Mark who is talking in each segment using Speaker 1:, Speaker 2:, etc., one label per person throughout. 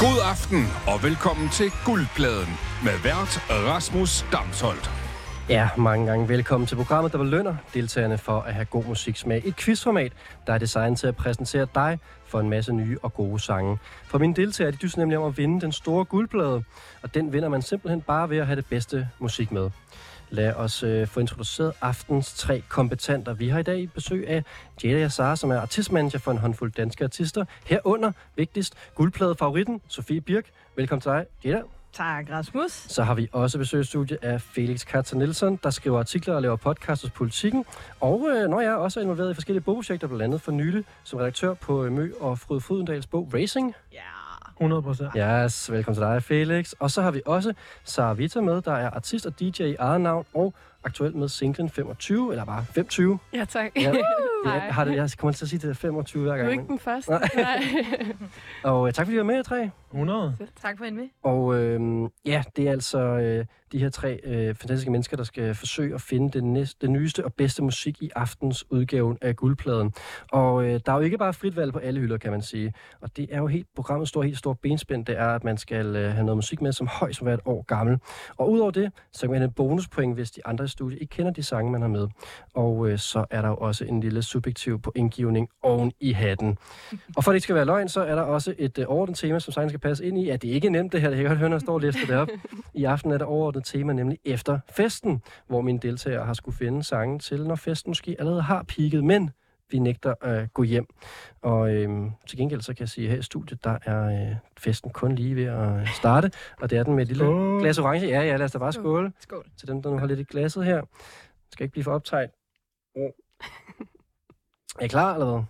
Speaker 1: God aften og velkommen til Guldpladen med vært Rasmus Damsholdt.
Speaker 2: Ja, mange gange velkommen til programmet, der belønner deltagerne for at have god musiksmag. Et quizformat, der er designet til at præsentere dig for en masse nye og gode sange. For mine deltagere, de dyster nemlig om at vinde den store guldplade, og den vinder man simpelthen bare ved at have det bedste musik med. Lad os øh, få introduceret aftens tre kompetenter. Vi har i dag besøg af Jada Yassar, som er artistmanager for en håndfuld danske artister. Herunder, vigtigst, guldpladefavoritten Sofie Birk. Velkommen til dig, Jada.
Speaker 3: Tak, Rasmus.
Speaker 2: Så har vi også besøg i studiet af Felix Katzer Nielsen, der skriver artikler og laver podcast hos Politiken. Og øh, når jeg er også involveret i forskellige bogprojekter, blandt andet for nylig som redaktør på øh, Mø og Frode Frydendals bog Racing.
Speaker 3: Ja.
Speaker 4: 100 procent.
Speaker 2: Yes, velkommen til dig, Felix. Og så har vi også Sara Vita med, der er artist og DJ i eget navn, og aktuelt med singlen 25, eller bare 25.
Speaker 5: Ja, tak.
Speaker 2: Ja,
Speaker 5: Hej.
Speaker 2: ja, har det, jeg kommer til at sige det der 25 hver
Speaker 5: Du er
Speaker 2: gang.
Speaker 5: ikke
Speaker 2: men-
Speaker 5: den første.
Speaker 2: Nej.
Speaker 5: Nej.
Speaker 2: Og øh, tak fordi I var med, jer tre.
Speaker 4: 100.
Speaker 3: Tak for en med.
Speaker 2: Og øh, ja, det er altså øh, de her tre øh, fantastiske mennesker, der skal forsøge at finde den, næste, den nyeste og bedste musik i aftens udgaven af Guldpladen. Og øh, der er jo ikke bare frit valg på alle hylder, kan man sige. Og det er jo helt programmet store, helt store benspænd, det er, at man skal øh, have noget musik med, som højst må være et år gammel. Og udover det, så kan man have en bonuspoint, hvis de andre i studiet ikke kender de sange, man har med. Og øh, så er der jo også en lille subjektiv pointgivning oven i hatten. Og for at det ikke skal være løgn, så er der også et øh, overordnet tema, som sangen skal passe ind i. Ja, det er ikke nemt det her, det kan jeg godt høre, når jeg står og lister det op. I aften er der overordnet tema, nemlig efter festen, hvor mine deltagere har skulle finde sangen til, når festen måske allerede har peaked, men vi nægter at øh, gå hjem. Og øhm, til gengæld så kan jeg sige, at her i studiet, der er øh, festen kun lige ved at øh, starte, og det er den med et lille
Speaker 4: Skål.
Speaker 2: glas orange. Ja, ja, lad os da bare skåle
Speaker 3: Skål.
Speaker 2: til dem, der nu har lidt i glasset her. Skal ikke blive for optaget. Er I klar, eller hvad?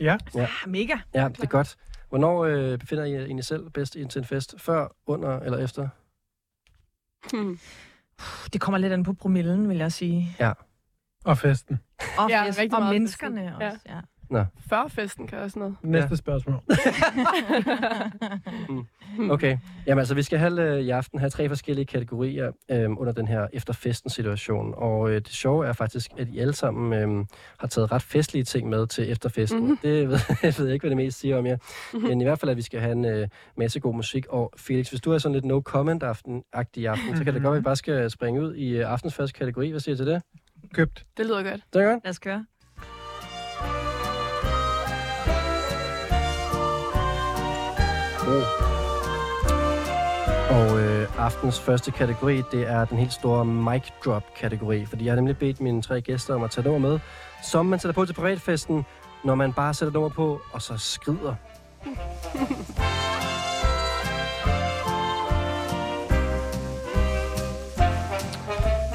Speaker 4: Ja.
Speaker 3: Ah, mega.
Speaker 2: Ja, det er godt. Hvornår øh, befinder I jer egentlig selv bedst ind til en fest? Før, under eller efter?
Speaker 5: Hmm.
Speaker 3: Puh, Det kommer lidt an på promillen, vil jeg sige.
Speaker 4: Og festen.
Speaker 3: Og,
Speaker 5: Ja,
Speaker 3: fest,
Speaker 5: rigtig
Speaker 3: og
Speaker 5: meget
Speaker 3: menneskerne
Speaker 5: festen.
Speaker 3: også. Ja.
Speaker 5: Før festen kan også noget.
Speaker 4: Næste spørgsmål.
Speaker 5: Hmm.
Speaker 2: Okay. Jamen altså, vi skal have, øh, i aften have tre forskellige kategorier øh, under den her efterfesten-situation. Og øh, det sjove er faktisk, at I alle sammen øh, har taget ret festlige ting med til efterfesten.
Speaker 5: Mhm.
Speaker 2: Mm-hmm. Det ved, jeg ved ikke, hvad det mest siger om jer.
Speaker 5: Mhm.
Speaker 2: Mm-hmm. Men i hvert fald, at vi skal have en øh, masse god musik. Og Felix, hvis du er sådan lidt no-comment-agtig i aften, så kan det
Speaker 5: Mhm.
Speaker 2: godt være, at vi bare skal springe ud i øh, aftens første kategori. Hvad siger I til det?
Speaker 4: Købt.
Speaker 5: Det lyder godt.
Speaker 2: Det er godt.
Speaker 3: Lad os køre.
Speaker 2: Oh. Og øh, aftens første kategori, det er den helt store mic drop kategori, fordi jeg har nemlig bedt mine tre gæster om at tage nummer med, som man sætter på til privatfesten, når man bare sætter nummer på, og så skrider.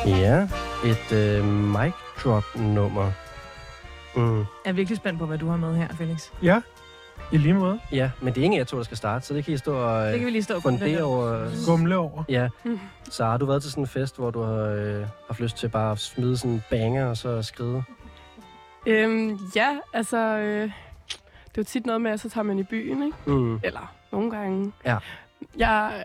Speaker 2: ja, et øh, mic drop nummer. Mm.
Speaker 3: Jeg er virkelig spændt på, hvad du har med her, Felix.
Speaker 4: Ja. I lige måde.
Speaker 2: Ja, men det er ingen af jer to, der skal starte, så det kan I stå og
Speaker 3: Det kan
Speaker 2: øh,
Speaker 3: vi lige stå og
Speaker 2: fundere
Speaker 3: kommentere.
Speaker 2: over.
Speaker 4: Gumle over.
Speaker 2: Ja.
Speaker 5: Mhm.
Speaker 2: Så har du været til sådan en fest, hvor du har øh, haft lyst til bare at smide sådan en banger og så skride?
Speaker 5: Øhm, ja, altså... Øh, det er jo tit noget med, at så tager man i byen, ikke?
Speaker 2: Mm.
Speaker 5: Eller nogle gange.
Speaker 2: Ja.
Speaker 5: Jeg,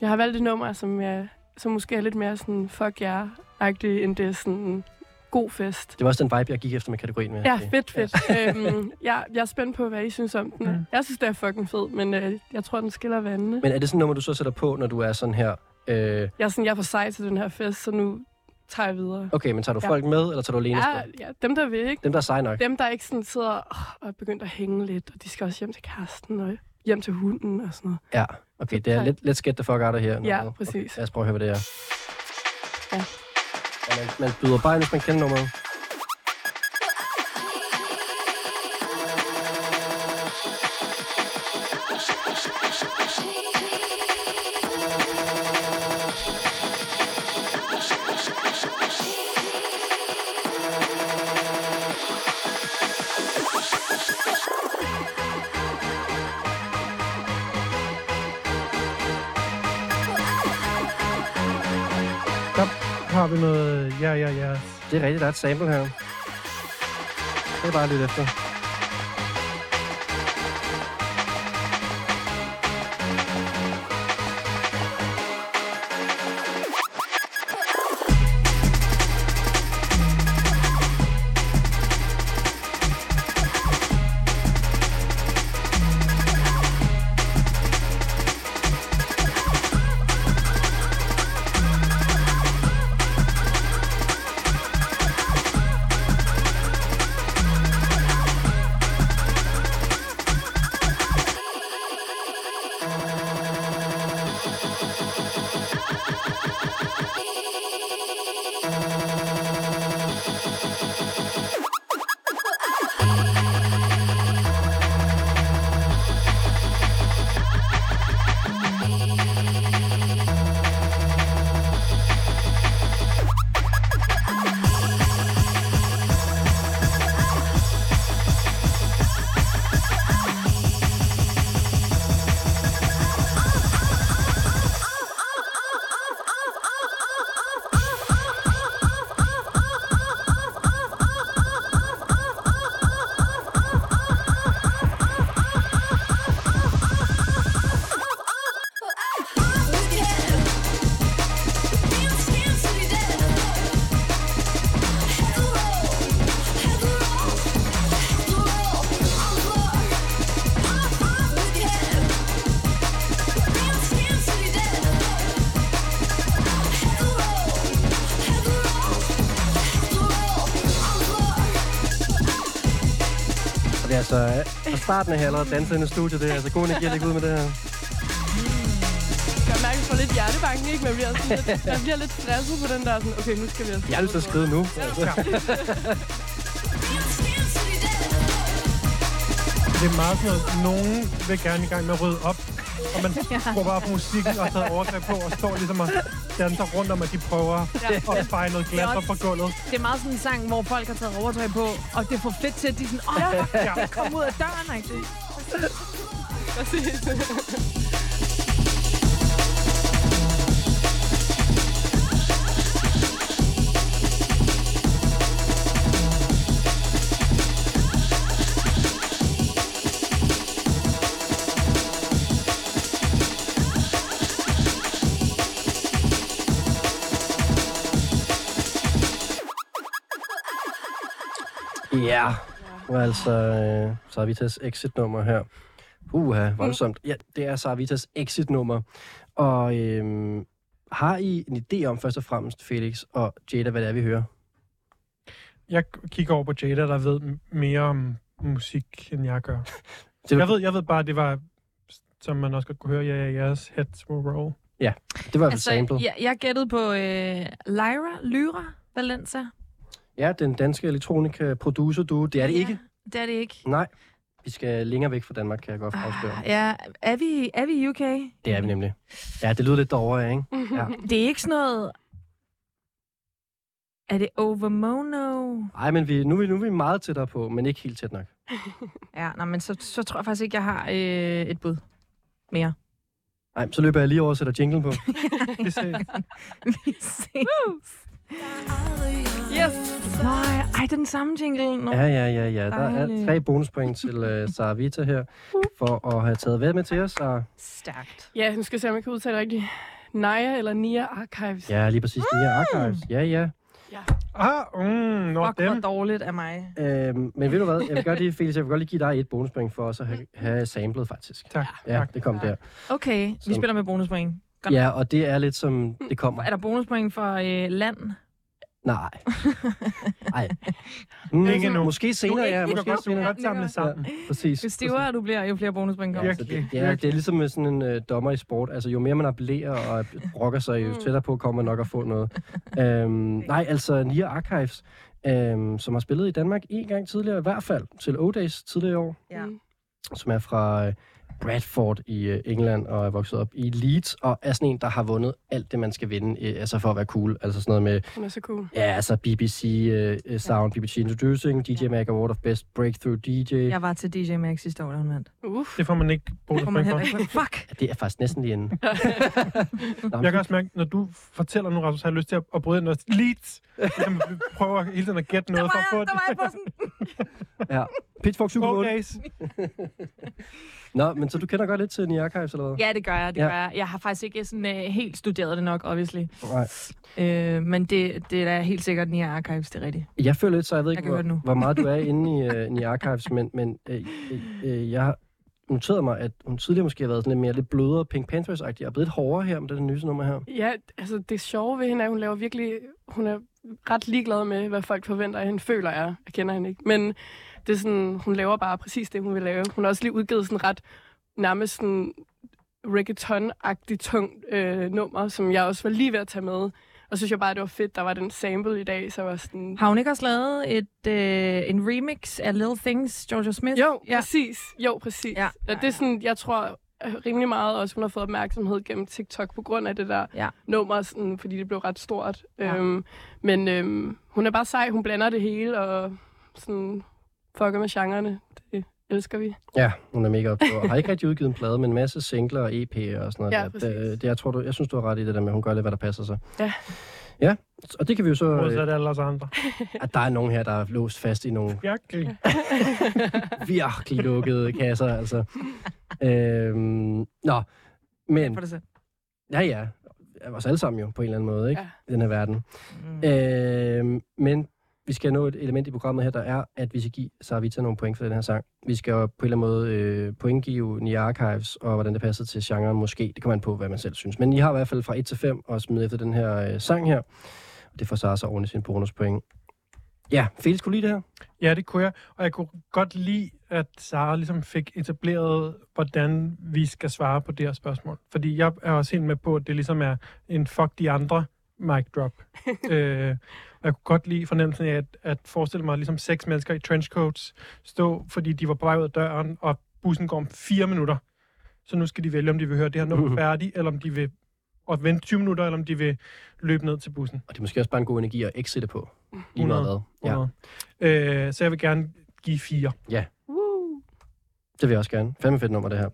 Speaker 5: jeg har valgt et nummer, som, jeg, som måske er lidt mere sådan fuck jer-agtig, end det er sådan god fest.
Speaker 2: Det var også den vibe, jeg gik efter med kategorien med.
Speaker 5: Ja,
Speaker 2: Okay.
Speaker 5: fedt, fedt. øhm, jeg, jeg er spændt på, hvad I synes om den.
Speaker 4: Mm.
Speaker 5: Jeg synes, det er fucking fed, men øh, jeg tror, den skiller vandene.
Speaker 2: Men er det sådan nummer, du så sætter på, når du er sådan her? Øh,
Speaker 5: Jeg er sådan, jeg er for sej til den her fest, så nu tager jeg videre.
Speaker 2: okay, men tager du
Speaker 5: Ja.
Speaker 2: folk med, eller tager du alene?
Speaker 5: Ja,
Speaker 2: Ja.
Speaker 5: ja, dem der vil, ikke?
Speaker 2: Dem, der er seje nok.
Speaker 5: Dem, der ikke sådan sidder åh, og er begyndt at hænge lidt, og de skal også hjem til kæresten og hjem til hunden og sådan noget.
Speaker 2: Ja, okay. Det er lidt, let's get the fuck out of here.
Speaker 5: Ja,
Speaker 2: Nå,
Speaker 5: præcis.
Speaker 2: Okay, lad os prøve at høre, hvad det er.
Speaker 5: Ja.
Speaker 2: ja man, man byder bare ind, hvis man kender nummeret.
Speaker 4: Der har vi noget ja, ja, ja.
Speaker 2: Det er rigtigt, der er et sample her. Det er bare lidt efter. Og det er altså øh, fra starten af, jeg allerede danser ind i studiet. Det er altså god energi at lægge ud med det her.
Speaker 5: Jeg mærker, at jeg får lidt hjertebanken, ikke? Man bliver, sådan lidt, man bliver lidt stresset på den der, sådan, okay, nu skal vi altså...
Speaker 2: Jeg har lyst til at skride nu. Altså.
Speaker 4: Det er meget sådan noget. Nogen vil gerne i gang med at rydde op, og man går bare på musikken og tager overgreb på og står ligesom og danser rundt om, at de prøver at feje noget glas op fra gulvet.
Speaker 3: Det er meget sådan en sang, hvor folk har taget overtøj på, og det får fedt til, at de er sådan, åh,
Speaker 4: Ja.
Speaker 3: kom ud af døren, ikke?
Speaker 2: Ja. Og altså øh, Sarvitas exit-nummer her. Uha, voldsomt. Ja, det er Sarvitas exit-nummer. Og øhm, har I en idé om først og fremmest, Felix og Jada, hvad det er, vi hører?
Speaker 4: Jeg kigger over på Jada, der ved m- mere om musik, end jeg gør.
Speaker 2: Det,
Speaker 4: Jeg ved, jeg ved bare, det var, som man også godt kunne høre, ja, ja, jeres heads will roll.
Speaker 2: det var altså,
Speaker 3: Altså,
Speaker 2: samplet.
Speaker 3: jeg, jeg gættede på øh, Lyra, Lyra Valenza.
Speaker 2: Ja, den danske elektronika-producer, du. Det er det ikke.
Speaker 3: Ja, det er det ikke.
Speaker 2: Nej. Vi skal længere væk fra Danmark, kan jeg godt afsløre.
Speaker 3: Ah, ja, er vi, er vi i UK?
Speaker 2: Det er vi nemlig. Ja, det lyder lidt derovre, ikke? Ja.
Speaker 3: Det er ikke sådan noget... Er det Overmono?
Speaker 2: Ej, men vi, nu, er vi, nu er vi meget tættere på, men ikke helt tæt nok.
Speaker 3: Ja, nej, men så, så tror jeg faktisk ikke, jeg har øh, et bud mere.
Speaker 2: Nej, så løber jeg lige over og sætter jingle på.
Speaker 4: Det ser,
Speaker 3: Vi ses.
Speaker 5: Yes!
Speaker 3: Nej, ej, det er den samme jingle. Nå.
Speaker 2: Ja, ja, ja, ja. Der er
Speaker 3: Dejligt.
Speaker 2: tre bonuspoint til uh, Sara Vita her, for at have taget ved med til os. Og,
Speaker 3: Stærkt.
Speaker 5: Ja, nu skal jeg se, om jeg kan udtale det rigtigt. Naya eller Nia Archives.
Speaker 2: ja, lige præcis. Det her
Speaker 4: Mm.
Speaker 2: archives. Ja, ja.
Speaker 4: ah, mm, når
Speaker 3: Fuck, hvor
Speaker 4: dem.
Speaker 3: dårligt af mig.
Speaker 2: Øhm, men ved du hvad, jeg vil godt lige, Felix, jeg vil godt lige give dig et bonuspoint for også at have, have samlet, faktisk.
Speaker 4: Tak.
Speaker 2: Ja, det kom der.
Speaker 3: Okay, vi
Speaker 2: Så-
Speaker 3: spiller med bonuspoint. Godt.
Speaker 2: Ja, og det er lidt som, det kommer.
Speaker 4: Mm.
Speaker 3: Er der bonuspoint for øh, land?
Speaker 2: Nej. Nej. Mm,
Speaker 4: Ikke endnu.
Speaker 2: Måske senere, ja.
Speaker 4: Du kan
Speaker 2: Måske
Speaker 4: godt, du kan
Speaker 2: senere.
Speaker 4: godt samle sammen.
Speaker 2: Ja, præcis.
Speaker 3: Jo stivere du bliver, jo flere bonuspoint kommer.
Speaker 2: Ja, så det, ja, det er ligesom med sådan en øh, dommer i sport. Altså, jo mere man appellerer og brokker sig, jo tættere på kommer man nok at få noget. Øhm, nej, altså Nia Archives, øhm, som har spillet i Danmark en gang tidligere, i hvert fald til O-Days tidligere i år,
Speaker 3: Ja.
Speaker 5: Mm.
Speaker 2: som er fra øh, Bradford i øh, England og er vokset op i Leeds, og er sådan en, der har vundet alt det, man skal vinde, øh, altså for at være cool. Altså sådan noget med
Speaker 5: Hun er så cool.
Speaker 2: Ja, altså BBC øh, øh, Sound, BBC Introducing, DJ Mag Award of Best Breakthrough DJ. Ja.
Speaker 3: Jeg var til DJ Max sidste år, da hun vandt.
Speaker 5: Uff.
Speaker 4: Det får man ikke bonus
Speaker 3: Får man
Speaker 4: for.
Speaker 3: heller ikke. Fuck!
Speaker 2: Det er faktisk næsten lige inden. Nå,
Speaker 4: Jeg kan også mærke, når du fortæller nu, Rasmus, har jeg lyst til at, at bryde ind og leads. Ligesom, vi prøver hele tiden at gætte
Speaker 3: Der
Speaker 4: noget
Speaker 3: var
Speaker 4: for at
Speaker 3: jeg,
Speaker 4: få
Speaker 3: der
Speaker 4: det.
Speaker 3: var jeg på sådan...
Speaker 2: ja. Pitchfork Super 8.
Speaker 4: Okay.
Speaker 2: Nå, men så du kender godt lidt til Nia Archives, eller hvad?
Speaker 3: Ja, det gør jeg, det
Speaker 2: Ja.
Speaker 3: gør jeg. Jeg har faktisk ikke sådan, øh, helt studeret det nok, obviously.
Speaker 2: Nej.
Speaker 3: Øh, men det, det er da helt sikkert Nia Archives, det er rigtigt.
Speaker 2: Jeg føler lidt, så jeg ved ikke,
Speaker 3: kan høre det
Speaker 2: hvor,
Speaker 3: nu.
Speaker 2: hvor meget du er inde i uh, Nia Archives, men, men øh, øh, øh, jeg har noteret mig, at hun tidligere måske har været sådan lidt mere lidt blødere Pink Panthers-agtig, og blevet lidt hårdere her med det nyeste nummer her.
Speaker 5: Ja, altså det sjove ved hende er, at hun laver virkelig... Hun er ret ligeglad med, hvad folk forventer af hende, føler jeg. Jeg kender hende ikke. Men det er sådan, hun laver bare præcis det, hun vil lave. Hun har også lige udgivet sådan ret nærmest sådan reggaeton-agtigt tungt øh, nummer, som jeg også var lige ved at tage med. Og så synes jeg bare, det var fedt, der var den sample i dag, så jeg var sådan...
Speaker 3: Har hun ikke også lavet et, øh, en remix af Little Things, Georgia Smith?
Speaker 5: Jo, ja.
Speaker 3: ja.
Speaker 5: præcis. Jo, præcis.
Speaker 3: Ja,
Speaker 5: Ja.
Speaker 3: ja,
Speaker 5: Ja, det er sådan, jeg tror øh, rimelig meget også, hun har fået opmærksomhed gennem TikTok på grund af det der
Speaker 3: Ja.
Speaker 5: nummer, sådan, fordi det blev ret stort.
Speaker 3: Ja.
Speaker 5: Ja. Øhm, men øhm, hun er bare sej, hun blander det hele og sådan fucker med genrerne. Det elsker vi.
Speaker 2: Ja, hun er mega opgået. Og har ikke rigtig udgivet en plade, men en masse singler og EP'er og sådan noget.
Speaker 5: Ja,
Speaker 2: der.
Speaker 5: præcis.
Speaker 2: det, det, jeg, tror, du, jeg synes, du har ret i det der med, at hun gør lidt, hvad der passer sig.
Speaker 5: Ja.
Speaker 2: Ja, og det kan vi jo så... øh,
Speaker 4: Modsat alle os andre.
Speaker 2: at der er nogen her, der er låst fast i nogle
Speaker 4: Virkelig.
Speaker 2: virkelig lukkede kasser, altså. Øhm, nå, men
Speaker 3: For det selv.
Speaker 2: ja, ja. Os alle sammen jo, på en eller anden måde, ikke?
Speaker 5: Ja.
Speaker 2: I den her verden.
Speaker 3: Mm.
Speaker 2: Øhm, men vi skal nå et element i programmet her, der er, at vi skal give Sarvita nogle point for den her sang. Vi skal jo på en eller anden måde øh, pointgive Nia Archives, og hvordan det passer til genren måske. Det kommer an på, hvad man selv synes. Men I har i hvert fald fra 1 til 5 at smide efter den her øh, sang her. Og det får Sara så oven i sin bonuspoint. Ja, Felix kunne lide det her.
Speaker 4: Ja, det kunne jeg. Og jeg kunne godt lide, at Sara ligesom fik etableret, hvordan vi skal svare på det her spørgsmål. Fordi jeg er også helt med på, at det ligesom er en fuck de andre mic drop. øh, og jeg kunne godt lide fornemmelsen af, at, at forestille mig ligesom seks mennesker i trenchcoats stå, fordi de var på vej ud af døren, og bussen går om fire minutter. Så nu skal de vælge, om de vil høre det her nummer færdigt, eller om de vil og vente 20 minutter, eller om de vil løbe ned til bussen.
Speaker 2: Og det er måske også bare en god energi at exitte på. Lige meget hvad. Ja,
Speaker 4: Ja. Øh, så jeg vil gerne give fire.
Speaker 5: Woo.
Speaker 2: det vil jeg også gerne. Fandme fedt nummer, det her.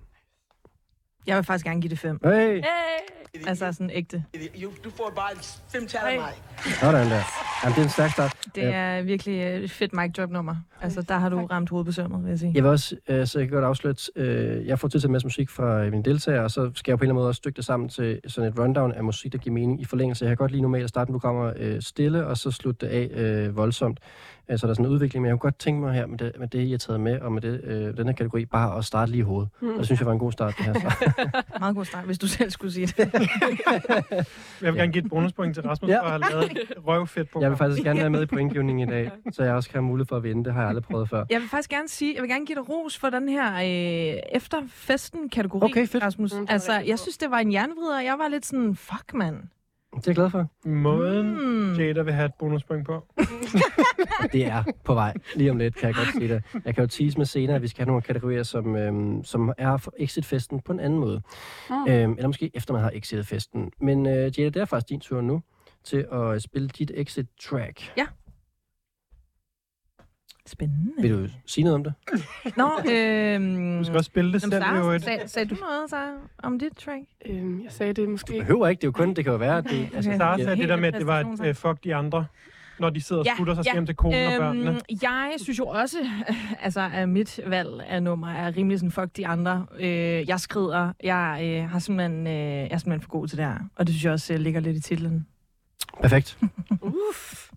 Speaker 3: Jeg vil faktisk gerne give det fem.
Speaker 2: Hey,
Speaker 5: Hey.
Speaker 3: Altså sådan ægte.
Speaker 6: Jo, du får bare fem tal af
Speaker 5: Hey.
Speaker 6: mig.
Speaker 2: sådan der. Jamen, det er en stærk start.
Speaker 3: Det er virkelig øh, et fedt mic drop nummer. Altså, der har du ramt hovedet på sømmet, vil jeg sige.
Speaker 2: Jeg vil også, øh, så jeg kan godt afsløre, øh, jeg får tilsat en masse musik fra øh, mine deltagere, og så skal jeg på en eller anden måde også stykke det sammen til sådan et rundown af musik, der giver mening i forlængelse. Jeg kan godt lige normalt at starte med programmer øh, stille, og så slutte det af øh, voldsomt. Øh, så der er sådan en udvikling, men jeg kunne godt tænke mig her med det, med det I har taget med, og med det, øh, den her kategori, bare at starte lige i hovedet. Mm.
Speaker 3: Hmm.
Speaker 2: Og det synes jeg var en god start, det her. Så.
Speaker 3: Meget god start, hvis du selv skulle sige det.
Speaker 4: Jeg vil gerne give et bonuspoint til Rasmus,
Speaker 2: Ja.
Speaker 4: ja. for at have lavet et røvfedt på.
Speaker 2: Jeg vil faktisk gerne være med i pointgivningen i dag, så jeg også kan have mulighed for at vinde. Det har jeg aldrig prøvet før.
Speaker 3: Jeg vil faktisk gerne sige, jeg vil gerne give dig ros for den her øh, efter festen kategori,
Speaker 2: Okay, fedt.
Speaker 3: Rasmus.
Speaker 5: Mm, det var
Speaker 3: altså,
Speaker 5: rigtig
Speaker 3: jeg
Speaker 5: god.
Speaker 3: synes, det var en jernvrider, og jeg var lidt sådan, fuck, mand.
Speaker 2: Det er jeg glad for.
Speaker 4: Måden
Speaker 3: Mm.
Speaker 4: Jada vil have et bonuspoint på.
Speaker 2: det er på vej lige om lidt, kan jeg godt sige det. Jeg kan jo tease med senere, at vi skal have nogle kategorier, som, øhm, som er for exit-festen på en anden måde. Mm.
Speaker 5: Mm.
Speaker 3: Ah.
Speaker 2: Øhm, eller måske efter man har exitet festen. Men øh, Jada, det er faktisk din tur nu til at øh, spille dit exit-track. Vil
Speaker 3: Spændende.
Speaker 2: du sige noget om det?
Speaker 3: Nå, øhm,
Speaker 4: Du skal også spille det
Speaker 3: Nå, men
Speaker 4: selv, jo
Speaker 3: Sara,
Speaker 4: et.
Speaker 3: sag, sagde du noget, Sara, om dit track?
Speaker 5: Øhm, jeg sagde det måske ikke.
Speaker 2: Behøver ikke, det er jo kun, det kan jo være, at det, altså,
Speaker 3: Okay.
Speaker 4: Sara
Speaker 2: Ja.
Speaker 4: sagde det der med, at det var et
Speaker 3: Præstationssang.
Speaker 4: øh, fuck de andre, når de sidder og
Speaker 3: Ja,
Speaker 4: skutter sig
Speaker 3: ja.
Speaker 4: hjem til konen og børnene.
Speaker 3: Øhm, jeg synes jo også, altså, at mit valg af nummer er rimelig sådan, fuck de andre. Øh, jeg skrider, jeg, øh, har simpelthen, øh, jeg er simpelthen for god til det her, og det synes jeg også øh, ligger lidt i titlen.
Speaker 2: perfekt.
Speaker 3: Uff.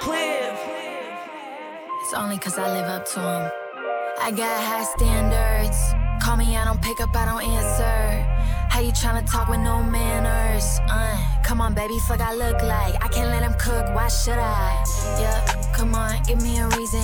Speaker 7: Cliff. It's only cause I live up to them. I got high standards. Call me, I don't pick up, I don't answer. How you tryna talk with no manners? Uh, come on, baby, fuck I look like. I can't let him cook, why should I? Yeah, come on, give me a reason.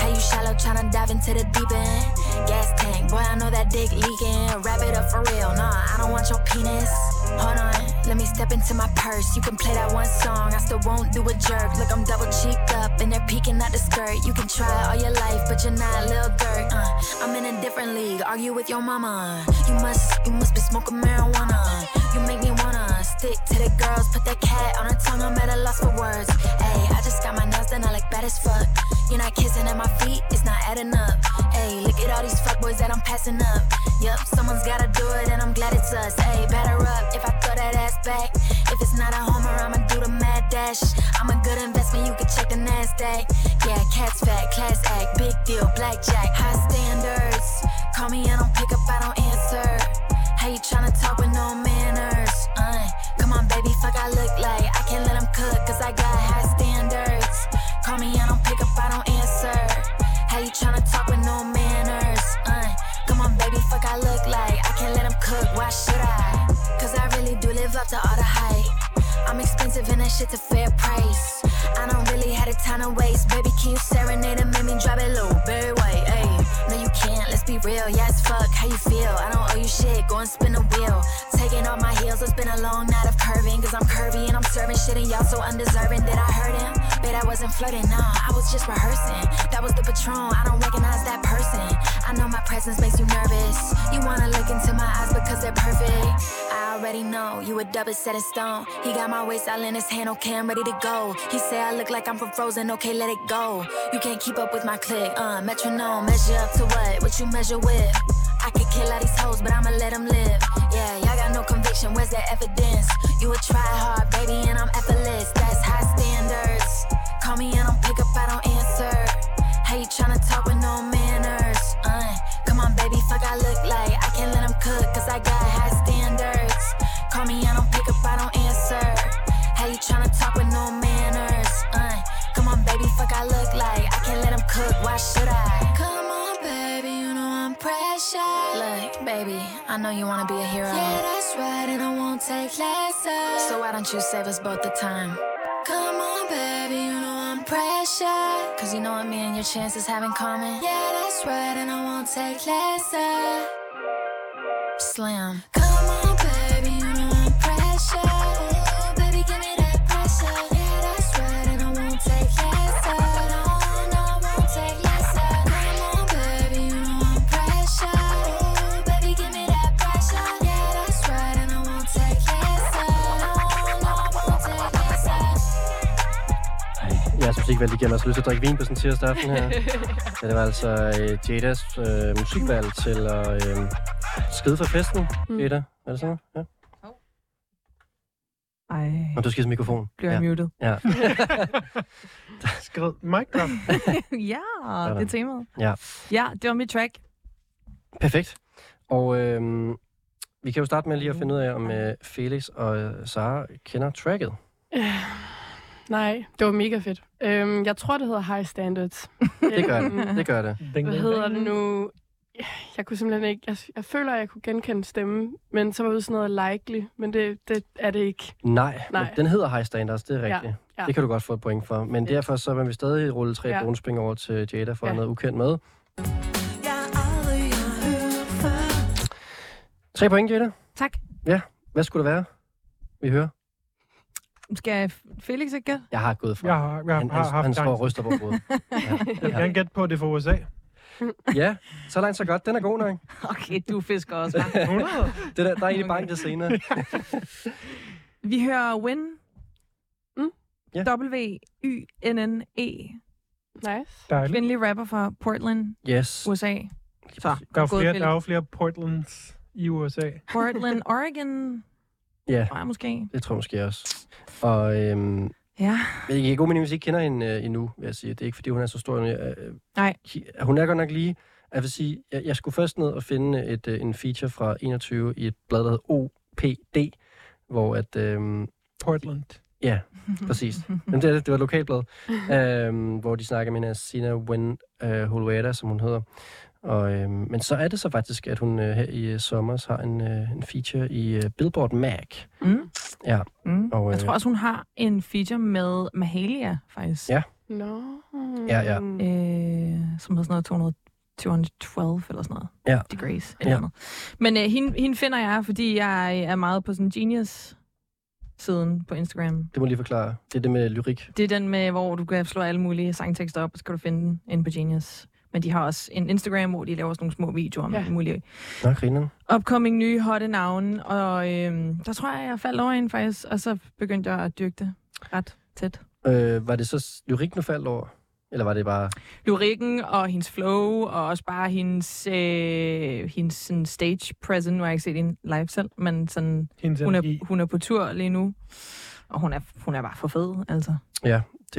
Speaker 7: How you shallow tryna dive into the deep end? Gas tank, boy, I know that dick leaking. Wrap it up for real, nah, I don't want your penis. Hold on, let me step into my purse. You can play that one song, I still won't do a jerk. Look, I'm double cheeked up and they're peeking at the skirt. You can try all your life, but you're not Lil Dirt. Uh, I'm in a different league, argue with your mama. You must, you must be smoking marijuana. You make me wanna stick to the girls, put that cat on her tongue. I'm at a loss for words. Ayy, I just got my nails done, I look bad as fuck. You're not kissing at my feet, it's not adding up. Ayy, look at all these fuckboys that I'm passing up. Yup, someone's gotta do it, and I'm glad it's us. Ayy, batter up if I throw that ass back. If it's not a homer, I'ma do the mad dash. I'm a good investment, you can check the NASDAQ. Yeah, cat's fat, class act, big deal, blackjack, high standards. Call me, I don't pick up, I don't answer. How you tryna talk with no manners? Uh, come on, baby, fuck I look like. I can't let him cook, cause I got high standards. Call me, I don't pick up, I don't answer. How you tryna talk with no manners? Uh, come on, baby, fuck I look like. I can't let him cook, why should I? Cause I really do live up to all the hype. I'm expensive and that shit's a fair price. I don't really have a ton of waste. Baby, can you serenade and make me drop it low? Very white, ayy. No, you can't, let's be real. Yeah, as fuck, how you feel? I don't owe you shit, go and spin the wheel. Taking off my heels, it's been a long night of curving. Cause I'm curvy and I'm serving shit and y'all so undeserving. Did I hurt him? Bet I wasn't flirting, nah, I was just rehearsing. That was the patron, I don't recognize that person. I know my presence makes you nervous. You wanna look into my eyes because they're perfect. I already know you a double set in stone. He got my waist all in his hand, okay, I'm ready to go. He say I look like I'm from Frozen, okay, let it go. You can't keep up with my click, uh, metronome, measure up to what? What you measure with? I could kill all these hoes, but I'ma let them live. Yeah, y'all got no conviction, where's that evidence? You a try hard, baby, and I'm effortless. That's high standards. Call me and I'll pick up, I don't answer. How you tryna talk with no manners? Uh, come on, baby, fuck I look like. I can't let him cook, cause I got high standards. Call me, I don't pick up, I don't answer. How you tryna talk with no manners? Uh, come on, baby, fuck I look like. I can't let him cook, why should I? Come on, baby, you know I'm precious. Look, baby, I know you wanna be a hero. Yeah, that's right and I won't take lessons. So why don't you save us both the time? Come on, baby, you know I'm precious. Cause you know what me and your chances have in common. Yeah, that's right, and I won't take lessons. Slam. Come on, baby, you know I'm precious. Ooh, baby, give me that pressure. Yeah, that's right, and I won't take lessons. No, no, I won't take lessons. Come on, baby, you know I'm precious. Ooh, baby, give me that pressure. Yeah, that's right, and I won't take lessons. No, no, I won't take lessons.
Speaker 2: Jeg har som musikvalg igen også altså lyst til at drikke vin på sådan en tirsdag aften her. ja, det var altså øh, Jadas øh, musikvalg til at øh, skide fra festen,
Speaker 5: Mm.
Speaker 2: Jada. Er det sådan? Ja.
Speaker 3: Ej,
Speaker 2: Og du skal som mikrofon.
Speaker 3: bliver jeg
Speaker 2: ja.
Speaker 3: muted.
Speaker 2: ja.
Speaker 4: Skred mic drop.
Speaker 3: ja, det er temaet.
Speaker 2: Ja.
Speaker 3: Ja, det var mit track.
Speaker 2: Perfekt. Og øh, vi kan jo starte med lige
Speaker 5: Mhm.
Speaker 2: at finde ud af, om øh, Felix og øh, Sara kender tracket.
Speaker 5: Nej, det var mega fedt. Øhm, jeg tror, det hedder High Standards. Øhm,
Speaker 2: Det gør det. Det gør det.
Speaker 4: Ding,
Speaker 5: Hvad hedder det nu? Jeg kunne simpelthen ikke... Jeg, jeg føler, at jeg kunne genkende stemmen, men så var det sådan noget likely, men det, det er det ikke.
Speaker 2: Nej, Nej.
Speaker 5: Nej.
Speaker 2: Men den hedder High Standards, det er
Speaker 5: Ja,
Speaker 2: rigtigt. Ja,
Speaker 5: ja.
Speaker 2: ja. Det kan du godt få et point for. Men derfor så vil vi stadig rulle tre
Speaker 5: Ja.
Speaker 2: ja. bonuspoint over til Jada for ja.
Speaker 5: Ja.
Speaker 2: noget ukendt med. Tre point, Jada.
Speaker 3: Tak.
Speaker 2: Hvad skulle det være, vi hører?
Speaker 3: Skal Felix ikke gætte?
Speaker 2: Jeg har gået fra.
Speaker 4: Jeg har, jeg har,
Speaker 2: han,
Speaker 4: har
Speaker 2: han,
Speaker 4: haft
Speaker 2: han står og
Speaker 4: chance.
Speaker 2: ryster på hovedet.
Speaker 4: Jeg kan
Speaker 2: Ja.
Speaker 4: gerne gætte på, at det er fra USA.
Speaker 2: ja, så langt så godt. Den er god nok.
Speaker 3: Okay, du fisker også, hva'?
Speaker 4: 100?
Speaker 2: Det der, der er egentlig bank det senere.
Speaker 3: Vi hører Win.
Speaker 5: Mm.
Speaker 2: Ja.
Speaker 3: W-Y-N-N-E.
Speaker 5: Nice.
Speaker 4: Dejligt.
Speaker 3: E. Kvindelig rapper fra Portland,
Speaker 2: Yes.
Speaker 3: USA. Så,
Speaker 4: Der er, jo
Speaker 3: godt
Speaker 4: flere,
Speaker 3: Felix.
Speaker 4: der er jo flere Portlands i USA.
Speaker 3: Portland, Oregon.
Speaker 2: Ja,
Speaker 3: Nej, måske.
Speaker 2: det tror jeg måske også. Og øhm,
Speaker 3: Ja.
Speaker 2: Men det er god mening, hvis I ikke kender hende øh, endnu, vil jeg sige. Det er ikke, fordi hun er så stor. Øh,
Speaker 3: Nej.
Speaker 2: hi- Hun er godt nok lige... Jeg vil sige, jeg, jeg skulle først ned og finde et, øh, en feature fra 21 i et blad, der hedder OPD, hvor at...
Speaker 3: Mm.
Speaker 2: Øh,
Speaker 4: Portland.
Speaker 2: præcis. Jamen, det, er det, det var et lokalblad. øh, hvor de snakker med hende af Sina Wen øh, Holueda, som hun hedder. Og, øh, men så er det så faktisk, at hun øh, her i øh, sommer har en, øh, en feature i øh, Billboard Mag.
Speaker 3: Mm.
Speaker 2: Ja,
Speaker 3: Mm.
Speaker 2: og,
Speaker 3: Jeg
Speaker 2: øh,
Speaker 3: tror også, hun har en feature med Mahalia, faktisk.
Speaker 2: Ja.
Speaker 5: Nå.
Speaker 2: Ja, ja.
Speaker 3: Øh, som hedder sådan noget 200 212 eller sådan noget.
Speaker 2: Ja.
Speaker 3: Degrees eller
Speaker 2: Ja.
Speaker 3: ja. noget. Men øh, hende, hende finder jeg, fordi jeg er meget på sådan Genius-siden på Instagram.
Speaker 2: det må jeg lige forklare. Det er det med lyrik.
Speaker 3: Det er den med, hvor du kan slå alle mulige sangtekster op, og så kan du finde den inde på Genius. Men de har også en Instagram, hvor de laver sådan nogle små videoer med
Speaker 5: Ja.
Speaker 3: ja. mulige
Speaker 2: Nå, grineren.
Speaker 3: upcoming nye hotte navne. Og øhm, der tror jeg, jeg faldt over en faktisk, og så begyndte jeg at dyrke det ret tæt.
Speaker 2: Øh, var det så s- lyrik, du faldt over? Eller var det bare...
Speaker 3: Lyrikken og hendes flow, og også bare hendes, øh, hendes sådan stage presence. Nu har jeg ikke set hende live selv, men sådan,
Speaker 4: Hendes
Speaker 3: hun,
Speaker 4: energi.
Speaker 3: er, hun er på tur lige nu. Og hun er, hun er bare for fed, altså.
Speaker 2: Det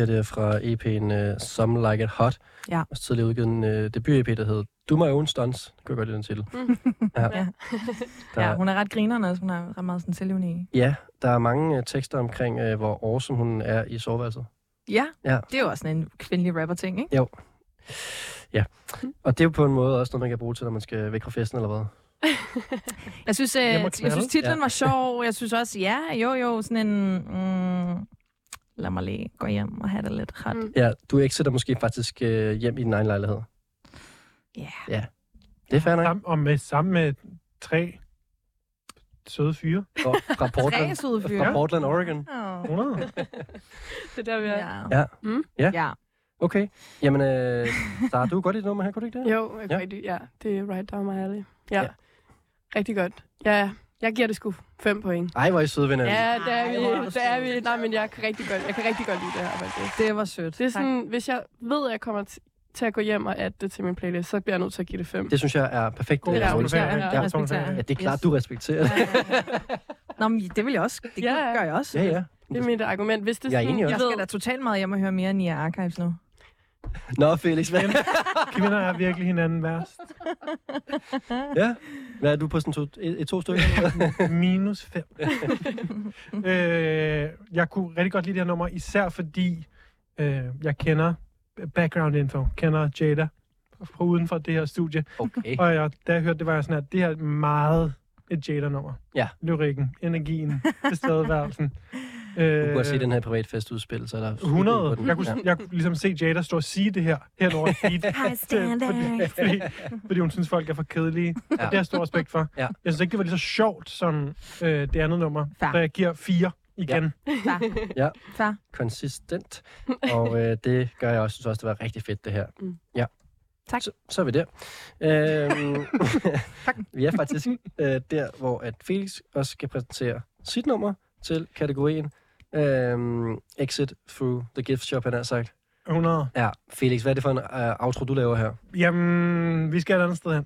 Speaker 2: her det er fra EP'en uh, Some Like It Hot.
Speaker 3: Ja.
Speaker 2: Og så tidligere udgivet en uh, debut-EP, der hed Do My Own Stunts. Det kunne jeg godt lide den titel. Der,
Speaker 3: Ja, hun er ret grinerne også. Hun er ret meget sådan selvivende i.
Speaker 2: ja, der er mange uh, tekster omkring, uh, hvor awesome hun er i soveværelset.
Speaker 3: Ja,
Speaker 2: Ja.
Speaker 3: det er jo også sådan en kvindelig rapper-ting, ikke?
Speaker 2: Og det er jo på en måde også noget, man kan bruge til, når man skal væk fra festen eller hvad.
Speaker 3: Jeg synes, øh,
Speaker 4: Hjem og
Speaker 3: jeg
Speaker 4: knalde.
Speaker 3: synes titlen
Speaker 2: Ja.
Speaker 3: ja. var sjov. Jeg synes også, ja, jo, jo, sådan en... Mm, lad mig lige gå hjem og have det lidt ret.
Speaker 5: Mm.
Speaker 3: Mm.
Speaker 2: Ja, du exitter måske faktisk uh, hjem i din egen lejlighed.
Speaker 3: Ja.
Speaker 2: Ja. Det er fair nok.
Speaker 4: Sam, og med, sammen med tre søde fyre.
Speaker 2: Fra, fra Portland.
Speaker 3: Tre søde
Speaker 2: Fra
Speaker 3: fyre.
Speaker 2: Portland, Oregon.
Speaker 3: Åh.
Speaker 4: 100.
Speaker 5: Det er der, vi er.
Speaker 3: Ja.
Speaker 2: Ja.
Speaker 5: Mm.
Speaker 2: Ja.
Speaker 3: ja.
Speaker 2: Okay. Jamen, øh, Sara, du er godt i det nummer her, kunne du ikke det?
Speaker 5: Jo, jeg
Speaker 2: Ja.
Speaker 5: ja. Rigtig, ja, det er right down my alley. Ja.
Speaker 2: Ja.
Speaker 5: ja. Rigtig godt. Ja, jeg giver det sgu fem point.
Speaker 2: Ej, hvor er I søde venner.
Speaker 5: Ja, Ah, det er
Speaker 3: Ej, hvor er
Speaker 5: vi.
Speaker 3: du
Speaker 5: Det er
Speaker 3: sød.
Speaker 5: vi. Nej, men jeg kan rigtig godt, jeg kan rigtig godt lide det her faktisk.
Speaker 3: Det var sødt.
Speaker 5: Det er sådan, hvis jeg ved, at jeg kommer t- til at gå hjem og adde det til min playlist, så bliver jeg nødt til at give det fem.
Speaker 2: Det synes jeg er perfekt.
Speaker 4: God
Speaker 2: øh,
Speaker 5: Ja,
Speaker 2: rundt.
Speaker 5: respekterer jeg.
Speaker 2: Ja.
Speaker 3: Respekterer jeg.
Speaker 2: Ja, det er klart, du respekterer det.
Speaker 3: Ja, ja, ja. Nå, men det vil jeg også. Det
Speaker 5: Ja, ja.
Speaker 3: gør jeg også.
Speaker 2: Ja, ja.
Speaker 5: Det er mit argument. Hvis det
Speaker 2: Jeg er
Speaker 5: sådan,
Speaker 2: enig også.
Speaker 3: Jeg skal da totalt meget hjem og høre mere Nia Archives nu.
Speaker 2: Nå, Felix, hvad,
Speaker 4: Kvinder er virkelig hinanden værst.
Speaker 2: ja. hvad er du på sådan to, et, et to stykker?
Speaker 4: Minus fem. øh, jeg kunne rigtig godt lide det her nummer, især fordi øh, jeg kender background info, kender Jada fra uden for det her studie.
Speaker 2: Okay.
Speaker 4: Og jeg, da jeg hørte det, var jeg sådan, at det her er et meget et Jada-nummer.
Speaker 2: Ja.
Speaker 4: Lyrikken, energien, tilstedeværelsen.
Speaker 2: Du
Speaker 4: Øh,
Speaker 2: kunne godt se den her privatfest udspil, så er der...
Speaker 4: 100. Jeg kunne,
Speaker 2: ja.
Speaker 4: jeg kunne ligesom se Jada stå og sige det her, hen over et beat.
Speaker 7: High
Speaker 4: til- fordi,
Speaker 7: standards.
Speaker 4: fordi, fordi hun synes, folk er for kedelige. Ja. Det har jeg stor respekt for.
Speaker 2: Ja.
Speaker 4: Jeg synes ikke, det var lige så sjovt som øh, det andet nummer.
Speaker 3: Fair.
Speaker 4: Så jeg giver fire igen.
Speaker 3: Far.
Speaker 2: Ja.
Speaker 3: Far.
Speaker 2: Konsistent. Og øh, det gør jeg også. Jeg synes også, det var rigtig fedt, det her.
Speaker 5: Mm.
Speaker 2: Ja.
Speaker 3: Tak.
Speaker 2: Så, så er vi der. Øhm,
Speaker 3: Tak.
Speaker 2: vi er faktisk øh, der, hvor at Felix også skal præsentere sit nummer til kategorien øhm, Exit Through the Gift Shop, han har sagt.
Speaker 4: 100.
Speaker 2: Ja, Felix, hvad er det for en øh, outro, du laver her?
Speaker 4: Jamen, vi skal et andet sted hen.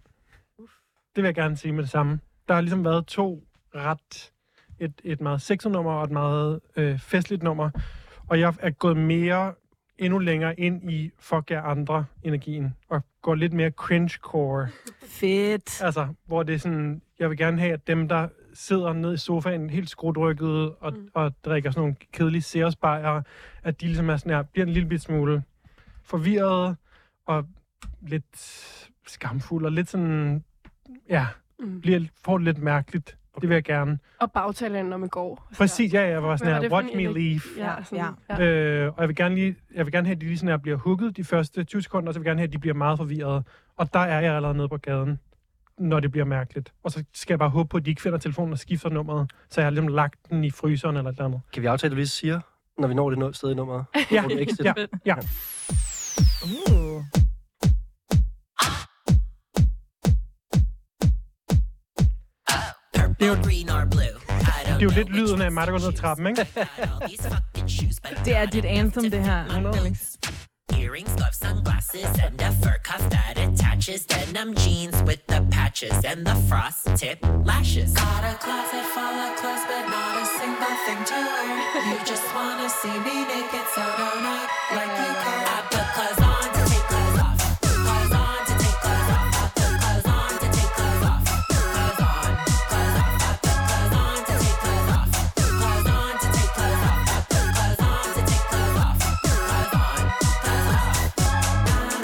Speaker 4: Det vil jeg gerne sige med det samme. Der har ligesom været to ret... Et, et meget sexet nummer og et meget øh, festligt nummer. Og jeg er gået mere endnu længere ind i fuck jer andre energien. Og går lidt mere cringe-core.
Speaker 3: Fedt.
Speaker 4: Altså, hvor det er sådan, jeg vil gerne have, at dem, der sidder ned i sofaen helt skrutrykket og, mm. og drikker sådan nogle kedelige seersbejere, at de ligesom er sådan her, bliver en lille bit smule forvirret og lidt skamfuld og lidt sådan, ja,
Speaker 5: Mm.
Speaker 4: bliver, får det lidt mærkeligt. Det vil jeg gerne.
Speaker 5: Og bagtalen, når man går. Så-
Speaker 4: Præcis, ja, jeg var
Speaker 5: Hvad
Speaker 4: sådan
Speaker 5: var det
Speaker 4: her,
Speaker 5: for
Speaker 4: watch
Speaker 5: en
Speaker 4: me
Speaker 5: energi?"
Speaker 4: leave.
Speaker 5: Ja, sådan, ja. ja.
Speaker 4: Øh, og jeg vil, gerne lige, jeg vil gerne have, at de lige sådan her bliver hugget de første 20 sekunder, og så vil jeg gerne have, at de bliver meget forvirrede. Og der er jeg allerede nede på gaden, når det bliver mærkeligt. Og så skal jeg bare håbe på, at de ikke finder telefonen og skifter nummeret, så jeg har ligesom lagt den i fryseren eller et eller andet.
Speaker 2: Kan vi aftale, at du lige siger, når vi når det nå- sted i nummeret?
Speaker 4: Ja,
Speaker 2: Hvor du exit?
Speaker 4: ja, ja.
Speaker 3: Uh.
Speaker 8: Purple, green or blue. I don't
Speaker 4: Det er jo lidt lyden af mig, der går ned ad trappen, ikke?
Speaker 3: Det er dit anthem, det her. er Felix.
Speaker 8: Earrings, gloves, sunglasses, and a fur cuff that attaches. Denim jeans with the patches and the frost tip lashes. Got a closet full of clothes, but not a single thing to wear. You just wanna see me naked, so don't act like you care. I put clothes on to take clothes off. Clothes on to take clothes off. I put clothes on to take clothes off. Clothes on, clothes off. I put clothes on to take clothes off. Clothes on to take clothes off. I put clothes on to take clothes off. Clothes on, clothes off.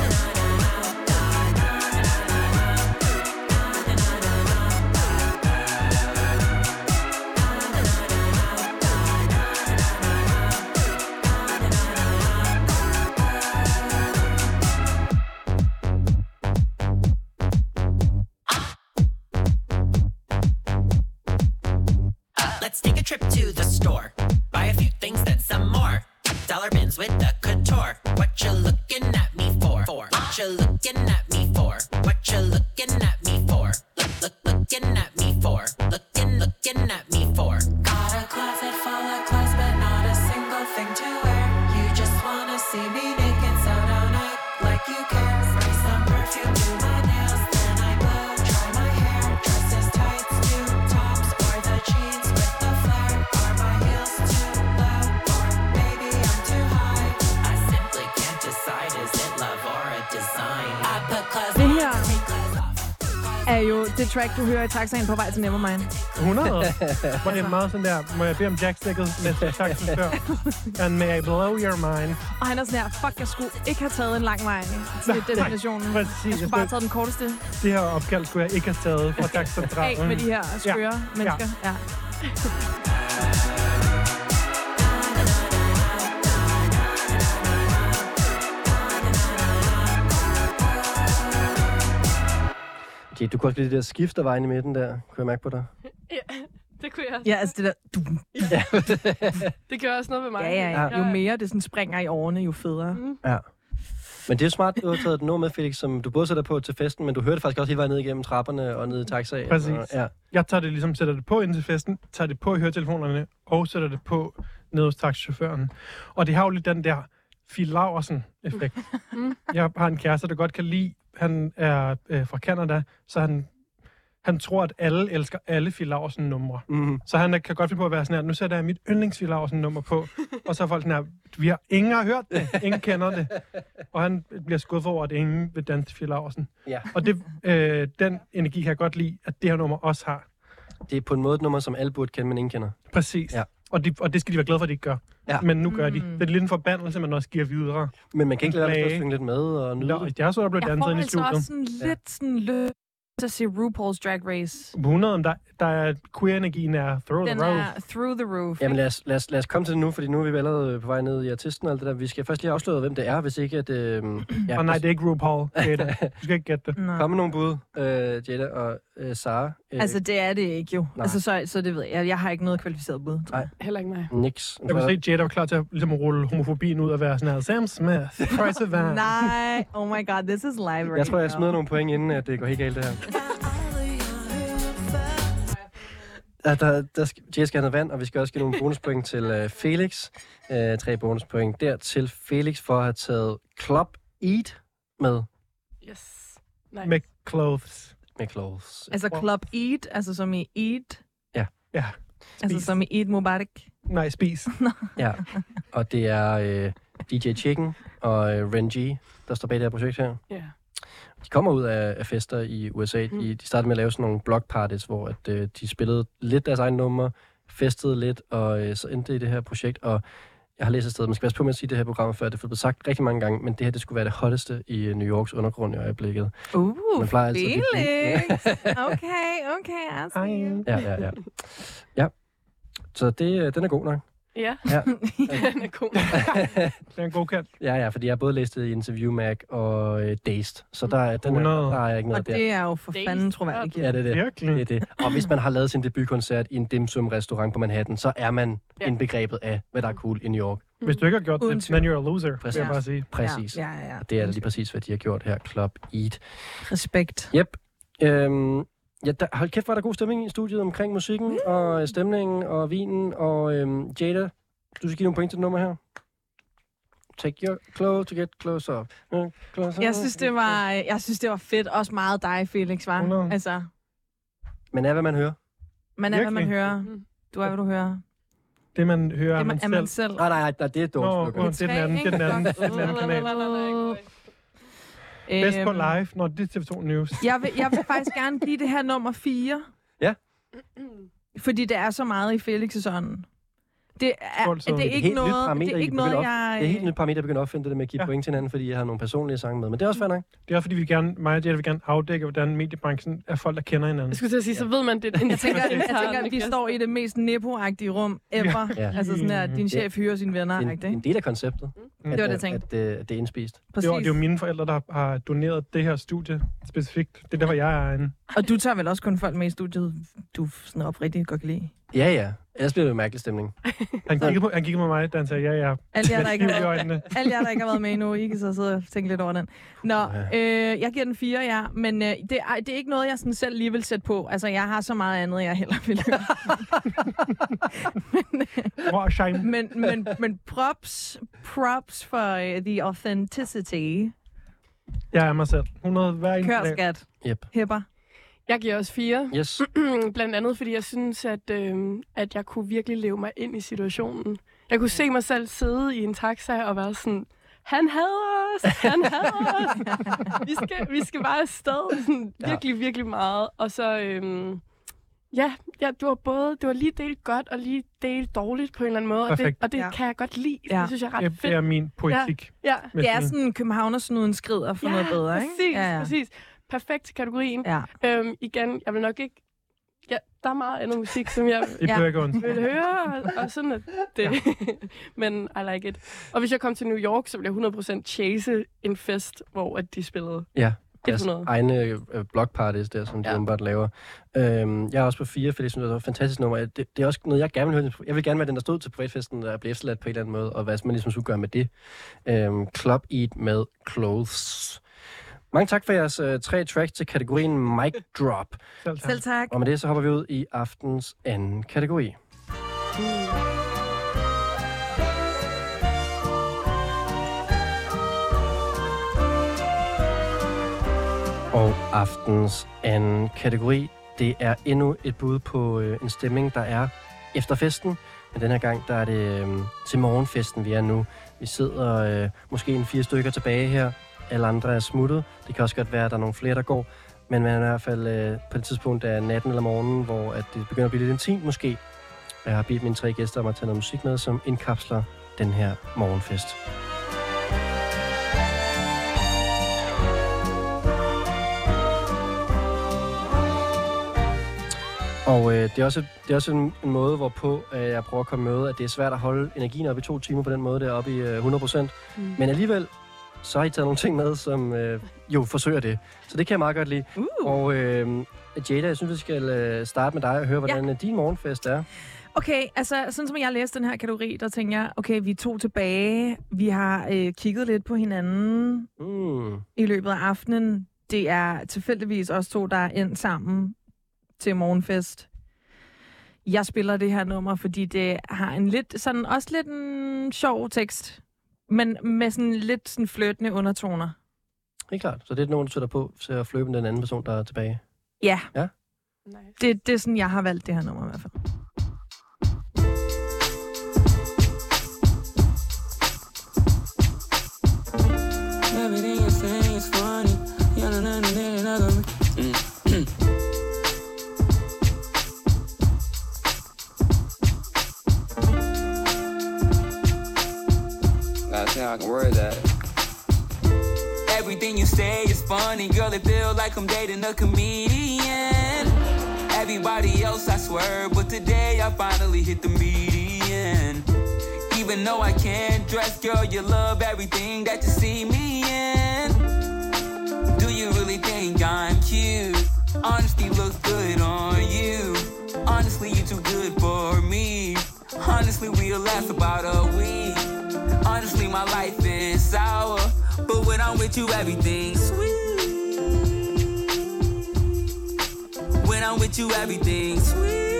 Speaker 8: Let's take a trip to the store. Buy a few things, then some more. Dollar bins with the couture. What you looking at me for? for. What you looking at me for? What you looking at me for? Look, look, looking at me for? Looking, looking at me for? Got a closet full of clothes, but not a single thing to wear. You just wanna see me naked, so don't act like you care. Spray some perfume to my nails, then I blow dry my hair. Dresses, tights, new tops, or the jeans with the flare. Are my heels too low, or maybe I'm too high? I simply can't decide, is it love or a design? I put clothes
Speaker 3: Det
Speaker 8: on
Speaker 3: her
Speaker 8: to take clothes off.
Speaker 3: er jo det track, du hører i taxaen på vej til Nevermind.
Speaker 4: 100. Hvor det er meget sådan der, må jeg bede om jackstikket næste tak før? And may I blow your mind.
Speaker 3: Og han er sådan her, fuck, jeg skulle ikke have taget en lang vej til
Speaker 4: Nej,
Speaker 3: destinationen. Jeg
Speaker 4: Præcis,
Speaker 3: skulle bare have taget den korteste
Speaker 4: det her opkald skulle jeg ikke have taget fra
Speaker 3: af
Speaker 4: taxadragen.
Speaker 3: med de her skøre mennesker. Ja.
Speaker 2: Okay, du kunne også lide det der skift, der var inde i midten der. Kunne jeg mærke på dig?
Speaker 5: ja. Det kunne jeg også.
Speaker 3: ja, altså det der, du,
Speaker 5: Det gør også noget ved mig.
Speaker 3: ja, ja, ja. Jo
Speaker 5: Ja.
Speaker 3: mere det sådan springer i årene, jo federe.
Speaker 2: Men det er smart, du har taget den med, Felix, som du både sætter på til festen, men du hørte faktisk også hele vejen ned igennem trapperne og ned i taxaen.
Speaker 4: Præcis.
Speaker 2: Og, ja.
Speaker 4: Jeg tager det ligesom, sætter det på inden til festen, tager det på i høretelefonerne, og sætter det på ned hos taxichaufføren. Og det har jo lidt den der Phil Laversen-effekt. Jeg har en kæreste, der godt kan lide, han er øh, fra Canada, så han, han tror, at alle elsker alle Phil Laversen-numre.
Speaker 2: Mm.
Speaker 4: Så han øh, kan godt finde på at være sådan her, nu sætter jeg mit yndlingsvillavsen nummer på. Og så er folk sådan her, vi har ingen har hørt det, ingen kender det. Og han øh, bliver skuffet over, at ingen vil danse til Philausen.
Speaker 2: Ja.
Speaker 4: Og det, øh, den energi kan jeg godt lide, at det her nummer også har.
Speaker 2: Det er på en måde et nummer, som alle burde kende, men ingen kender.
Speaker 4: Præcis.
Speaker 2: Ja.
Speaker 4: Og, de, og det skal de være glade for, at de ikke gør.
Speaker 2: Ja.
Speaker 4: Men nu gør de.
Speaker 3: Mm.
Speaker 4: Det er lidt en forbandelse, man også giver videre.
Speaker 2: Men man kan ikke lade være med at stå og
Speaker 4: Plage.
Speaker 2: synge lidt med og nyde
Speaker 4: Nå,
Speaker 2: det.
Speaker 4: jeg så, der blev
Speaker 3: Jeg
Speaker 4: danset
Speaker 3: får
Speaker 4: ind i
Speaker 3: altså også
Speaker 4: studiet.
Speaker 3: sådan lidt sådan løb at se RuPaul's Drag Race.
Speaker 4: 100, om der, der er queer-energien er through
Speaker 3: Den
Speaker 4: the roof.
Speaker 3: er through the roof.
Speaker 2: Jamen
Speaker 3: ikke?
Speaker 2: lad os, lad, os, lad os komme til det nu, fordi nu er vi allerede på vej ned i artisten og alt det der. Vi skal først lige afsløre, hvem det er, hvis ikke at... Øh, ja,
Speaker 4: Og nej, det er ikke RuPaul. Jada. Du skal ikke gætte det.
Speaker 3: Nå.
Speaker 2: Kom med nogle bud, øh, Jada og øh, Sara. Øh,
Speaker 3: Altså, det er det ikke jo.
Speaker 2: Nej.
Speaker 3: Altså, så, så det ved jeg. Jeg har ikke noget kvalificeret bud. tror jeg.
Speaker 5: Heller ikke mig.
Speaker 2: Nix.
Speaker 4: Jeg kunne se, at Jada var klar til at ligesom, rulle homofobien ud og være sådan her, Sam Smith, Price of Van.
Speaker 3: Nej, oh my god, this is live right
Speaker 2: Jeg tror, jeg
Speaker 3: now.
Speaker 2: smider nogle point, inden at det går helt galt, det her. Der, der, der skal, Jay skal have noget vand, og vi skal også give nogle bonuspoint til øh, Felix. Øh, tre bonuspoint der til Felix for at have taget Club Eat med,
Speaker 5: Yes. Nej.
Speaker 4: Med clothes.
Speaker 2: med clothes.
Speaker 3: Altså Club Eat, altså som i Eat.
Speaker 4: Ja.
Speaker 3: Altså
Speaker 4: Spis.
Speaker 3: som i Eat Mubarak.
Speaker 4: Nej, spis.
Speaker 2: Ja, og det er øh, DJ Chicken og øh, Ren G, der står bag det her projekt her.
Speaker 5: Ja.
Speaker 2: De kommer ud af, af fester i USA. Mm. De, de startede med at lave sådan nogle block parties, hvor at, øh, de spillede lidt deres egne numre, festede lidt, og øh, så endte det i det her projekt. Og jeg har læst et sted, man skal passe på med at sige det her program, før det er blevet sagt rigtig mange gange, men det her det skulle være det hotteste i øh, New Yorks undergrund i øjeblikket.
Speaker 3: Uh,
Speaker 2: Man plejer altid at blive-
Speaker 3: Felix. Okay, okay, I
Speaker 4: Hej.
Speaker 3: see you.
Speaker 2: Ja, ja, ja. ja. Så det, øh, den er god nok.
Speaker 5: Ja,
Speaker 2: Ja.
Speaker 5: den er god.
Speaker 4: Det er en god kant.
Speaker 2: ja, ja, fordi jeg har både læst det i Interview Mac og øh, Dazed, så der, er- den er,
Speaker 4: 100.
Speaker 2: der er ikke noget
Speaker 3: Og
Speaker 2: der.
Speaker 3: det er jo for
Speaker 5: Det er
Speaker 3: fanden
Speaker 5: ikke-
Speaker 3: troværdigt.
Speaker 2: Ja, det er det. Det er
Speaker 4: Virkelig.
Speaker 2: det. Og hvis man har lavet sin debutkoncert i en dimsum-restaurant på Manhattan, så er man
Speaker 5: Ja.
Speaker 2: indbegrebet af, hvad der er cool i New York.
Speaker 4: Hvis du ikke har gjort
Speaker 3: Uden
Speaker 4: det,
Speaker 3: tvivl.
Speaker 4: then you're a loser, vil jeg
Speaker 2: Præcis.
Speaker 4: bare sige.
Speaker 2: Præcis. Ja,
Speaker 3: Ja, ja, ja.
Speaker 2: ja. Det er lige præcis, hvad de har gjort her, Club Eat.
Speaker 3: Respekt.
Speaker 2: Yep. Øhm, ja, der, hold kæft, var der god stemning i studiet omkring musikken mm. og øh, stemningen og vinen. Og øhm, Jada, du skal give nogle point til det nummer her. Take your clothes to get closer. Mm, closer.
Speaker 3: Jeg synes, det var, jeg synes, det var fedt. Også meget dig, Felix, var.
Speaker 4: 100.
Speaker 3: Altså,
Speaker 2: Man er, hvad man hører.
Speaker 3: man er, hvad man
Speaker 4: Virkelig.
Speaker 3: hører. Du er, hvad du hører.
Speaker 4: Det, man hører,
Speaker 3: Er
Speaker 4: er man
Speaker 3: man, er man
Speaker 4: selv.
Speaker 3: selv?
Speaker 2: Nej, nej, nej, det er et
Speaker 4: Nå,
Speaker 2: dårligt
Speaker 4: åh, det er den anden, det er den anden, det er den anden kanal. Bedst på
Speaker 3: Øhm,
Speaker 4: live. Nå, det er TV2 News.
Speaker 3: Jeg vil, jeg vil faktisk gerne give det her nummer 4.
Speaker 2: Ja.
Speaker 3: Fordi det er så meget i Felix' ånd. Det er,
Speaker 4: Skål, så.
Speaker 3: det
Speaker 4: Det
Speaker 3: er
Speaker 4: er et
Speaker 3: ikke
Speaker 2: helt nyt
Speaker 3: noget,
Speaker 2: parameter,
Speaker 3: det er
Speaker 2: I
Speaker 3: ikke
Speaker 2: begynder
Speaker 3: noget
Speaker 2: op.
Speaker 3: jeg...
Speaker 2: Det er helt nyt parameter, jeg begynder at opfinde det med at give
Speaker 4: Ja.
Speaker 2: ja. point til hinanden, fordi jeg har nogle personlige sange med. Men det er også fair nok.
Speaker 4: Det er også, fordi vi gerne, mig og Jette vil gerne afdække, hvordan mediebranchen er folk, der kender hinanden.
Speaker 5: Jeg skulle til at sige, så ved man det. er en
Speaker 3: Jeg tænker, jeg tænker, at vi
Speaker 5: internt-
Speaker 3: står i det mest nepo-agtige rum ever.
Speaker 2: Ja.
Speaker 3: Altså sådan
Speaker 4: Mm.
Speaker 3: her, din chef hyrer sine venner,
Speaker 2: Det er en,
Speaker 3: ikke?
Speaker 2: en del af konceptet.
Speaker 4: Det
Speaker 2: at,
Speaker 3: var Ah, det, jeg
Speaker 2: at-
Speaker 3: tænkte.
Speaker 2: At, øh, at det er indspist.
Speaker 4: Det er, jo, det
Speaker 3: Præcis.
Speaker 4: er jo mine forældre, der har doneret det her studie specifikt. Det er der, hvor jeg er inde.
Speaker 3: Og du tager vel også kun folk med i studiet, du sådan oprigtigt godt kan lide.
Speaker 2: Ja, ja. Ellers bliver det jo mærkelig stemning.
Speaker 4: Han kiggede på, han kiggede på mig, da han sagde, ja, ja.
Speaker 3: Alle jer, der ikke
Speaker 4: Med
Speaker 3: har
Speaker 4: stiv i
Speaker 3: været
Speaker 4: øjnene.
Speaker 3: Alle jer, der ikke har været med endnu, I kan så sidde og tænke lidt over den. Nå,
Speaker 2: Ja.
Speaker 3: øh, jeg giver den fire, ja. Men øh, det, er, det er ikke noget, jeg sådan selv lige vil sætte på. Altså, jeg har så meget andet, jeg hellere vil høre.
Speaker 4: Hvor er shame?
Speaker 3: men, men, men props, props for uh, the authenticity.
Speaker 4: Jeg er mig selv. 100 hver en
Speaker 3: Kør,
Speaker 4: dag.
Speaker 3: skat.
Speaker 2: Yep.
Speaker 3: Hepper.
Speaker 5: Jeg giver også fire.
Speaker 2: Yes.
Speaker 5: Blandt andet, fordi jeg synes, at, øh, at jeg kunne virkelig leve mig ind i situationen. Jeg kunne se mig selv sidde i en taxa og være sådan, han hader os, han hader os. Vi skal, vi skal bare afsted. Sådan,
Speaker 2: Ja.
Speaker 5: virkelig, virkelig meget. Og så, øh, ja, ja, du var både, du var lige delt godt og lige delt dårligt på en eller anden måde. Og det,
Speaker 4: Perfekt.
Speaker 5: og det
Speaker 3: Ja.
Speaker 5: ja. kan jeg godt lide.
Speaker 3: Ja.
Speaker 5: Det synes jeg er ret
Speaker 4: Det, det er
Speaker 5: fedt.
Speaker 4: min poetik.
Speaker 5: Ja,
Speaker 4: med
Speaker 3: Det er
Speaker 4: sådan-
Speaker 3: sådan, københavnersnuden skrider for noget bedre,
Speaker 5: præcis,
Speaker 3: ikke?
Speaker 5: Ja, præcis. Perfekt til kategorien.
Speaker 3: Ja.
Speaker 5: Øhm, igen, jeg vil nok ikke... Ja, der er meget andet musik, som jeg
Speaker 4: Det
Speaker 3: Ja.
Speaker 4: behøver ikke ondt.
Speaker 5: vil høre, og, og sådan at det. Ja. Men I like it. Og hvis jeg kom til New York, så ville jeg 100% chase en fest, hvor at de spillede.
Speaker 2: Ja. Deres
Speaker 5: 100.
Speaker 2: egne øh, blogparties der, som de
Speaker 5: Ja.
Speaker 2: åbenbart laver. Øhm, jeg er også på fire, fordi jeg synes, det er et fantastisk nummer. Det, det, er også noget, jeg gerne vil høre. Jeg vil gerne være den, der stod til privatfesten, der blev efterladt på en eller anden måde, og hvad man ligesom skulle gøre med det. Øhm, Club Eat med Clothes. Mange tak for jeres øh, tre tracks til kategorien Mic Drop.
Speaker 4: Selv tak.
Speaker 3: Selv tak.
Speaker 2: Og med det, så hopper vi ud i aftens anden kategori. Og aftens anden kategori, det er endnu et bud på øh, en stemning, der er efter festen. Men den her gang, der er det øh, til morgenfesten, vi er nu. Vi sidder øh, måske en fire stykker tilbage her. Alle andre er smuttet. Det kan også godt være, at der er nogle flere, der går. Men man er i hvert fald øh, på det tidspunkt af natten eller morgenen, hvor at det begynder at blive lidt intimt måske. Jeg har bedt mine tre gæster om at tage noget musik med, som indkapsler den her morgenfest. Og øh, det er også, det er også en, en måde, hvorpå øh, jeg prøver at komme med, at det er svært at holde energien op i to timer på den måde, der oppe i øh, 100%. Mm. Men alligevel, så har I taget nogle ting med, som øh, jo forsøger det. Så det kan jeg meget godt lide.
Speaker 3: Uh.
Speaker 2: Og øh, Jada, jeg synes, vi skal øh, starte med dig og høre, hvordan ja. din morgenfest er.
Speaker 3: Okay, altså sådan som jeg læste den her kategori, der tænker jeg, okay, vi er to tilbage. Vi har øh, kigget lidt på hinanden
Speaker 2: Mm.
Speaker 3: i løbet af aftenen. Det er tilfældigvis os to, der er endt sammen til morgenfest. Jeg spiller det her nummer, fordi det har en lidt, sådan også lidt en sjov tekst, men med sådan lidt sådan flirtende undertoner.
Speaker 2: Helt klart. Så det er nogen, du sætter på til at fløbe med den anden person, der er tilbage.
Speaker 3: Ja,
Speaker 5: Nice.
Speaker 3: det, det er sådan, jeg har valgt det her nummer i hvert fald.
Speaker 9: Everything you're saying is funny. You don't understand it, I don't-
Speaker 10: Gotta see how I can word that. Everything you say is funny, girl. It feel like I'm dating a comedian. Everybody else, I swear, but today I finally hit the median. Even though I can't dress, girl, you love everything that you see me in. Do you really think I'm cute? Honesty looks good on you. Honestly, you too good for me. Honestly, we'll last about a week. Honestly, my life is sour, but when I'm with you, everything's sweet. When I'm with you, everything's sweet.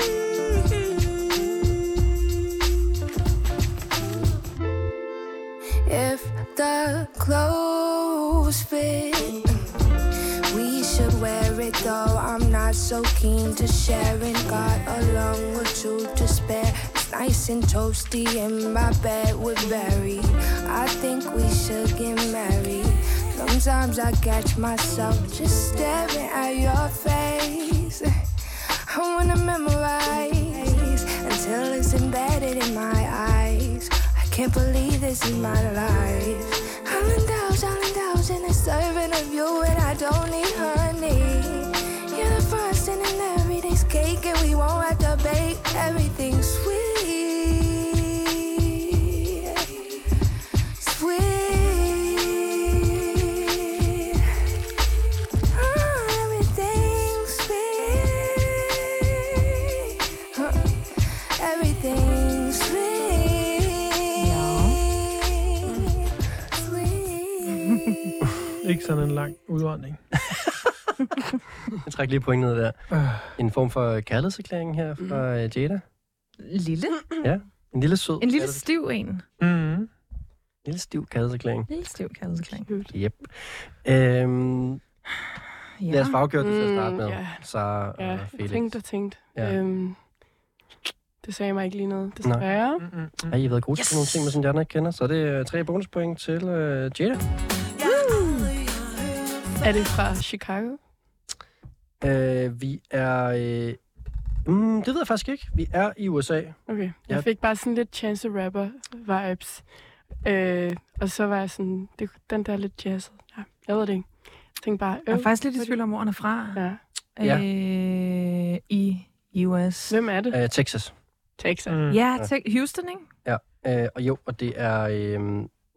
Speaker 11: If the clothes fit, we should wear it though. I'm not so keen to sharing. Got along with two to spare. It's nice and toasty in my bed with Barry. I think we should get married. Sometimes I catch myself just staring at your face. I wanna memorize until it's embedded in my eyes. I can't believe this is my life. I'm indulged, I'm indulged in a serving of you, and I don't need honey. You're the frosting in every day's cake, and we won't have to bake everything sweet. Sweet. Oh, everything's sweet. Huh. Everything's sweet. Sweet.
Speaker 4: Ikke sådan en lang udånding.
Speaker 2: Jeg trækker lige pointet der.
Speaker 4: Øh,
Speaker 2: En form for kærlighedserklæring her fra mm. Jada.
Speaker 3: Lille.
Speaker 2: En lille sød
Speaker 3: En lille
Speaker 2: kærligheds-
Speaker 3: stiv en.
Speaker 4: mm,
Speaker 2: en lille stiv kærlighedserklæring.
Speaker 3: En lille stiv kærlighedskring.
Speaker 2: Yep. Øhm,
Speaker 3: Ja.
Speaker 2: lad os få afgjort det til at
Speaker 5: Mm,
Speaker 2: starte med.
Speaker 5: ja.
Speaker 2: Sara
Speaker 5: Ja,
Speaker 2: og
Speaker 5: jeg
Speaker 2: Felix.
Speaker 5: tænkte og tænkte.
Speaker 2: Ja.
Speaker 5: Ja. Øhm, det sagde mig ikke lige noget, desværre.
Speaker 4: mm, mm, mm.
Speaker 2: Har I været gode yes. til nogle ting, med, som de andre ikke kender? Så er det øh, tre bonuspoint til øh, Jada.
Speaker 5: Er det fra Chicago?
Speaker 2: Øh, vi er... Øh, mm, det ved jeg faktisk ikke. Vi er i USA.
Speaker 5: Okay.
Speaker 2: Ja.
Speaker 5: Jeg fik bare sådan lidt Chance the Rapper vibes. Øh, og så var jeg sådan, det, den der er lidt jazzet. Ja, jeg ved det ikke. Jeg tænkte bare,
Speaker 3: Jeg
Speaker 5: øh,
Speaker 3: er faktisk lidt i tvivl om, hvor han er fra.
Speaker 5: ja.
Speaker 2: Ja.
Speaker 3: Øh, I US.
Speaker 5: Hvem er det?
Speaker 2: Øh, Texas.
Speaker 5: Texas.
Speaker 4: Mm.
Speaker 3: Ja, te- Houston, ikke?
Speaker 2: Øh, og jo, og det er... Øh,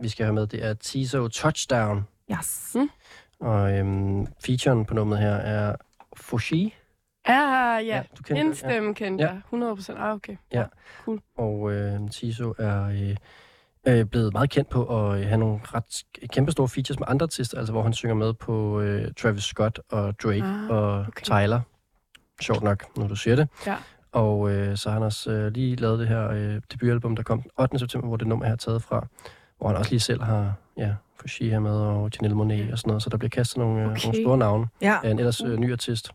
Speaker 2: vi skal høre med, det er Tizo Touchdown.
Speaker 3: Yes.
Speaker 2: Og øh, featuren på nummeret her er Fushi.
Speaker 5: Ah, ja.
Speaker 2: ja du kender
Speaker 5: En
Speaker 2: den, ja.
Speaker 5: stemme kendte
Speaker 2: Ja.
Speaker 5: jeg. 100 procent. Ah, okay.
Speaker 2: Og øh, Tiso er øh, øh, blevet meget kendt på at øh, have nogle ret kæmpe store features med andre artister, altså hvor han synger med på øh, Travis Scott og Drake ah,
Speaker 5: Ah,
Speaker 2: og okay.
Speaker 5: okay.
Speaker 2: Tyler. Sjovt nok, når du siger det.
Speaker 5: Ja.
Speaker 2: Og øh, så har han også øh, lige lavet det her øh, debutalbum, der kom den 8. september, hvor det nummer her er taget fra. Hvor han også lige selv har ja, Fushi her med og Janelle Monet og sådan noget. Så der bliver kastet nogle, øh, okay. nogle
Speaker 5: Okay. Ah.
Speaker 2: store navne
Speaker 3: Ja.
Speaker 2: af en ellers øh, ny artist.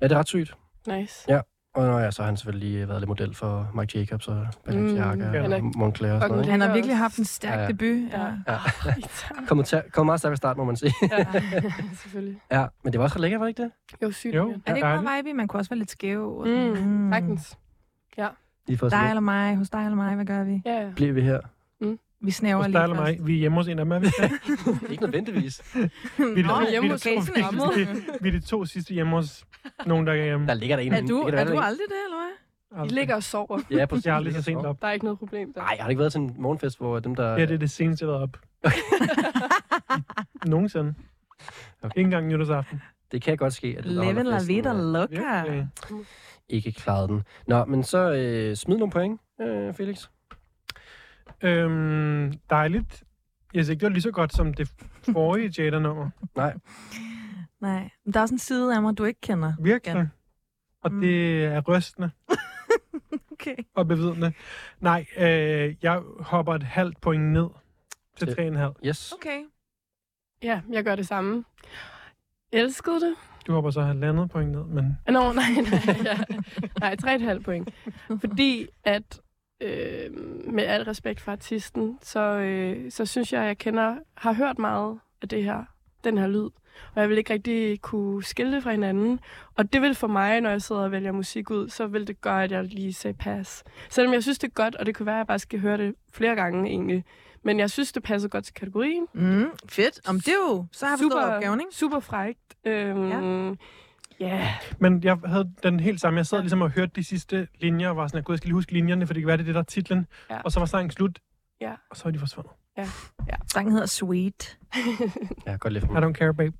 Speaker 2: Ja, det er ret sygt.
Speaker 5: Nice.
Speaker 2: Ja, Og nå ja, så har han selvfølgelig lige været lidt model for Mike Jacobs og Balenciaga
Speaker 5: Mm,
Speaker 2: mm,
Speaker 4: han
Speaker 2: og
Speaker 5: er
Speaker 2: Montclair og sådan noget.
Speaker 5: fucking
Speaker 2: Ikke?
Speaker 3: Han har
Speaker 5: Det er
Speaker 3: virkelig
Speaker 5: også-
Speaker 3: haft en stærk
Speaker 2: Ja, ja.
Speaker 3: debut.
Speaker 5: Ja.
Speaker 3: Ja.
Speaker 2: Ja.
Speaker 5: Ja.
Speaker 2: Kommer, til, kommer meget stærkt start, må man sige.
Speaker 5: ja. Selvfølgelig.
Speaker 2: ja, men det var også ret lækkert, var det ikke det?
Speaker 5: Jo, sygt.
Speaker 4: Jo.
Speaker 5: lækkert.
Speaker 3: Er det ikke
Speaker 4: Dejligt.
Speaker 3: meget vibe? i? Man kunne også være lidt skæv. og sådan.
Speaker 5: Mm, sagtens.
Speaker 2: Lige for at
Speaker 3: Dig
Speaker 2: sige,
Speaker 3: eller mig, hos dig eller mig, hvad gør vi?
Speaker 5: Ja, ja.
Speaker 2: bliver vi her?
Speaker 5: Mm.
Speaker 3: Vi snæver
Speaker 4: Hos
Speaker 3: lige
Speaker 4: dig eller mig. Vi er hjemme hos en af dem, er vi ikke?
Speaker 2: Ikke nødvendigvis.
Speaker 4: Vi er,
Speaker 5: Nå,
Speaker 4: vi,
Speaker 5: hjemme
Speaker 4: er
Speaker 5: hos
Speaker 4: to,
Speaker 3: Jason
Speaker 4: vi,
Speaker 3: Amor.
Speaker 4: vi, vi er de to sidste hjemme hos nogen, der ikke er hjemme. Altså,
Speaker 2: Der ligger der en
Speaker 3: Er
Speaker 2: af
Speaker 3: du,
Speaker 2: dem. Det kan da
Speaker 3: er
Speaker 2: være,
Speaker 3: du
Speaker 2: der
Speaker 3: aldrig det, eller hvad?
Speaker 5: I ligger og sover.
Speaker 2: ikke- Ja, præcis.
Speaker 4: Jeg har aldrig så sent op.
Speaker 5: Der er ikke noget problem der.
Speaker 2: Nej, har det ikke været til en morgenfest, hvor dem, der...
Speaker 4: Ja, det er det seneste, jeg har været op. Nogensinde.
Speaker 2: Okay.
Speaker 4: Ikke engang nytårsaften.
Speaker 2: det kan godt ske, at det
Speaker 3: Leven la vida loca.
Speaker 4: Virkelig.
Speaker 2: ikke klarede den. Nå, men så øh, smid nogle point, øh, Felix.
Speaker 4: Øhm, dejligt. Jeg synes ikke, det var lige så godt som det forrige Jada-nummer.
Speaker 3: Nej, men der er også en side af mig, du ikke kender.
Speaker 4: Virkelig. Og
Speaker 3: Mm.
Speaker 4: det er rystende
Speaker 3: Okay.
Speaker 4: og bevidende. Nej, øh, jeg hopper et halvt point ned til
Speaker 2: Til-
Speaker 4: 3,5.
Speaker 2: Yes.
Speaker 3: Okay.
Speaker 5: Ja, jeg gør det samme. Elskede det?
Speaker 4: Du hopper så halvandet point ned, men
Speaker 5: Nå, nej, nej, ja. nej, 3,5 point. Fordi at, øh, med al respekt for artisten, så, øh, så synes jeg, at jeg kender, har hørt meget af det her, den her lyd. Og jeg vil ikke rigtig kunne skille det fra hinanden. Og det vil for mig, når jeg sidder og vælger musik ud, så vil det gøre, at jeg lige sagde pas. Selvom jeg synes, det er godt, og det kunne være, at jeg bare skal høre det flere gange egentlig. Men jeg synes, det passer godt til kategorien.
Speaker 3: Mm, fedt. Om det er jo, så har vi Super. opgaven, ikke?
Speaker 5: Super frægt. Øhm, ja. Yeah.
Speaker 4: Men jeg havde den helt samme. Jeg sad ligesom og hørte de sidste linjer, og var sådan, at jeg skal lige huske linjerne, for det kan være, det er det, der er titlen.
Speaker 5: Ja.
Speaker 4: Ja. Og så var sangen slut,
Speaker 5: Ja.
Speaker 4: og så er de forsvundet.
Speaker 3: Sangen hedder Sweet.
Speaker 2: Ja, godt lidt for
Speaker 4: I don't care, babe.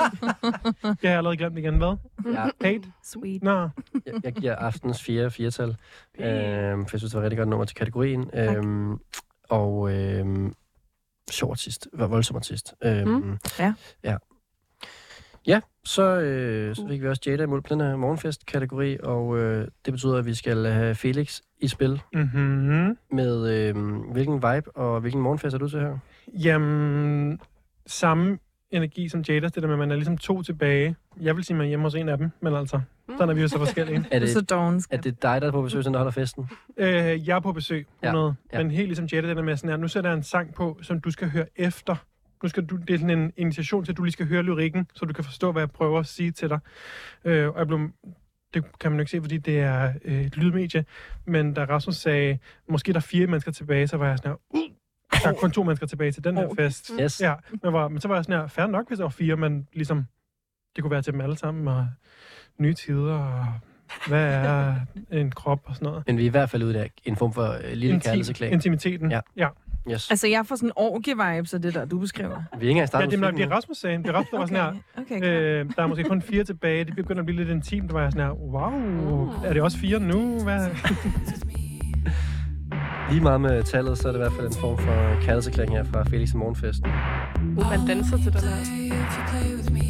Speaker 4: det har jeg allerede glemt igen, hvad?
Speaker 2: Ja.
Speaker 4: Hate?
Speaker 3: Sweet.
Speaker 4: Nå,
Speaker 2: Jeg, jeg giver aftens fire firetal, øhm, for jeg synes, det var et rigtig godt nummer til kategorien. Øhm, og øhm, sjov artist, var voldsom artist. Øhm,
Speaker 5: Mm.
Speaker 3: Ja.
Speaker 2: ja. Ja, så, øh, så fik vi også Jada imod på den her morgenfest-kategori, og øh, det betyder, at vi skal have Felix i spil
Speaker 4: mhm.
Speaker 2: med øh, hvilken vibe og hvilken morgenfest er du til her?
Speaker 4: Jamen, samme energi som Jada, det der med, at man er ligesom to tilbage. Jeg vil sige, at man er hjemme hos en af dem, men altså, sådan er vi jo så forskellige.
Speaker 2: Er
Speaker 3: Det er så
Speaker 2: det,
Speaker 3: dogensk.
Speaker 2: er det dig, der er på besøg, sådan der holder festen?
Speaker 4: øh, jeg er på besøg,
Speaker 2: Ja,
Speaker 4: 100.
Speaker 2: ja.
Speaker 4: Men helt ligesom Jada, det der med sådan her, nu sætter jeg en sang på, som du skal høre efter. Nu skal du, det er sådan en invitation til, at du lige skal høre lyrikken, så du kan forstå, hvad jeg prøver at sige til dig. Øh, og jeg blev, det kan man jo ikke se, fordi det er øh, et lydmedie. Men da Rasmus sagde, måske der er fire mennesker tilbage, så var jeg sådan her, uh, der er kun to mennesker tilbage til den her fest.
Speaker 2: Yes.
Speaker 4: Ja, men, var, men så var jeg sådan her, fair nok, hvis der var fire, men ligesom, det kunne være til dem alle sammen, og nye tider, og hvad er en krop og sådan noget.
Speaker 2: Men vi er i hvert fald ude af en form for øh, lille kærlighedserklæring.
Speaker 4: intimiteten.
Speaker 2: Ja.
Speaker 4: Ja. ja.
Speaker 2: Yes.
Speaker 3: Altså, jeg får sådan orgie-vibes af det der, du beskriver.
Speaker 2: Vi er ikke engang
Speaker 4: ja
Speaker 2: startet
Speaker 4: det, er,
Speaker 2: musikken
Speaker 4: det er
Speaker 2: endnu.
Speaker 4: Rasmus sagen. Det er Rasmus, der var sådan her,
Speaker 3: okay. Øh,
Speaker 4: øh, der er måske kun fire tilbage. Det begynder at blive lidt intimt. Der var jeg sådan her, wow,
Speaker 3: Ah.
Speaker 4: er det også fire nu? Hvad?
Speaker 2: Lige meget med tallet, så er det i hvert fald en form for kærlighedserklæring her fra Felix i morgenfesten.
Speaker 5: Uh, man danser til den her.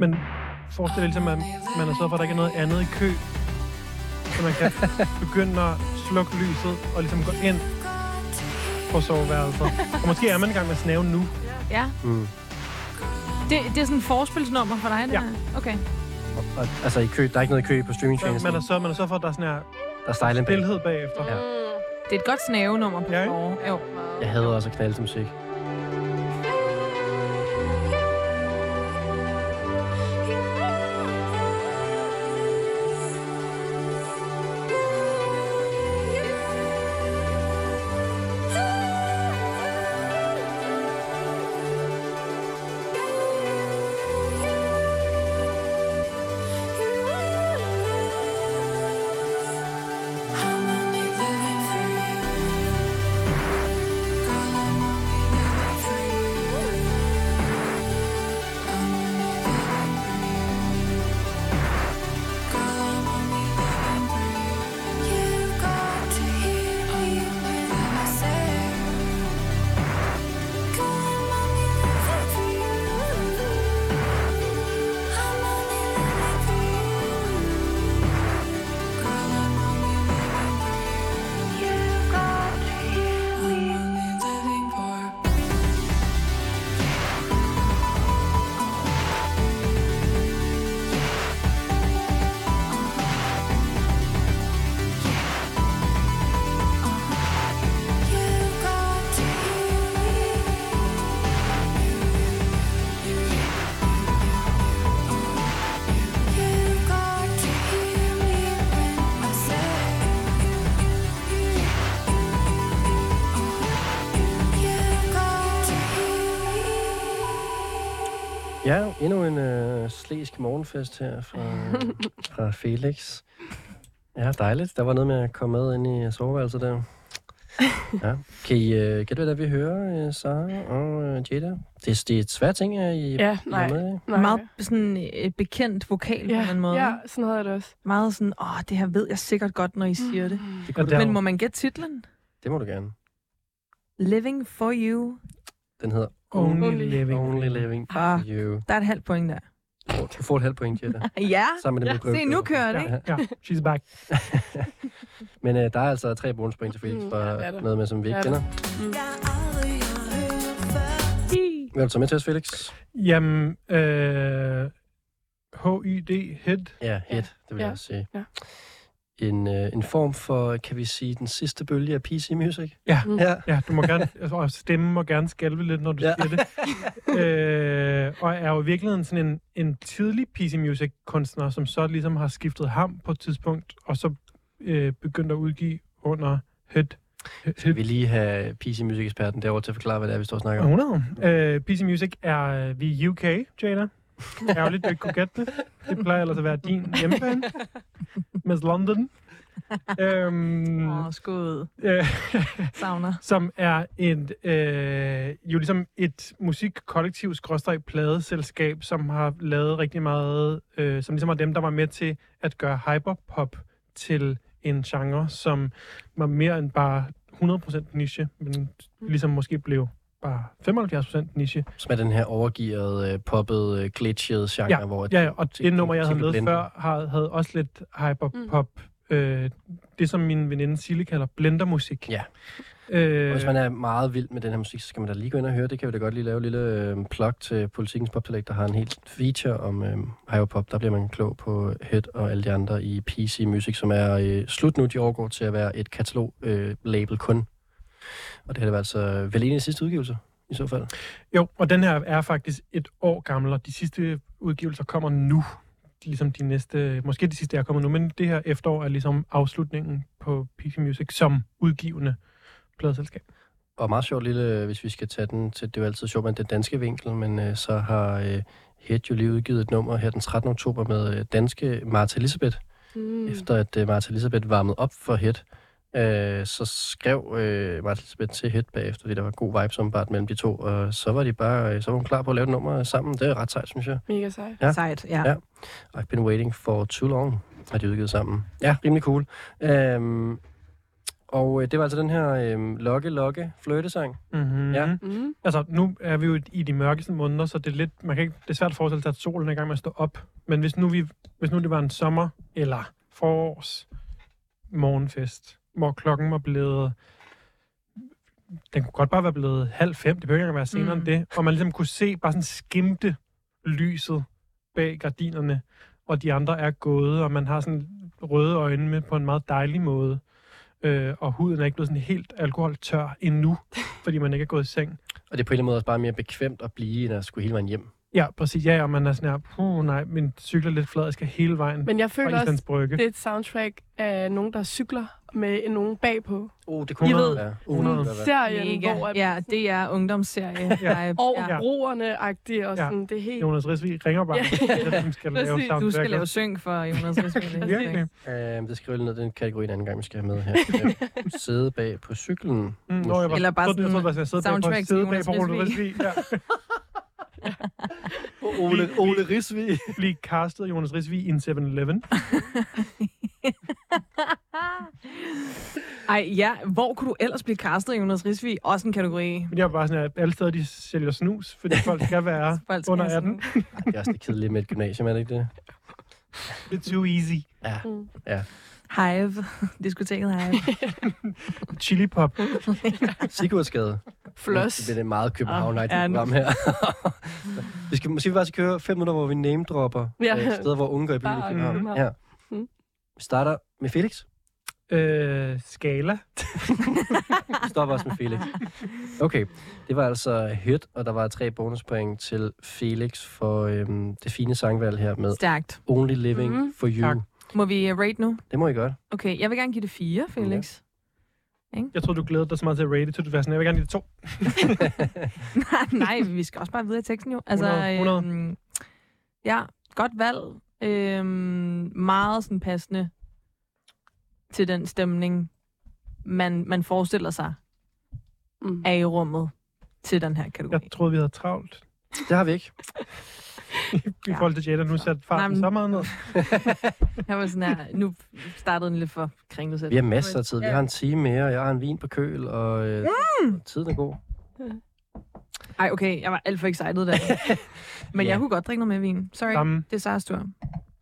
Speaker 4: Men forestil dig ligesom, at man er så for, at der ikke er noget andet i kø. Så man kan begynde at slukke lyset og ligesom gå ind på soveværelset. Og måske er man i gang med at snæve nu.
Speaker 3: ja.
Speaker 2: Mm.
Speaker 3: Det, det er sådan et forspilsnummer for dig, det
Speaker 4: Ja.
Speaker 3: her? Okay.
Speaker 2: Og, altså, i kø, der er ikke noget i kø på
Speaker 4: Så
Speaker 2: streamingtjenesten.
Speaker 4: man, er så, man er så for, at der er sådan her
Speaker 2: Der er style and bag.
Speaker 4: stillhed bagefter.
Speaker 2: Ja.
Speaker 3: Det er et godt snævenummer på
Speaker 4: Ja,
Speaker 3: ja,
Speaker 4: ikke?
Speaker 3: Norge. Jo.
Speaker 2: Jeg hader også at knalde til musik. Ja, endnu en øh, slæsk morgenfest her fra, fra Felix. Ja, dejligt. Der var noget med at komme med ind i soveværelset der. Ja. Kan I øh, gætte, hvad der vi hører, øh, Sara og øh, Jada? Det, er- det er et svært ting, at I I
Speaker 5: Ja,
Speaker 2: er
Speaker 5: nej.
Speaker 2: med i.
Speaker 5: Nej.
Speaker 3: Meget sådan øh, bekendt vokal på
Speaker 5: ja,
Speaker 3: en måde.
Speaker 5: ja, sådan havde jeg det også.
Speaker 3: Meget sådan, åh, det her ved jeg sikkert godt,
Speaker 5: Mm.
Speaker 3: når I siger det.
Speaker 2: Det,
Speaker 4: Og
Speaker 2: kunne,
Speaker 4: der-
Speaker 2: du-
Speaker 3: Men må man gætte titlen?
Speaker 2: det må du gerne.
Speaker 3: Living for you.
Speaker 2: Den hedder
Speaker 4: Only,
Speaker 5: Only.
Speaker 4: living.
Speaker 2: Only Living
Speaker 3: Ah,
Speaker 2: for You.
Speaker 3: der er et halvt point der.
Speaker 2: Du får et halvt point, Jada.
Speaker 3: Ja,
Speaker 2: Sammen med den, du
Speaker 3: se, nu kører det, ikke?
Speaker 4: Ja, ja, she's back.
Speaker 2: Men øh, der er altså tre bonuspoint til Felix
Speaker 5: Mm,
Speaker 2: for
Speaker 5: ja, det er der.
Speaker 2: noget med, som vi ikke
Speaker 5: Ja, det er
Speaker 2: kender.
Speaker 3: Mm.
Speaker 2: Hvad vil du tage med til os, Felix?
Speaker 4: Jamen, øh, HYD, hit.
Speaker 2: Ja, hit, det vil
Speaker 5: Ja.
Speaker 2: jeg også sige.
Speaker 5: Ja.
Speaker 2: En, øh, en form for, kan vi sige, den sidste bølge af PC Music.
Speaker 4: Ja.
Speaker 5: Mm.
Speaker 2: ja.
Speaker 4: Ja, du må gerne, altså, og stemmen må gerne skælve lidt, når du
Speaker 2: Ja.
Speaker 4: ja. siger det. Øh, og er jo i virkeligheden sådan en, en tidlig PC Music-kunstner, som så ligesom har skiftet ham på et tidspunkt, og så øh, begyndt at udgive under Hit.
Speaker 2: Skal vi lige have PC Music-eksperten derovre til at forklare, hvad det er, vi står og snakker om?
Speaker 4: 100. Øh, PC Music er øh, vi er UK, Jada. Ærgerligt, du ikke kunne gætte det. Det plejer ellers at være din hjemmebane. Miss London. Øhm,
Speaker 3: Åh, skud.
Speaker 4: øh,
Speaker 3: Savner.
Speaker 4: som er en, øh, jo ligesom et musikkollektiv skråstreg pladeselskab, som har lavet rigtig meget, øh, som ligesom var dem, der var med til at gøre hyperpop til en genre, som var mere end bare 100% niche, men ligesom måske blev bare 75% niche.
Speaker 2: Som er den her overgearede, øh, poppede, øh, glitchede genre, hvor...
Speaker 4: Ja, ja, og
Speaker 2: ting-
Speaker 4: det nummer, jeg havde
Speaker 2: ting blev
Speaker 4: med
Speaker 2: blendet.
Speaker 4: før, har- havde også lidt hyperpop. Mm. Øh, det, som min veninde Sille kalder blendermusik.
Speaker 2: Ja.
Speaker 4: Øh,
Speaker 2: Og Hvis man er meget vild med den her musik, så skal man da lige gå ind og høre. Det kan vi da godt lige lave en lille øh, plug til Politikens Popselect, der har en helt feature om øh, hyperpop. Der bliver man klog på Head og alle de andre i PC Music, som er øh, slut nu. De overgår til at være et katalog-label kun. Og det har det været altså vel en af de sidste udgivelser, i så fald.
Speaker 4: Jo, og den her er faktisk et år gammel, og de sidste udgivelser kommer nu. Ligesom de næste, måske de sidste er kommet nu, men det her efterår er ligesom afslutningen på PC Music som udgivende pladeselskab.
Speaker 2: Og meget sjovt lille, øh, hvis vi skal tage den til, det er jo altid sjovt med den danske vinkel, men øh, så har øh, Head jo lige udgivet et nummer her den 13. oktober med øh, danske Martha Elisabeth. Mm. Efter at øh, Martha Elisabeth varmede op for Head, øh, så skrev øh, Martha Elisabeth til Head bagefter, fordi der var god vibe som bare mellem de to, og så var de bare, øh, så var hun klar på at lave et nummer sammen. Det er ret sejt, synes jeg.
Speaker 5: Mega sej.
Speaker 2: Ja.
Speaker 3: Sejt, ja.
Speaker 2: Ja. I've been waiting for too long, har de udgivet sammen. Ja, rimelig cool. Øhm, og øh, det var altså den her øh, lokke-lokke-fløjtesang.
Speaker 4: Mm-hmm.
Speaker 2: Ja.
Speaker 5: Mm.
Speaker 4: Altså, nu er vi jo i de mørkeste måneder, så det er, lidt, man kan ikke, det er svært at forestille sig, at solen er i gang med at stå op. Men hvis nu, vi, hvis nu det var en sommer- eller forårs morgenfest, hvor klokken var blevet... Den kunne godt bare være blevet halv fem, det behøver ikke engang være senere mm.
Speaker 3: Mm.
Speaker 4: end det. Og man ligesom kunne se, bare sådan skimte lyset bag gardinerne, og de andre er gået, og man har sådan røde øjne med på en meget dejlig måde. Øh, og huden er ikke blevet sådan helt alkoholtør endnu, fordi man ikke er gået i seng.
Speaker 2: Og det er på en eller anden måde også bare mere bekvemt at blive, end at skulle hele vejen hjem.
Speaker 4: Ja, præcis. Ja, og man er sådan her, puh, nej, min cykel er lidt flad, jeg skal hele vejen
Speaker 5: Men jeg føler
Speaker 4: fra Islands
Speaker 5: også,
Speaker 4: Brygge.
Speaker 5: det er et soundtrack af nogen, der cykler med nogen bagpå.
Speaker 2: Oh, det
Speaker 4: kunne I
Speaker 5: ved,
Speaker 2: være.
Speaker 5: Sådan
Speaker 4: Hundrede.
Speaker 2: Uh,
Speaker 5: en serien,
Speaker 3: Mega.
Speaker 5: hvor at,
Speaker 3: Ja, det er ungdomsserie.
Speaker 4: Ja.
Speaker 3: vibe.
Speaker 5: og
Speaker 3: Ja.
Speaker 5: roerne-agtig,
Speaker 4: Ja.
Speaker 5: og sådan, det er helt...
Speaker 4: Jonas Risvig ringer bare,
Speaker 5: Ja.
Speaker 4: ja. hvem skal lave
Speaker 5: Præcis.
Speaker 4: soundtrack.
Speaker 3: Du skal lave syng for Jonas Risvig.
Speaker 4: Virkelig.
Speaker 2: øh, det skriver jeg lige ned den kategori en anden gang, vi skal have med her. Øh, Sidde bag på cyklen.
Speaker 4: Mm, nå, jeg var,
Speaker 3: Eller bare
Speaker 4: sådan, jeg
Speaker 3: sådan
Speaker 4: troede, jeg sad bag på
Speaker 3: soundtrack til
Speaker 4: sidde bag
Speaker 3: Jonas
Speaker 4: på Jonas
Speaker 3: Risvig.
Speaker 4: Risvig. Ja.
Speaker 2: Ole, Ole Risvig.
Speaker 4: Blive castet af Jonas Risvig i en 7-Eleven.
Speaker 3: Ej, ja. Hvor kunne du ellers blive castet, Jonas Risvig? Også en kategori.
Speaker 4: Men jeg var bare sådan, at alle steder, de sælger snus, fordi folk skal være
Speaker 3: Folk skal
Speaker 4: under
Speaker 3: have
Speaker 4: 18.
Speaker 2: Det er også lidt kedeligt med et gymnasium, er det ikke det?
Speaker 4: It's too easy.
Speaker 3: Hive. Diskoteket Hive.
Speaker 4: Chili pop.
Speaker 2: Sigurdsgade.
Speaker 5: Floss.
Speaker 2: Det bliver det meget københavn
Speaker 3: Ah, ja, nu-
Speaker 2: program her. vi skal måske bare skal køre fem minutter, hvor vi namedropper
Speaker 5: Ja.
Speaker 2: ja. øh, steder, hvor unge går i byen i
Speaker 5: Bare
Speaker 2: København.
Speaker 5: København.
Speaker 2: Ja.
Speaker 5: Mm.
Speaker 2: Vi starter med Felix.
Speaker 4: Øh, skala.
Speaker 2: Vi stopper også med Felix. Okay, det var altså Hødt, og der var tre bonuspoint til Felix for øhm, det fine sangvalg her med
Speaker 3: Stærkt.
Speaker 2: Only Living
Speaker 5: Mhm.
Speaker 2: for You.
Speaker 4: Tak.
Speaker 3: Må vi øh, rate nu?
Speaker 2: Det må I godt.
Speaker 3: Okay, jeg vil gerne give det fire, Felix.
Speaker 4: Jeg tror du glædede dig så meget til at rate det, så du var sådan, jeg vil gerne lide to.
Speaker 3: Nej, nej, vi skal også bare videre i teksten jo. Altså,
Speaker 4: 100, 100.
Speaker 3: Øhm, ja, godt valg. Øhm, meget sådan passende til den stemning, man, man forestiller sig
Speaker 5: Mm.
Speaker 3: er i rummet til den her kategori.
Speaker 4: Jeg troede, vi havde travlt.
Speaker 2: Det har vi ikke.
Speaker 4: I
Speaker 3: Ja.
Speaker 4: forhold til Jada, nu satte
Speaker 3: Nej,
Speaker 4: farten
Speaker 3: men-
Speaker 4: så meget ned.
Speaker 3: Jeg var sådan her, nu startede den lidt for kringlet selv.
Speaker 2: Vi har masser af tid. Vi har en time mere, og jeg har en vin på køl, og øh, mm. tiden er god.
Speaker 3: Ej, okay, jeg var alt for excited der. Men
Speaker 2: Ja.
Speaker 3: jeg kunne godt drikke noget mere vin. Sorry,
Speaker 4: Samme.
Speaker 3: det er Sarahs tur.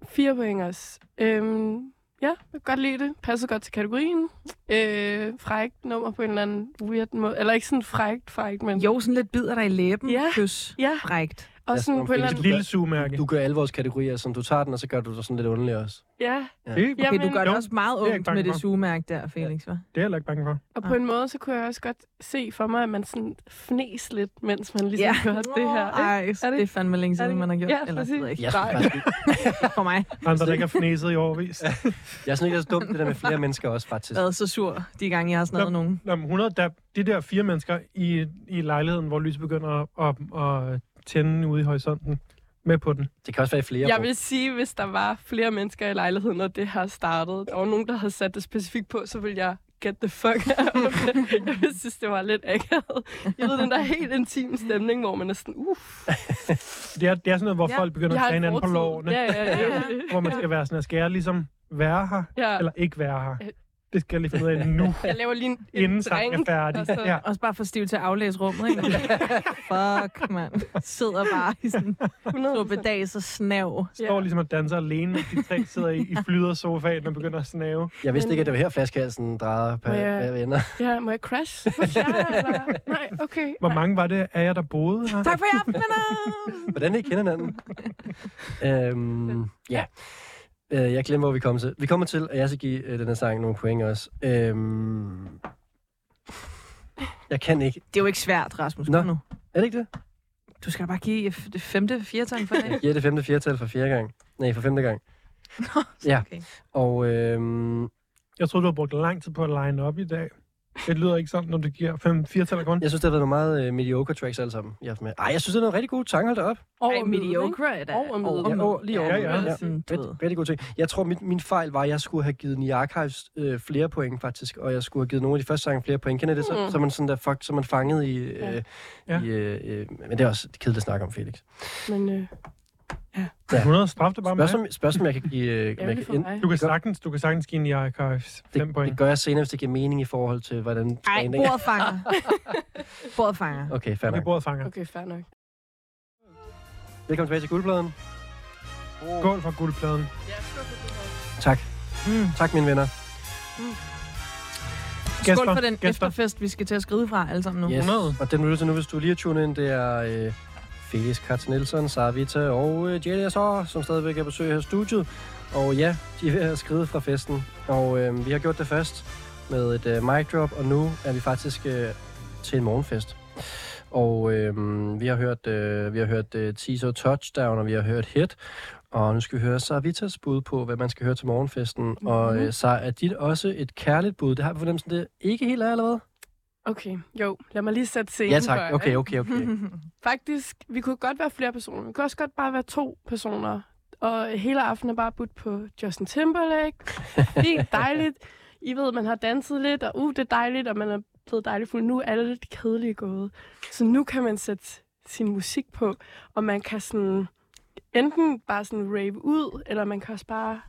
Speaker 5: Fire point også. Øhm, ja, jeg kan godt lide det. Passer godt til kategorien. Øh, frækt nummer på en eller anden weird måde. Eller ikke sådan frækt, frækt, men...
Speaker 3: Jo, sådan lidt bider dig i læben.
Speaker 5: Ja.
Speaker 3: Kys.
Speaker 5: Ja,
Speaker 3: Frækt.
Speaker 5: og
Speaker 2: Ja, sådan
Speaker 5: sådan på en
Speaker 2: om
Speaker 5: eller
Speaker 4: Et
Speaker 5: anden...
Speaker 2: Felix-
Speaker 4: lille sugemærke.
Speaker 2: Du gør alle vores kategorier, sådan du tager den, og så gør du dig sådan lidt underlig også.
Speaker 5: Ja,
Speaker 4: Det,
Speaker 5: Ja.
Speaker 3: Okay, du
Speaker 5: Jamen,
Speaker 3: gør det
Speaker 4: jo,
Speaker 3: også meget
Speaker 4: det er jeg
Speaker 3: ungt
Speaker 4: bange
Speaker 3: med det
Speaker 4: for.
Speaker 3: sugemærke der, Felix,
Speaker 4: det
Speaker 3: hva'?
Speaker 4: er jeg heller ikke bange for.
Speaker 5: og
Speaker 3: Ah.
Speaker 5: på en måde, så kunne jeg også godt se for mig, at man sådan fnæs lidt, mens man ligesom gør det her. Ikke?
Speaker 3: Ej, er det, det er fandme længe
Speaker 5: det
Speaker 3: siden, man har gjort.
Speaker 5: Ja,
Speaker 3: Eller, det ved jeg ikke.
Speaker 2: Jeg synes,
Speaker 5: Nej.
Speaker 2: faktisk, ikke-
Speaker 3: For mig.
Speaker 4: Andre, der ikke har fnæset i overvis.
Speaker 2: jeg synes ikke, det er så dumt, det der med flere mennesker også, faktisk.
Speaker 3: Været så sur, de gange, jeg har snadret nogen.
Speaker 4: Nå, men 100, der, de der fire mennesker i, i lejligheden, hvor lyset begynder at, at, at tænde ude i horisonten. Med på den.
Speaker 2: Det kan også være flere.
Speaker 5: Jeg
Speaker 2: hvor-
Speaker 5: vil sige, hvis der var flere mennesker i lejligheden, og det her startede, og nogen, der havde sat det specifikt på, så ville jeg get the fuck out of it. Jeg ville synes, det var lidt akavet. Jeg ved, den der helt intime stemning, hvor man er sådan, uff,
Speaker 4: Det er, det er sådan noget, hvor
Speaker 5: Ja,
Speaker 4: ja, folk begynder at
Speaker 5: jeg har
Speaker 4: tage
Speaker 5: en
Speaker 4: hinanden på
Speaker 5: fortid.
Speaker 4: lårene.
Speaker 5: Ja, ja, ja. ja.
Speaker 4: Hvor man skal være sådan, at skal jeg ligesom være her,
Speaker 5: ja.
Speaker 4: eller ikke være her?
Speaker 5: Øh.
Speaker 4: Det skal jeg lige finde ud af nu,
Speaker 5: Jeg laver lige en, en
Speaker 4: inden sangen er
Speaker 5: drink. og så-
Speaker 4: færdig. Ja.
Speaker 3: Også bare for stiv til at aflæse rummet, ikke? Fuck, mand. Sidder bare i sådan en
Speaker 5: 100%.
Speaker 3: sobedag, så snav.
Speaker 4: Står ligesom og danser alene, mens de tre sidder i, i flydersofaen og begynder at snave.
Speaker 2: Jeg vidste
Speaker 5: Men-
Speaker 2: ikke, at det var her flaskehalsen drejer på
Speaker 5: Må jeg-
Speaker 2: ja. venner.
Speaker 5: Ja, må jeg crash? Hos jer, eller? Nej, okay.
Speaker 4: Hvor mange var det af jer, der boede her?
Speaker 3: Tak for i aften, venner!
Speaker 2: Hvordan I kender hinanden? øhm, ja. Øh, jeg glemmer, hvor vi kommer til. Vi kommer til, at jeg skal give øh, den her sang nogle point også. Øhm, jeg kan ikke.
Speaker 3: Det er jo ikke svært, Rasmus.
Speaker 2: Nå.
Speaker 3: Kom nu.
Speaker 2: Er det ikke det?
Speaker 3: Du skal da bare give f- det femte, firetal for det.
Speaker 2: Jeg giver det femte fjertal for fjerde gang. Nej, for femte gang. Ja.
Speaker 3: Okay.
Speaker 2: Og øhm,
Speaker 4: Jeg troede, du havde brugt lang tid på at line op i dag. Det lyder ikke sådan, når du giver fem, fire tal grund.
Speaker 2: jeg synes, det har været nogle meget øh, mediocre tracks alle sammen. i aften. Ej, jeg synes, det er nogle rigtig gode tanker, hold da op.
Speaker 5: Over
Speaker 3: Ej,
Speaker 5: midten, ikke?
Speaker 3: mediocre er da
Speaker 5: Over middel.
Speaker 2: Ja, over- lige over
Speaker 4: middel. Ja, ja.
Speaker 3: Ja. Sådan, du ved.
Speaker 2: Rigtig, rigtig god ting. Jeg tror, min, min fejl var, at jeg skulle have givet Nia Archives øh, flere point, faktisk. Og jeg skulle have givet nogle af de første sange flere point. Kender I det? Så,
Speaker 5: Mm.
Speaker 2: så, er man sådan der, fuck, så er man fanget i... Øh,
Speaker 5: Ja.
Speaker 4: Ja.
Speaker 2: i øh, øh, men det er også kedeligt at snakke om, Felix.
Speaker 5: Men øh,
Speaker 2: Ja.
Speaker 4: 100 straf, det bare med.
Speaker 2: Spørgsmål, spørgsmål jeg kan give... Øh, om jeg
Speaker 5: ærgerligt
Speaker 2: kan
Speaker 5: for
Speaker 2: ind,
Speaker 5: mig.
Speaker 4: Du kan sagtens, du kan sagtens give en i archives fem
Speaker 2: det, det
Speaker 4: point.
Speaker 2: gør jeg senere, hvis det giver mening i forhold til, hvordan...
Speaker 3: Ej,
Speaker 2: træning-
Speaker 3: bordet fanger. Bordet fanger.
Speaker 2: Okay, fair
Speaker 4: Okay,
Speaker 2: nok.
Speaker 4: bordet fanger.
Speaker 5: Okay, fair nok.
Speaker 2: Velkommen tilbage til guldpladen.
Speaker 4: Skål fra guldpladen.
Speaker 2: Tak.
Speaker 3: Mm.
Speaker 2: Tak, mine venner.
Speaker 3: Skål for den
Speaker 4: Gæster.
Speaker 3: efterfest, vi skal til at skride fra alle sammen nu.
Speaker 2: Yes.
Speaker 4: 100.
Speaker 2: Og den lytter til nu, hvis du lige har tunet ind, det er øh, Felix Katz Nielsen, Sara Vita og øh, Jelly Assar, som stadigvæk er besøg her i studiet. Og ja, de er ved at skride fra festen. Og øh, vi har gjort det først med et øh, mic drop, og nu er vi faktisk øh, til en morgenfest. Og øh, vi har hørt, øh, vi har hørt øh, Tiso Touchdown, og vi har hørt Hit. Og nu skal vi høre Sarvitas bud på, hvad man skal høre til morgenfesten. Mm-hmm. Og øh, så er dit også et kærligt bud. Det har vi fornemmelsen, det ikke helt er, eller hvad?
Speaker 5: Okay, jo. Lad mig lige sætte scenen
Speaker 2: Ja
Speaker 5: før,
Speaker 2: tak.
Speaker 5: ikke?
Speaker 2: Okay, okay, okay.
Speaker 5: Faktisk, vi kunne godt være flere personer. Vi kunne også godt bare være to personer. Og hele aftenen er bare budt på Justin Timberlake. Fint, dejligt. I ved, man har danset lidt, og uh, det er dejligt, og man er blevet dejligt fuld. Nu er alle lidt kedelige gået. Så nu kan man sætte sin musik på, og man kan sådan enten bare sådan rave ud, eller man kan også bare,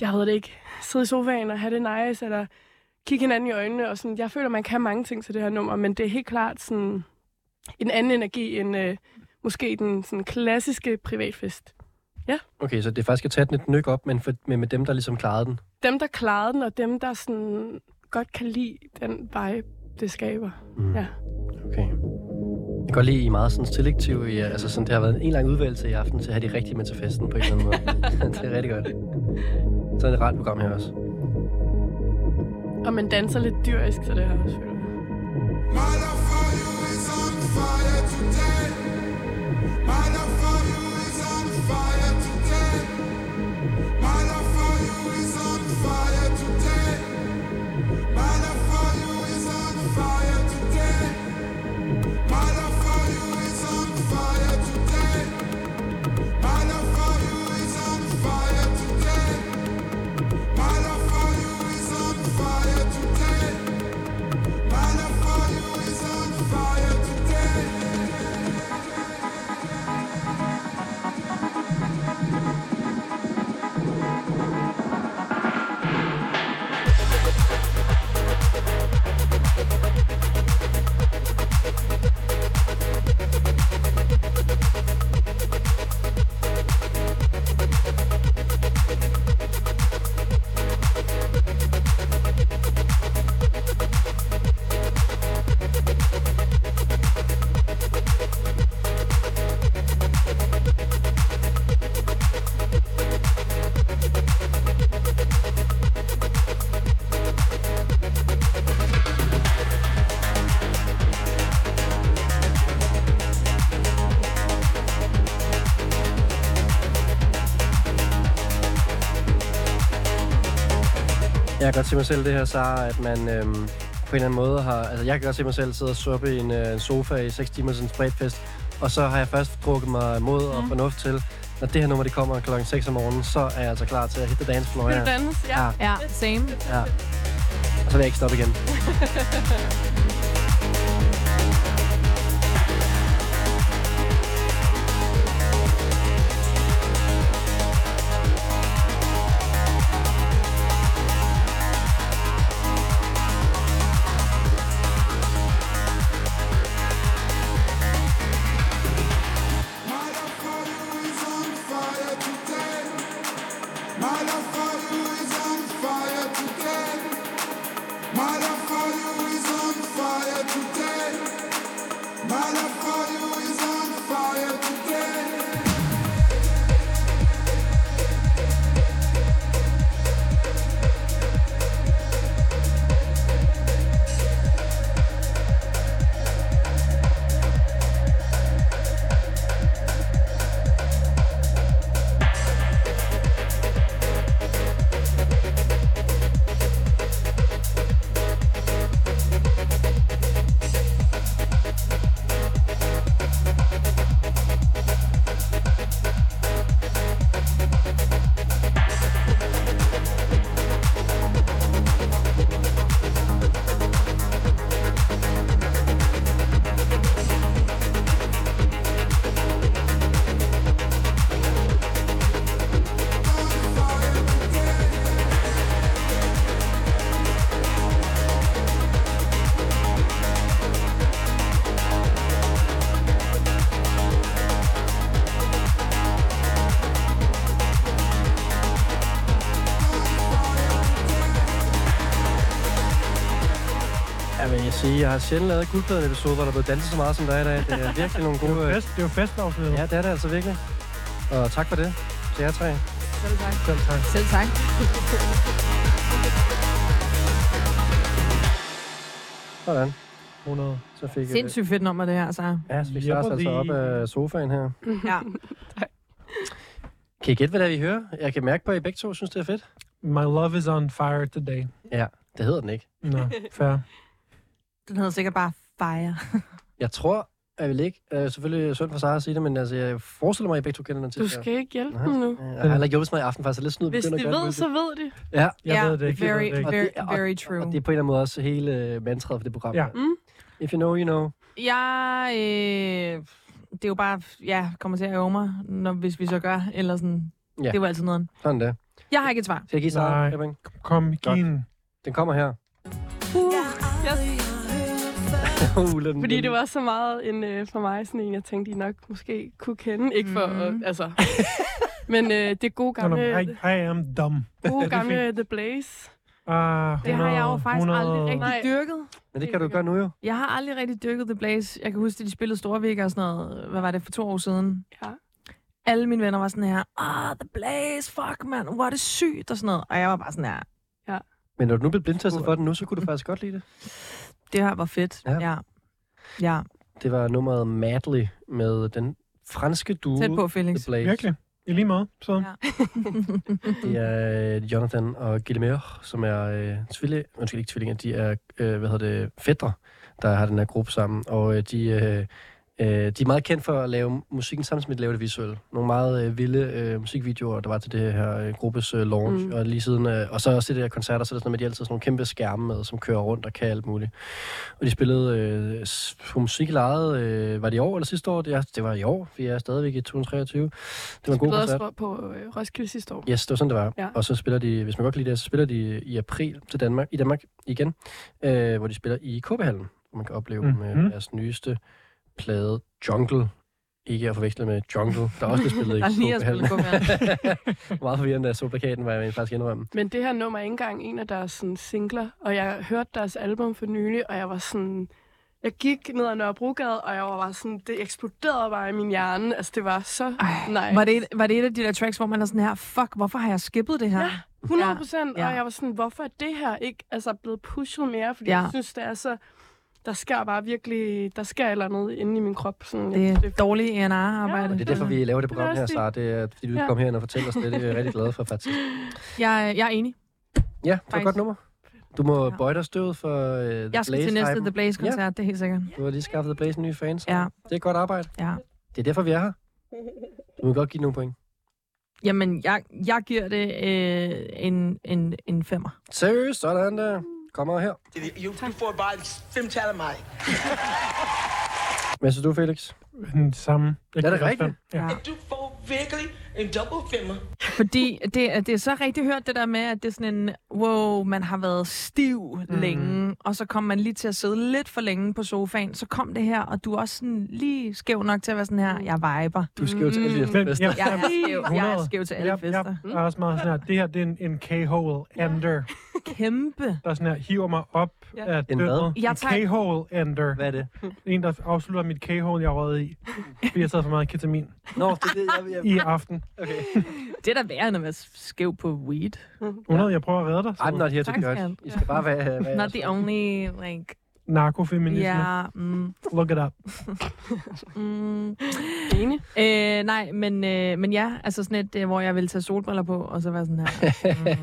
Speaker 5: jeg ved det ikke, sidde i sofaen og have det nice, eller kigge hinanden i øjnene. Og sådan, jeg føler, man kan mange ting til det her nummer, men det er helt klart sådan en anden energi end øh, måske den sådan klassiske privatfest.
Speaker 2: Okay, så det er faktisk at tage den et nyk op, men, for, men med dem, der ligesom klarede den.
Speaker 5: Dem, der klarede den, og dem, der sådan godt kan lide den vibe, det skaber.
Speaker 2: Mm.
Speaker 5: Ja.
Speaker 2: Okay. Jeg kan godt lide, I er meget sådan selektive. I, er- altså sådan, det har været en lang udvalgelse i aften til at have de rigtige med til festen på en eller anden måde. det er rigtig godt. Så er det et rart program her også.
Speaker 5: Og man danser lidt dyrisk, så det her også føler jeg.
Speaker 2: Jeg kan godt se mig selv det her, Sara, at man øhm, på en eller anden måde har... Altså, jeg kan godt se mig selv sidde og suppe i en øh, sofa i 6 timer til en spredfest, og så har jeg først drukket mig mod og
Speaker 5: Mm.
Speaker 2: fornuft til, når det her nummer det kommer klokken 6 om morgenen, så er jeg altså klar til at hitte the dance floor.
Speaker 5: Vil
Speaker 2: her.
Speaker 5: du danse? Ja.
Speaker 2: Ja.
Speaker 3: Ja, same.
Speaker 2: Ja. Og så vil jeg ikke stoppe igen. jeg sige, jeg har sjældent lavet guldpladen episode, hvor der er blevet danset så meget som der er i dag. Det er virkelig nogle
Speaker 4: Det er
Speaker 2: gode...
Speaker 4: jo fest, det er jo festafsnittet.
Speaker 2: Ja, det er det altså virkelig. Og tak for det til jer tre.
Speaker 3: Selv tak.
Speaker 4: Selv tak.
Speaker 3: Selv tak.
Speaker 2: Sådan.
Speaker 4: 100.
Speaker 2: Så fik, øh,
Speaker 3: Sindssygt fedt nummer, det her, altså. så.
Speaker 2: Ja, så fik Lars
Speaker 4: Jeopardy.
Speaker 2: altså op af sofaen her.
Speaker 3: Ja.
Speaker 2: Kan I gætte, hvad det er, vi hører? Jeg kan mærke på, at I begge to synes, det er fedt.
Speaker 4: My love is on fire today.
Speaker 2: Ja, det hedder den ikke.
Speaker 4: Nå, fair.
Speaker 3: Den hedder sikkert bare Fire.
Speaker 2: Jeg tror, jeg vil ikke. Øh, selvfølgelig er synd for Sara at sige det, men altså, jeg forestiller mig, at I begge to kender den til.
Speaker 5: Du skal ikke hjælpe dem nu.
Speaker 2: Jeg har heller ikke hjulpet mig i aften, faktisk. Jeg er lidt snyd
Speaker 5: Hvis de ved, så ved de.
Speaker 2: Ja,
Speaker 4: Jeg ved det ikke. Jeg
Speaker 3: Very,
Speaker 4: ved det ikke.
Speaker 3: very,
Speaker 2: Og det- og-
Speaker 3: very
Speaker 2: og
Speaker 3: true.
Speaker 2: det er på en eller anden måde også hele øh, mantraet for det program.
Speaker 4: Ja.
Speaker 2: her.
Speaker 5: Mm.
Speaker 2: If you know, you know.
Speaker 3: Jeg, øh, det er jo bare, ja, kommer til at øve mig, når, hvis vi så gør, eller sådan.
Speaker 2: Ja.
Speaker 3: Ja. Det er jo altid noget.
Speaker 2: Sådan der.
Speaker 3: Jeg har ikke et svar.
Speaker 2: Skal jeg give
Speaker 4: Nej.
Speaker 2: Sara? Ebbing?
Speaker 4: Kom, giv
Speaker 2: Godt.
Speaker 4: en.
Speaker 2: Den kommer her.
Speaker 3: Uh,
Speaker 2: Uh, lad den-
Speaker 5: Fordi det var så meget en, øh, for mig sådan en, jeg tænkte, I nok måske kunne kende. Ikke for,
Speaker 3: Mhm.
Speaker 5: mm. altså... Men øh, det gode
Speaker 4: Nå, nå,
Speaker 5: gamle,
Speaker 4: I, I am dumb. det
Speaker 5: gode
Speaker 4: er
Speaker 5: gamle The Blaze.
Speaker 4: Ah, 100,
Speaker 3: det har jeg jo faktisk
Speaker 4: 100.
Speaker 3: aldrig rigtig
Speaker 5: Nej.
Speaker 3: dyrket.
Speaker 2: Men det kan du gøre nu jo.
Speaker 3: Jeg har aldrig rigtig dyrket The Blaze. Jeg kan huske, at de spillede Storvik og sådan noget, hvad var det, for to år siden.
Speaker 5: Ja.
Speaker 3: Alle mine venner var sådan her, ah, The Blaze, fuck man, hvor er det sygt og sådan noget. Og jeg var bare sådan her,
Speaker 2: Men når du nu blev blindtestet for den nu, så kunne du faktisk godt lide det.
Speaker 3: det her var fedt.
Speaker 2: Ja.
Speaker 3: Ja. ja. Ja,
Speaker 2: Det var nummeret Madly med den franske duo.
Speaker 3: tæt på, Felix.
Speaker 2: The Blaze.
Speaker 4: Virkelig. I lige måde. Så.
Speaker 3: Ja.
Speaker 2: Det er øh, Jonathan og Guillemere, som er øh, tvilling, undskyld ikke tvillinger, de er, øh, hvad hedder det, fætter, der har den her gruppe sammen, og øh, de, øh, øh, de er meget kendt for at lave musikken samtidig med at lave det visuelle. Nogle meget øh, vilde øh, musikvideoer, der var til det her øh, gruppes øh, launch, mm.
Speaker 5: Mm.
Speaker 2: og lige siden, øh, og så også til det her koncerter, så er det sådan noget med, at de altid har sådan nogle kæmpe skærme med, som kører rundt og kan alt muligt. Og de spillede øh, s- på musik lejet, øh, var det i år eller sidste år? Det, er, det var i år, vi er stadigvæk i 2023. Det var en god
Speaker 5: Vi
Speaker 2: koncert.
Speaker 5: også på øh, Roskilde sidste år.
Speaker 2: Yes, det var sådan, det var. Ja.
Speaker 5: Ja.
Speaker 2: Og så spiller de, hvis man godt kan lide det, så spiller de i april til Danmark, i Danmark igen, øh, hvor de spiller i Kåbehallen, hvor man kan opleve mm-hmm. dem
Speaker 4: Mhm.
Speaker 2: med deres nyeste plade, Jungle. Ikke at forveksle med Jungle, der også bliver spillet i
Speaker 3: Der er lige at spille
Speaker 2: Kåbehallen.
Speaker 3: gummi.
Speaker 2: Meget forvirrende, da jeg så plakaten, var jeg faktisk indrømme.
Speaker 5: Men det her nummer er ikke engang en af deres sådan, singler, og jeg hørte deres album for nylig, og jeg var sådan... Jeg gik ned ad Nørrebrogade, og jeg var bare sådan... Det eksploderede bare i min hjerne. Altså, det var så
Speaker 3: Ej,
Speaker 5: nice.
Speaker 3: var det, et, var det et af de der tracks, hvor man er sådan her, fuck, hvorfor har jeg skippet det her?
Speaker 5: Ja. 100 procent,
Speaker 3: Ja,
Speaker 5: ja,
Speaker 3: ja.
Speaker 5: og jeg var sådan, hvorfor er det her ikke altså, blevet pushet mere? Fordi
Speaker 3: Ja.
Speaker 5: ja. jeg synes, det er så... Der sker bare virkelig... Der sker et eller andet inde i min krop. Sådan, jeg synes,
Speaker 3: Det er dårligt ENR-arbejde.
Speaker 5: Ja,
Speaker 2: Og det er derfor, vi laver det
Speaker 5: Det
Speaker 2: program
Speaker 5: vil jeg
Speaker 2: her,
Speaker 5: også
Speaker 2: Sara. Det er, fordi du ja.
Speaker 5: Ja.
Speaker 2: kom herind og fortæller os det. Det er jeg rigtig glad for, faktisk.
Speaker 3: Jeg, jeg er enig.
Speaker 2: Ja, det var et
Speaker 3: Faktisk.
Speaker 2: godt nummer. Du må
Speaker 3: Ja.
Speaker 2: bøje dig støvet for uh, The
Speaker 3: Jeg skal til næste
Speaker 2: Blaze-hypen.
Speaker 3: The Blaze-koncert, det er helt sikkert.
Speaker 2: Du har lige skaffet The Blaze nye fans.
Speaker 3: Ja,
Speaker 2: Det er godt arbejde.
Speaker 3: ja.
Speaker 2: Det er derfor, vi er her. Du må godt give nogle point.
Speaker 3: Jamen, jeg, jeg giver det øh, en, en, en femmer.
Speaker 2: Seriøst, sådan der. Kommer her.
Speaker 6: You, du får bare fem tal af mig.
Speaker 2: Hvad synes du, Felix?
Speaker 4: Den samme. Jeg
Speaker 2: Er det
Speaker 4: giver også
Speaker 2: rigtigt?
Speaker 4: fem. Ja.
Speaker 6: Du får virkelig en dobbelt femmer.
Speaker 3: Fordi det, er- det er så rigtig hørt det der med, at det er sådan en, wow, man har været stiv
Speaker 2: Mhm.
Speaker 3: mm. længe, og så kom man lige til at sidde lidt for længe på sofaen, så kom det her, og du er også sådan lige skæv nok til at være sådan her, jeg viber.
Speaker 2: Du skal
Speaker 3: Mm.
Speaker 2: jo til alle de her
Speaker 4: Men
Speaker 2: fester.
Speaker 4: jeg,
Speaker 3: Jeg er skæv, jeg er
Speaker 4: 100.
Speaker 3: skæv til alle
Speaker 4: jeg,
Speaker 3: fester.
Speaker 4: jeg, er også meget sådan her, det her det er en, en K-hole ender,
Speaker 3: Kæmpe.
Speaker 4: der sådan her hiver mig op
Speaker 5: Ja.
Speaker 4: af
Speaker 2: En hvad?
Speaker 4: døgnet.
Speaker 3: Jeg
Speaker 4: En
Speaker 3: tager-
Speaker 4: K-hole ender.
Speaker 2: Hvad er det?
Speaker 4: En, der afslutter mit K-hole, jeg rød i. Fordi jeg taget for meget ketamin
Speaker 2: Nå, det er det, jeg... jeg...
Speaker 4: i aften.
Speaker 2: Okay.
Speaker 3: Det er da værre, end at være skæv på weed.
Speaker 4: 100, jeg prøver at redde dig.
Speaker 2: I'm not here to
Speaker 3: Tak,
Speaker 2: judge.
Speaker 3: skat.
Speaker 2: I skal bare være... være
Speaker 3: Not the only, like,
Speaker 4: Narkofeminisme.
Speaker 3: yeah, mm,
Speaker 4: Look it up.
Speaker 3: mm.
Speaker 5: enig.
Speaker 3: Øh, nej, men, øh, men ja, altså sådan et, øh, hvor jeg vil tage solbriller på, og så være sådan her. Mm.
Speaker 2: Det, det, er,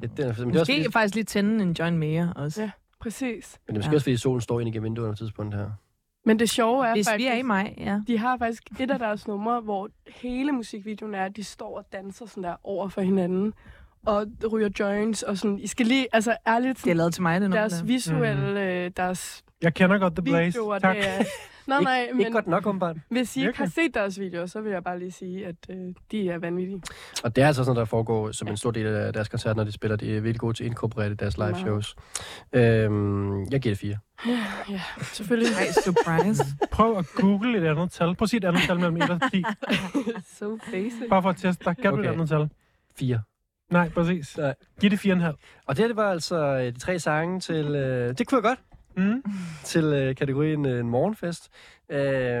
Speaker 2: men det er også,
Speaker 3: Måske
Speaker 2: fordi,
Speaker 3: faktisk lige tænde en joint mere også. Ja.
Speaker 5: Ja, Præcis.
Speaker 2: men det er måske
Speaker 3: Ja.
Speaker 2: også, fordi solen står ind igennem vinduerne på et tidspunkt her.
Speaker 5: Men det sjove er
Speaker 3: Hvis vi
Speaker 5: faktisk...
Speaker 3: er i maj, ja.
Speaker 5: De har faktisk et af deres numre, hvor hele musikvideoen er, at de står og danser sådan der over for hinanden, og ryger joints, og sådan, I skal lige, altså ærligt,
Speaker 3: Det er
Speaker 5: sådan,
Speaker 3: lavet til mig, det nummer
Speaker 5: deres
Speaker 3: der.
Speaker 5: visuelle, øh, deres
Speaker 4: Jeg kender godt The Blaze.
Speaker 5: videoer,
Speaker 4: Tak.
Speaker 5: det er... Nej, nej,
Speaker 2: ikke, ikke
Speaker 5: men
Speaker 2: godt nok, åbenbart.
Speaker 5: hvis I ikke har
Speaker 4: Virkelig.
Speaker 5: set deres videoer, så vil jeg bare lige sige, at øh, de er vanvittige.
Speaker 2: Og det er altså sådan, der foregår som en stor del af deres koncert, når de spiller. De er virkelig gode til at inkorporere det i deres live
Speaker 5: Meget.
Speaker 2: shows. Øhm, jeg giver det fire.
Speaker 5: Ja, selvfølgelig.
Speaker 3: Ej, surprise.
Speaker 4: Prøv at google et andet tal. Prøv at sige et andet tal mellem 1 og 10.
Speaker 5: so basic.
Speaker 4: Bare for at teste dig. Kan du
Speaker 2: Okay.
Speaker 4: et andet tal?
Speaker 2: Fire.
Speaker 4: Nej, præcis.
Speaker 2: Nej.
Speaker 4: Giv det 4,5.
Speaker 2: Og det her, det var altså øh, de tre sange til... Øh, det kunne jeg godt.
Speaker 4: Mm.
Speaker 2: til øh, kategorien øh, en morgenfest, øh,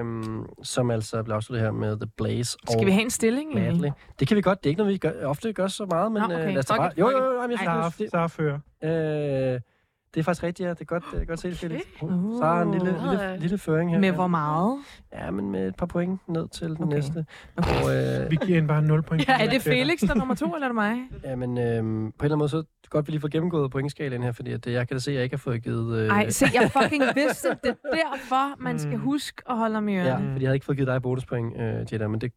Speaker 2: som altså blev afsluttet her med The Blaze
Speaker 3: Skal
Speaker 2: og
Speaker 3: vi have en stilling? egentlig?
Speaker 2: Bradley. Det kan vi godt. Det er ikke noget, vi gør, ofte gør så meget, men
Speaker 3: Nå,
Speaker 2: øh,
Speaker 3: okay.
Speaker 2: lad os da
Speaker 3: Fuck
Speaker 2: bare...
Speaker 3: it,
Speaker 2: Jo,
Speaker 3: fuck
Speaker 2: jo,
Speaker 3: it.
Speaker 2: jo, jamen, jeg
Speaker 3: Ej,
Speaker 2: synes,
Speaker 4: Sara,
Speaker 2: det
Speaker 4: Sara
Speaker 2: er
Speaker 4: fører.
Speaker 2: Øh, det er faktisk rigtigt, ja. Det er godt, øh, godt set, Felix.
Speaker 3: Uh.
Speaker 2: Så er en lille,
Speaker 5: Øh.
Speaker 2: lille, lille føring her.
Speaker 3: Med
Speaker 2: ja.
Speaker 3: hvor meget?
Speaker 2: Ja, men med et par point ned til den
Speaker 3: Okay.
Speaker 2: næste. Og, øh,
Speaker 4: Vi giver hende bare 0 point.
Speaker 3: Er det Felix, der er nummer to, eller er det mig?
Speaker 2: ja, men øh, på en eller anden måde, så er det godt, vi lige får gennemgået pointskalaen her, fordi at, øh, jeg kan da se, at jeg ikke har fået givet... Øh, Mm.
Speaker 3: Nej, se, jeg fucking vidste det. Det er derfor, man skal huske at holde om i
Speaker 2: ja,
Speaker 3: ørerne.
Speaker 2: fordi jeg havde ikke fået givet dig bonuspoint, øh, Jetta, men det,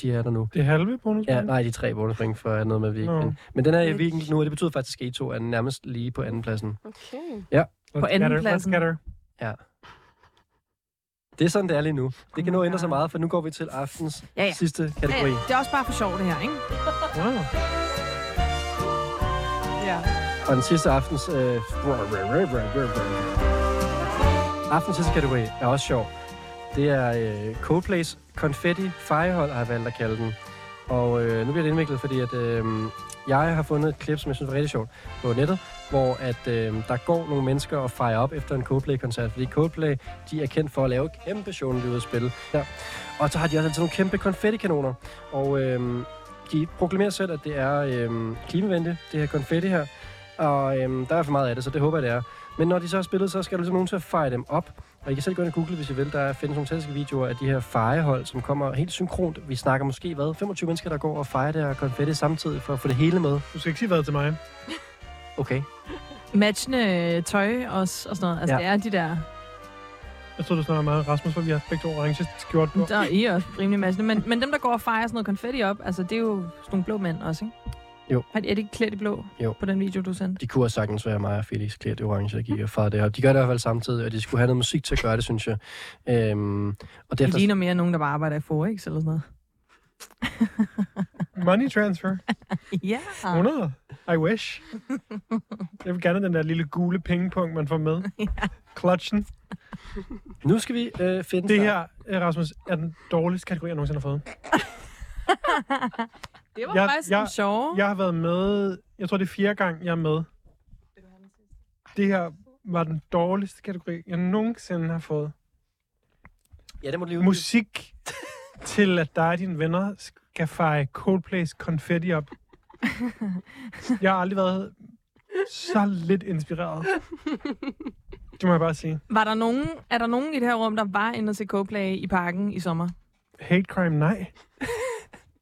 Speaker 2: de er der nu.
Speaker 4: Det er halve bonus.
Speaker 2: Ja, nej, de tre bonuspoint for noget med Vig.
Speaker 4: Nå.
Speaker 2: Men, men den er i
Speaker 5: Fedt.
Speaker 2: Vig nu, og det betyder faktisk, at I to er nærmest lige på andenpladsen.
Speaker 5: Okay.
Speaker 4: Let's
Speaker 3: På
Speaker 4: get her,
Speaker 3: andenpladsen.
Speaker 4: Let's get her.
Speaker 2: Det er sådan, det er lige nu. Det kan
Speaker 3: Oh
Speaker 2: nu
Speaker 3: my
Speaker 2: ændre sig
Speaker 3: God.
Speaker 2: meget, for nu går vi til aftens
Speaker 3: Ja, ja.
Speaker 2: sidste
Speaker 3: Ja,
Speaker 2: kategori.
Speaker 3: ja. Det er også bare for sjov, det her, ikke?
Speaker 4: Wow.
Speaker 3: Ja.
Speaker 2: Og den sidste aftens... Øh, aftens sidste kategori er også sjov. Det er øh, Coldplay's Confetti Firehold, har jeg valgt at kalde den. Og øh, nu bliver det indviklet, fordi at, øh, jeg har fundet et klip, som jeg synes var rigtig sjovt på nettet, hvor at, øh, der går nogle mennesker og fejrer op efter en Coldplay-koncert, fordi Coldplay de er kendt for at lave kæmpe showende spil. Ja. Og så har de også altid nogle kæmpe konfettikanoner. Og øh, de proklamerer selv, at det er øh, klimavenligt, det her konfetti her. Og øhm, der er for meget af det, så det håber jeg, det er. Men når de så har spillet, så skal der ligesom nogen til at feje dem op. Og I kan selv gå ind og google, hvis I vil. Der findes nogle fantastiske videoer af de her fejehold, som kommer helt synkront. Vi snakker måske, hvad, 25 mennesker, der går og fejer det her konfetti samtidig for at få det hele med.
Speaker 4: Du skal ikke sige hvad til mig.
Speaker 2: Okay.
Speaker 3: Matchende øh, tøj også, og sådan noget. Altså,
Speaker 2: Ja.
Speaker 3: ja. det er de der...
Speaker 4: Jeg tror, du snakker meget om Rasmus, for vi har begge to orange skjort på.
Speaker 3: Der er I også rimelig matchende. Men, men dem, der går og fejrer sådan noget konfetti op, altså, det er jo sådan nogle blå mænd også, ikke?
Speaker 2: Jo.
Speaker 3: Er de, er de ikke klædt i blå
Speaker 2: Jo.
Speaker 3: på den video, du sendte?
Speaker 2: De kunne også sagtens være mig og Felix klædt i orange, der gik og fejrede det op. De gør det i hvert fald samtidig, og de skulle have noget musik til at gøre det, synes jeg. Øhm, og
Speaker 3: Det
Speaker 2: derfor...
Speaker 3: ligner mere nogen, der bare arbejder i Forex eller sådan noget.
Speaker 4: Money transfer.
Speaker 3: Ja.
Speaker 4: 100. I wish. Jeg vil gerne have den der lille gule pengepunkt, man får med. Clutchen.
Speaker 2: Nu skal vi øh, finde...
Speaker 4: Det her, øh, Rasmus, er den dårligste kategori, jeg nogensinde har fået.
Speaker 3: Det var
Speaker 4: Jeg-
Speaker 3: faktisk
Speaker 4: jeg-
Speaker 3: en sjov.
Speaker 4: Jeg har været med, jeg tror det er fjerde gang, jeg er med. Det her var den dårligste kategori, jeg nogensinde har fået.
Speaker 2: Ja, det må du lige ud.
Speaker 4: Musik til, at dig og dine venner skal feje Coldplay's konfetti op. Jeg har aldrig været så lidt inspireret. Det må jeg bare sige.
Speaker 3: Var der nogen, er der nogen i det her rum, der var inde og se Coldplay i parken i sommer?
Speaker 4: Hate crime, nej.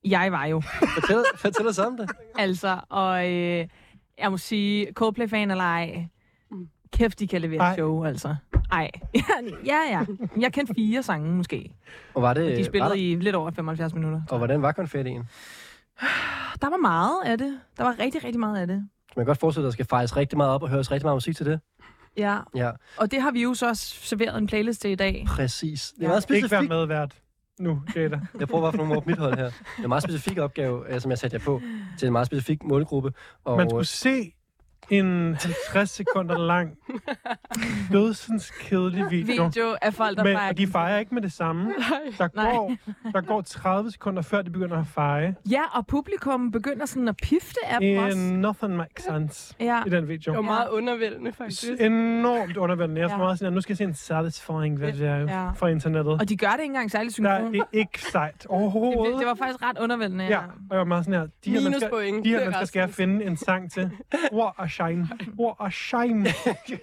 Speaker 3: Jeg var jo.
Speaker 2: Fortæl, fortæl os om det.
Speaker 3: Altså, og øh, jeg må sige, Coldplay-fan eller ej, kæft, de kan levere
Speaker 4: Ej.
Speaker 3: ej. show, altså. Ej. Ja, ja, ja. Jeg kendte fire sange, måske.
Speaker 2: Og Øh, var det...
Speaker 3: De
Speaker 2: var der,
Speaker 3: spillede i lidt over 75 minutter.
Speaker 2: Og hvordan var konfettien?
Speaker 3: Der var meget af det. Der var rigtig, rigtig meget af det.
Speaker 2: Man kan godt forestille sig, at der skal fejres rigtig meget op og høres rigtig meget musik til det.
Speaker 3: Ja,
Speaker 2: Ja,
Speaker 3: og det har vi jo så også serveret en playlist til i dag.
Speaker 2: præcis. Det er
Speaker 3: Ja.
Speaker 2: meget
Speaker 4: Ikke være
Speaker 2: specifikt.
Speaker 4: medvært nu, Jada.
Speaker 2: Jeg prøver bare at få nogle ord på mit hold her. Det er en meget specifik opgave, øh, som jeg satte jer på, til en meget specifik målgruppe. Og øh,
Speaker 4: Man skulle se en 50 sekunder lang, dødsens kedelig video.
Speaker 3: Video af folk, der
Speaker 4: Men
Speaker 3: fejrer-
Speaker 4: og de fejrer ikke med det samme. Der
Speaker 3: Nej.
Speaker 4: går, der går 30 sekunder, før de begynder at feje.
Speaker 3: Ja, og publikum begynder sådan at pifte af dem også.
Speaker 4: In nothing makes sense
Speaker 3: Ja.
Speaker 4: i den
Speaker 5: Det
Speaker 4: video.
Speaker 5: var meget undervældende, faktisk.
Speaker 4: S- Enormt undervældende. Jeg
Speaker 3: Ja.
Speaker 4: var meget sådan, at nu skal jeg se en satisfying video
Speaker 3: Ja.
Speaker 4: fra internettet.
Speaker 3: Og de gør det ikke engang særlig
Speaker 4: Nej,
Speaker 3: synkron.
Speaker 4: det er ikke sejt
Speaker 3: Det, det
Speaker 4: overhovedet.
Speaker 3: var faktisk ret undervældende.
Speaker 4: Ja, og jeg var meget sådan her. De her mennesker,
Speaker 5: Minuspoint.
Speaker 4: de her
Speaker 5: Det er
Speaker 4: mennesker skal jeg
Speaker 5: Rasmus.
Speaker 4: finde en sang til. War og shine. War og shine.
Speaker 2: jeg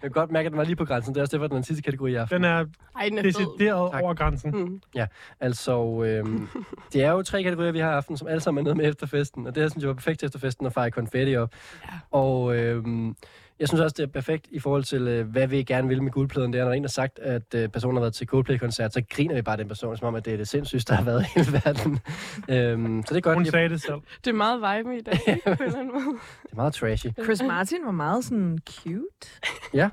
Speaker 2: kan godt mærke, at den var lige på grænsen. Det er også derfor, den er den sidste kategori i aften.
Speaker 4: Den er
Speaker 5: Ej, den er fed.
Speaker 4: decideret
Speaker 2: Tak.
Speaker 4: over grænsen.
Speaker 5: Mm.
Speaker 2: Altså, øhm, det er jo tre kategorier, vi har i aften, som alle sammen er nede med efterfesten. Og det her synes jeg var perfekt til efterfesten at fejre konfetti op. Ja. Og øhm, jeg synes også, det er perfekt i forhold til, øh, hvad vi gerne vil med guldpladen. Det er, når en har sagt, at øh, personen har været til Coldplay-koncert, så griner vi bare den person, som om, at det er det sindssygste, der har været i hele verden. øhm, så det er godt.
Speaker 4: Hun
Speaker 2: Det er-
Speaker 4: sagde det selv.
Speaker 5: Det er meget vibe i dag, ikke? på en eller anden måde.
Speaker 2: det er meget trashy.
Speaker 3: Chris Martin var meget sådan cute.
Speaker 2: Ja.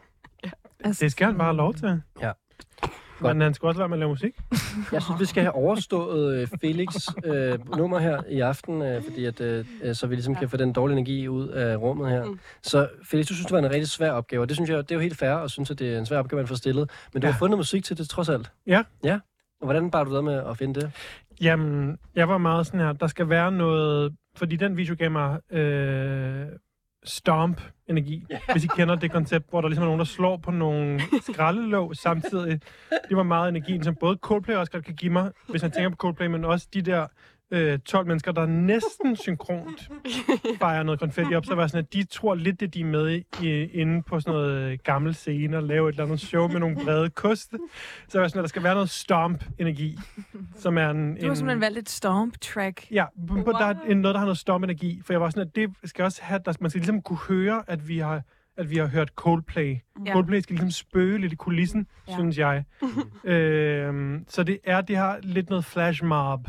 Speaker 3: Altså,
Speaker 4: Det skal han bare have lov til.
Speaker 2: Ja. Godt.
Speaker 4: Men han skal også være med at lave musik.
Speaker 2: Jeg synes, vi skal have overstået øh, Felix øh, nummer her i aften, øh, fordi at, øh, øh, så vi ligesom kan få den dårlige energi ud af rummet her.
Speaker 3: Mm.
Speaker 2: Så Felix, du synes, det var en rigtig svær opgave, og det synes jeg, det er jo helt fair, og synes, at det er en svær opgave, man får stillet. Men du har fundet musik til det, trods alt.
Speaker 4: Ja.
Speaker 2: Ja. Og hvordan bar du der med at finde det?
Speaker 4: Jamen, jeg var meget sådan her, der skal være noget... Fordi den video gav mig øh, stomp-energi, hvis I kender det koncept, hvor der ligesom er nogen, der slår på nogle skraldelåg samtidig. Det var meget energien, som både Coldplay også godt kan give mig, hvis jeg tænker på Coldplay, men også de der øh, 12 mennesker, der næsten synkront fejrer noget konfetti op, så var jeg sådan, at de tror lidt, det de er med i, i, inde på sådan noget øh, gammel scene og lave et eller andet show med nogle brede koste. Så var jeg sådan, at der skal være noget stomp-energi, som er en...
Speaker 3: Du har simpelthen valgt et storm-track.
Speaker 4: Ja, men wow. der er en- noget, der har noget stormenergi. For jeg var sådan, at det skal også have, at man skal ligesom kunne høre, at vi har, at vi har hørt Coldplay.
Speaker 3: Ja.
Speaker 4: Ja. Coldplay skal ligesom spøge lidt i kulissen,
Speaker 3: Ja.
Speaker 4: ja. synes jeg. øhm, så det er, det har lidt noget flash mob,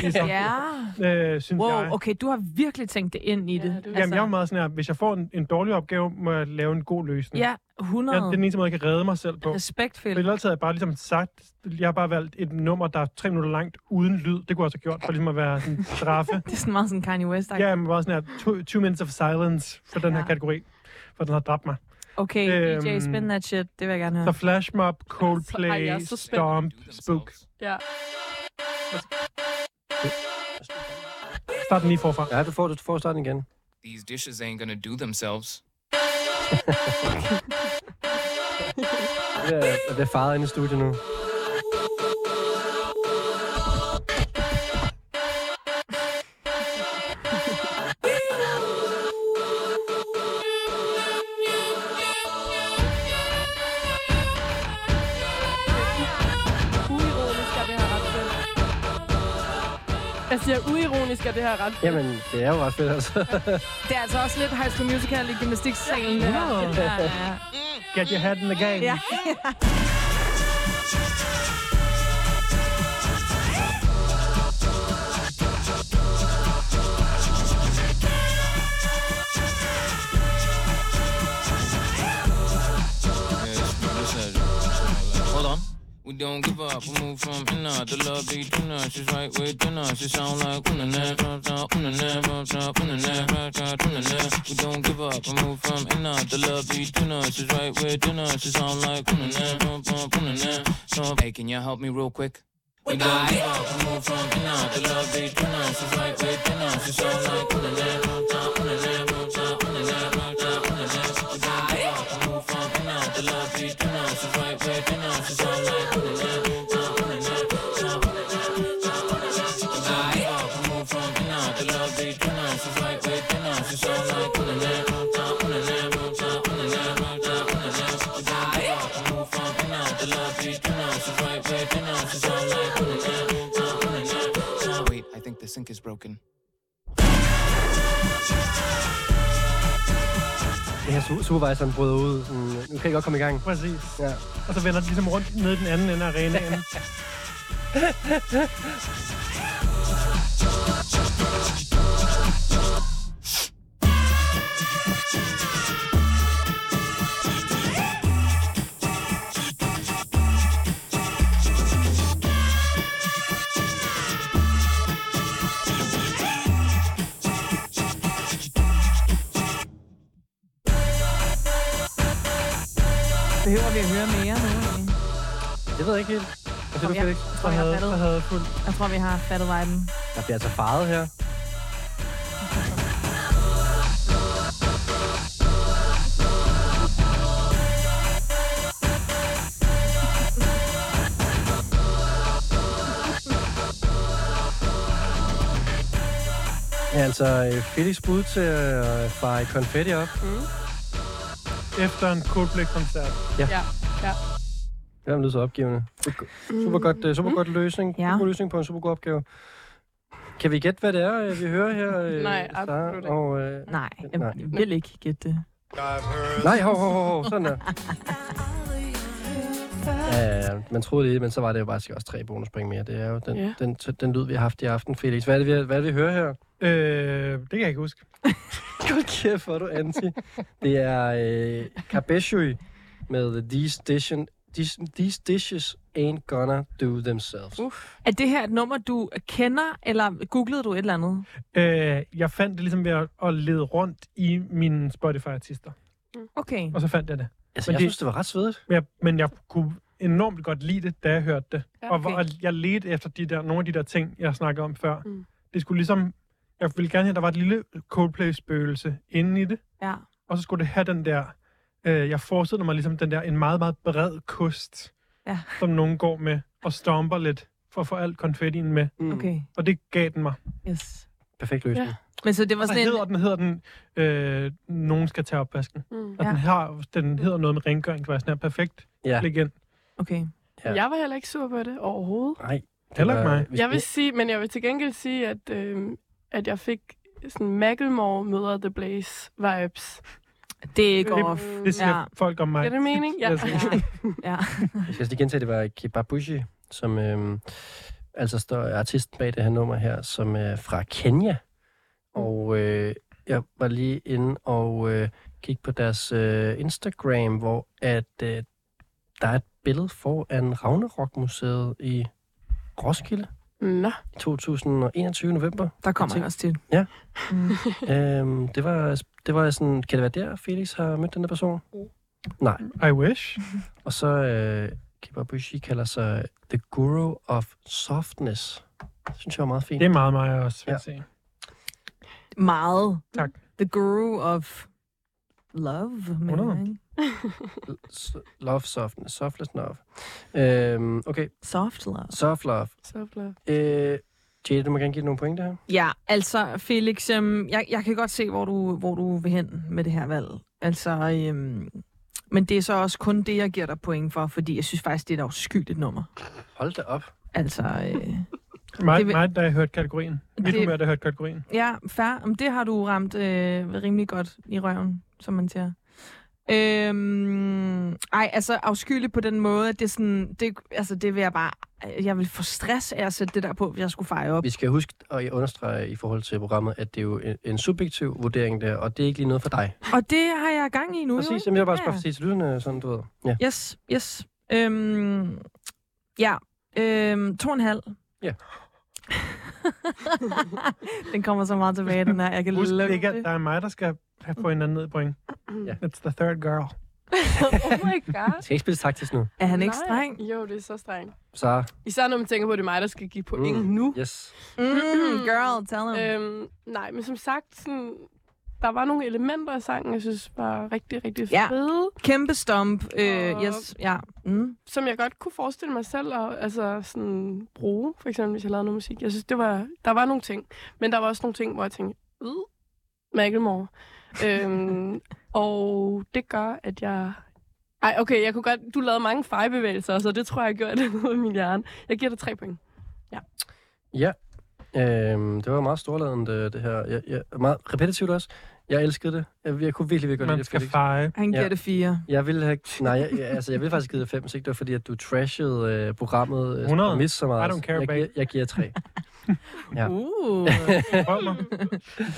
Speaker 4: ligesom,
Speaker 3: Ja.
Speaker 4: øh, synes jeg.
Speaker 3: Wow, okay, altså. du har virkelig tænkt det ind i det.
Speaker 5: Ja, du-
Speaker 4: Jamen, jeg er jo meget sådan her, hvis jeg får en, en dårlig opgave, må jeg lave en god løsning.
Speaker 3: ja,
Speaker 4: Jeg, det er
Speaker 3: 100.
Speaker 4: den eneste måde, jeg kan redde mig selv på.
Speaker 3: Respekt,
Speaker 4: Men
Speaker 3: Phil.
Speaker 4: ellers havde jeg bare ligesom sagt, jeg har bare valgt et nummer, der er tre minutter langt, uden lyd. Det kunne jeg også have gjort, for ligesom at være sådan straffe.
Speaker 3: Det er sådan meget sådan Kanye West.
Speaker 4: Ja, men bare sådan her, two, two minutes of silence for den her
Speaker 3: Ja.
Speaker 4: kategori, for den har dræbt mig.
Speaker 3: Okay, DJ,
Speaker 4: Øhm,
Speaker 3: spin that shit. Det vil jeg gerne
Speaker 4: Så
Speaker 3: høre.
Speaker 4: flash mob,
Speaker 5: Ej, jeg
Speaker 4: Coldplay,
Speaker 5: er så spændt.
Speaker 4: Stomp, Spook.
Speaker 5: Ja.
Speaker 4: Start den lige forfra.
Speaker 2: Ja, du får, du får starten igen.
Speaker 12: These dishes ain't gonna do themselves.
Speaker 2: Det er, jeg bliver faret inde i studiet nu.
Speaker 5: Uironisk er det her ret fedt. Jeg siger, uironisk er det her ret fedt.
Speaker 2: Jamen, det er jo ret fedt, altså.
Speaker 3: Det er altså også lidt High School Musical i gymnastiksalen. Ja, ja, ja.
Speaker 4: Get your head in the game.
Speaker 3: ja.
Speaker 12: Hold on. We don't give up, we move from inner to love be tuna. She's right with dinner. She sound like unana, unana, unana, unana, unana, unana. We don't give up, we move from inner to love be tuna. She's right with dinner. She sound like unana, unana, unana. So, hey, can you help me real quick? We don't give up, we move from inner to love be tuna. She's right with dinner. She sound like unana, unana, unana, unana, unana, unana. We don't give up, we move from inner to love be tuna. She's right with dinner. She sound like unana, unana, unana, unana. Wait, I think the sink is broken.
Speaker 2: Det her su- supervisor, han bryder ud. Sådan, nu kan jeg godt komme i gang.
Speaker 4: Præcis.
Speaker 2: Ja.
Speaker 4: Og så vender den ligesom rundt ned i den anden ende af arenaen.
Speaker 3: Behøver vi at høre mere nu? egentlig?
Speaker 2: Det ved jeg ikke helt. Hvad siger du,
Speaker 3: Kom, ja.
Speaker 2: Felix?
Speaker 3: Jeg
Speaker 4: Så
Speaker 3: tror, jeg har
Speaker 4: havde, så
Speaker 3: fattet.
Speaker 4: havde fuldt.
Speaker 3: Jeg tror, vi har fattet viben.
Speaker 2: Der bliver altså faret her. Ja, altså øh, Felix bud til øh, at fare konfetti op.
Speaker 4: Efter en Coldplay-koncert.
Speaker 5: Ja. ja.
Speaker 2: Hvem lyder så opgivende? Super godt, øh, super godt løsning.
Speaker 3: Ja.
Speaker 2: Super god løsning på en super god opgave. Kan vi gætte, hvad det er, øh, vi hører her? øh,
Speaker 5: Nej,
Speaker 2: Sara?
Speaker 5: absolut ikke.
Speaker 2: Og, øh,
Speaker 3: Nej, jeg vil ikke gætte det.
Speaker 2: nej, hov, hov, hov, hov, sådan der. Ja, ja, man troede det, men så var det jo bare også tre bonuspoint mere. Det er jo den,
Speaker 5: Ja.
Speaker 2: den, den lyd, vi har haft i aften, Felix. Hvad er det, vi, hvad er det, vi hører her?
Speaker 4: Øh, det kan jeg ikke huske.
Speaker 2: Godt kæft, hvor er du anti. Det er øh, Kabeshui med These, dishes, these, these Dishes Ain't Gonna Do Themselves.
Speaker 3: Er det her et nummer, du kender, eller googlede du et eller andet?
Speaker 4: Øh, jeg fandt det ligesom ved at, at lede rundt i mine Spotify-artister.
Speaker 3: Okay.
Speaker 4: Og så fandt jeg det.
Speaker 2: Altså,
Speaker 4: men
Speaker 2: jeg
Speaker 4: det-
Speaker 2: synes, det var ret svedigt.
Speaker 4: Men jeg, men jeg kunne enormt godt lide det, da jeg hørte det.
Speaker 5: Ja,
Speaker 4: Og, hvor-
Speaker 3: okay.
Speaker 4: og jeg ledte efter de der, nogle af de der ting, jeg snakkede om før.
Speaker 5: Mm.
Speaker 4: Mm. Det skulle ligesom... Jeg ville gerne have, at der var et lille Coldplay-spøgelse inde i det.
Speaker 3: Ja.
Speaker 4: Og så skulle det have den der, øh, jeg forestiller mig ligesom den der, en meget, meget bred kost,
Speaker 3: Ja.
Speaker 4: som nogen går med og stomper lidt for at få alt konfettien med.
Speaker 5: Mm.
Speaker 3: Okay,
Speaker 4: Og det gav den mig.
Speaker 3: yes.
Speaker 2: Perfekt løsning.
Speaker 5: Ja.
Speaker 3: Men så det var
Speaker 4: Hvad
Speaker 3: sådan en...
Speaker 4: hedder den? Hedder den, øh, nogen skal tage opvasken.
Speaker 5: Mm.
Speaker 4: Og
Speaker 3: Ja.
Speaker 4: den, har, den hedder noget med rengøring, faktisk. Den er perfekt.
Speaker 2: Ja.
Speaker 4: Legend.
Speaker 3: Okay.
Speaker 2: Ja.
Speaker 5: Jeg var heller ikke sur på det overhovedet.
Speaker 2: Nej. det
Speaker 4: Heller ikke
Speaker 2: var-
Speaker 4: mig.
Speaker 2: hvis-
Speaker 5: Jeg vil sige, men jeg vil til gengæld sige, at, øh, at jeg fik sådan Macklemore møder The Blaze vibes.
Speaker 3: Det går
Speaker 4: Det-
Speaker 3: off.
Speaker 4: Det siger
Speaker 3: Ja.
Speaker 4: ja. folk om mig.
Speaker 5: Giver det mening? Ja.
Speaker 4: Altså,
Speaker 3: Ja. ja.
Speaker 2: Jeg skal lige gentage, det var Kibabushi, som øhm, altså står artisten bag det her nummer her, som er fra Kenya. Og øh, jeg var lige inde og øh, kiggede på deres øh, Instagram, hvor at øh, der er et billede foran Ragnarok-museet i Roskilde
Speaker 5: Nå,
Speaker 2: i 2021 november.
Speaker 3: Der kommer
Speaker 2: Jeg
Speaker 3: jeg også til.
Speaker 2: Ja.
Speaker 3: Mm.
Speaker 2: øhm, det, var, det var sådan, kan det være der, Felix har mødt den der person? Nej.
Speaker 4: I wish.
Speaker 2: Og så øh, Kibabushi kalder sig øh, The Guru of Softness. Det synes jeg er meget fint.
Speaker 4: Det er meget mig også, vil
Speaker 2: Ja.
Speaker 4: ja. sige.
Speaker 3: Meget.
Speaker 4: Tak.
Speaker 3: The guru of love, men,
Speaker 4: Hundrede.
Speaker 3: ikke?
Speaker 2: S- Love softness. Softless love. Øhm, okay,
Speaker 3: Soft love.
Speaker 2: soft love.
Speaker 5: så flot.
Speaker 2: Øh, Jade, du må gerne give det nogle pointe her.
Speaker 3: Ja, altså Felix, øhm, jeg, jeg kan godt se, hvor du, hvor du vil hen med det her valg. Altså, øhm, men det er så også kun det, jeg giver dig point for, fordi jeg synes faktisk, det er et afskyeligt nummer.
Speaker 2: Hold da op.
Speaker 3: Altså, øh,
Speaker 4: Mig,
Speaker 3: Det
Speaker 4: det
Speaker 3: vil-
Speaker 4: vil... mig, der har hørt kategorien. Mit
Speaker 3: Det-
Speaker 4: humør, der har hørt kategorien.
Speaker 3: ja, fair. Men det har du ramt øh, rimelig godt i røven, som man siger. Øhm, ej, altså afskyeligt på den måde, at det er sådan, det, altså det vil jeg bare, jeg vil få stress af at sætte det der på, hvis jeg skulle feje op.
Speaker 2: Vi skal huske at understrege i forhold til programmet, at det er jo en, en subjektiv vurdering der, og det er ikke lige noget for dig.
Speaker 3: Og det har jeg gang i nu, jo, ikke?
Speaker 2: Præcis, jamen, jeg vil bare
Speaker 3: Ja.
Speaker 2: spørge ja. til lytterne, sådan du ved. Ja.
Speaker 3: Yes, yes. Øhm, ja, øhm, to og en halv.
Speaker 2: Ja.
Speaker 3: den kommer så meget tilbage, den her. Jeg kan
Speaker 4: Husk
Speaker 3: lukke
Speaker 4: ikke, at
Speaker 3: det.
Speaker 4: der er mig, der skal have få en anden ned i point.
Speaker 2: Ja.
Speaker 4: It's the third girl.
Speaker 5: oh my
Speaker 2: Jeg
Speaker 5: god.
Speaker 2: skal ikke spille taktisk nu.
Speaker 3: Er han ikke
Speaker 5: Nej.
Speaker 3: streng?
Speaker 5: Jo, det er så streng.
Speaker 2: Så,
Speaker 5: Især når man tænker på, at det er mig, der skal give point
Speaker 2: Mm.
Speaker 5: mm. nu.
Speaker 2: yes.
Speaker 3: Mm, girl, tell him.
Speaker 5: Øhm, nej, men som sagt, sådan, der var nogle elementer i sangen, jeg synes var rigtig, rigtig
Speaker 3: Ja.
Speaker 5: fede.
Speaker 3: Kæmpe stomp. Øh,
Speaker 5: Og-
Speaker 3: yes, ja. Mm.
Speaker 5: Som jeg godt kunne forestille mig selv at altså, sådan, bruge, for eksempel hvis jeg lavede noget musik. Jeg synes, det var, der var nogle ting. Men der var også nogle ting, hvor jeg tænkte, øh, Macklemore. øhm, og det gør, at jeg... Ej, okay, jeg kunne godt... Du lavede mange fejbevægelser, så det tror jeg gjorde det ud af min hjerne. Jeg giver dig tre point.
Speaker 2: Ja, øhm, det var meget storladent, øh, det her. Jeg, jeg, meget repetitivt også. Jeg elskede det. Jeg, jeg kunne virkelig, virkelig godt lide
Speaker 4: Man
Speaker 2: det.
Speaker 4: skal
Speaker 2: Felix.
Speaker 4: feje.
Speaker 3: Han giver
Speaker 2: Ja.
Speaker 3: det fire.
Speaker 2: Jeg ville have... Nej, jeg, jeg- altså, jeg ville faktisk give dig fem, hvis ikke det var fordi, at du trashede øh, programmet øh,
Speaker 4: 100.
Speaker 2: og mistede så meget.
Speaker 4: I don't care,
Speaker 2: jeg,
Speaker 4: babe.
Speaker 2: giver, jeg giver tre. Ja.
Speaker 3: Uh,
Speaker 4: Prøv mig. Jeg var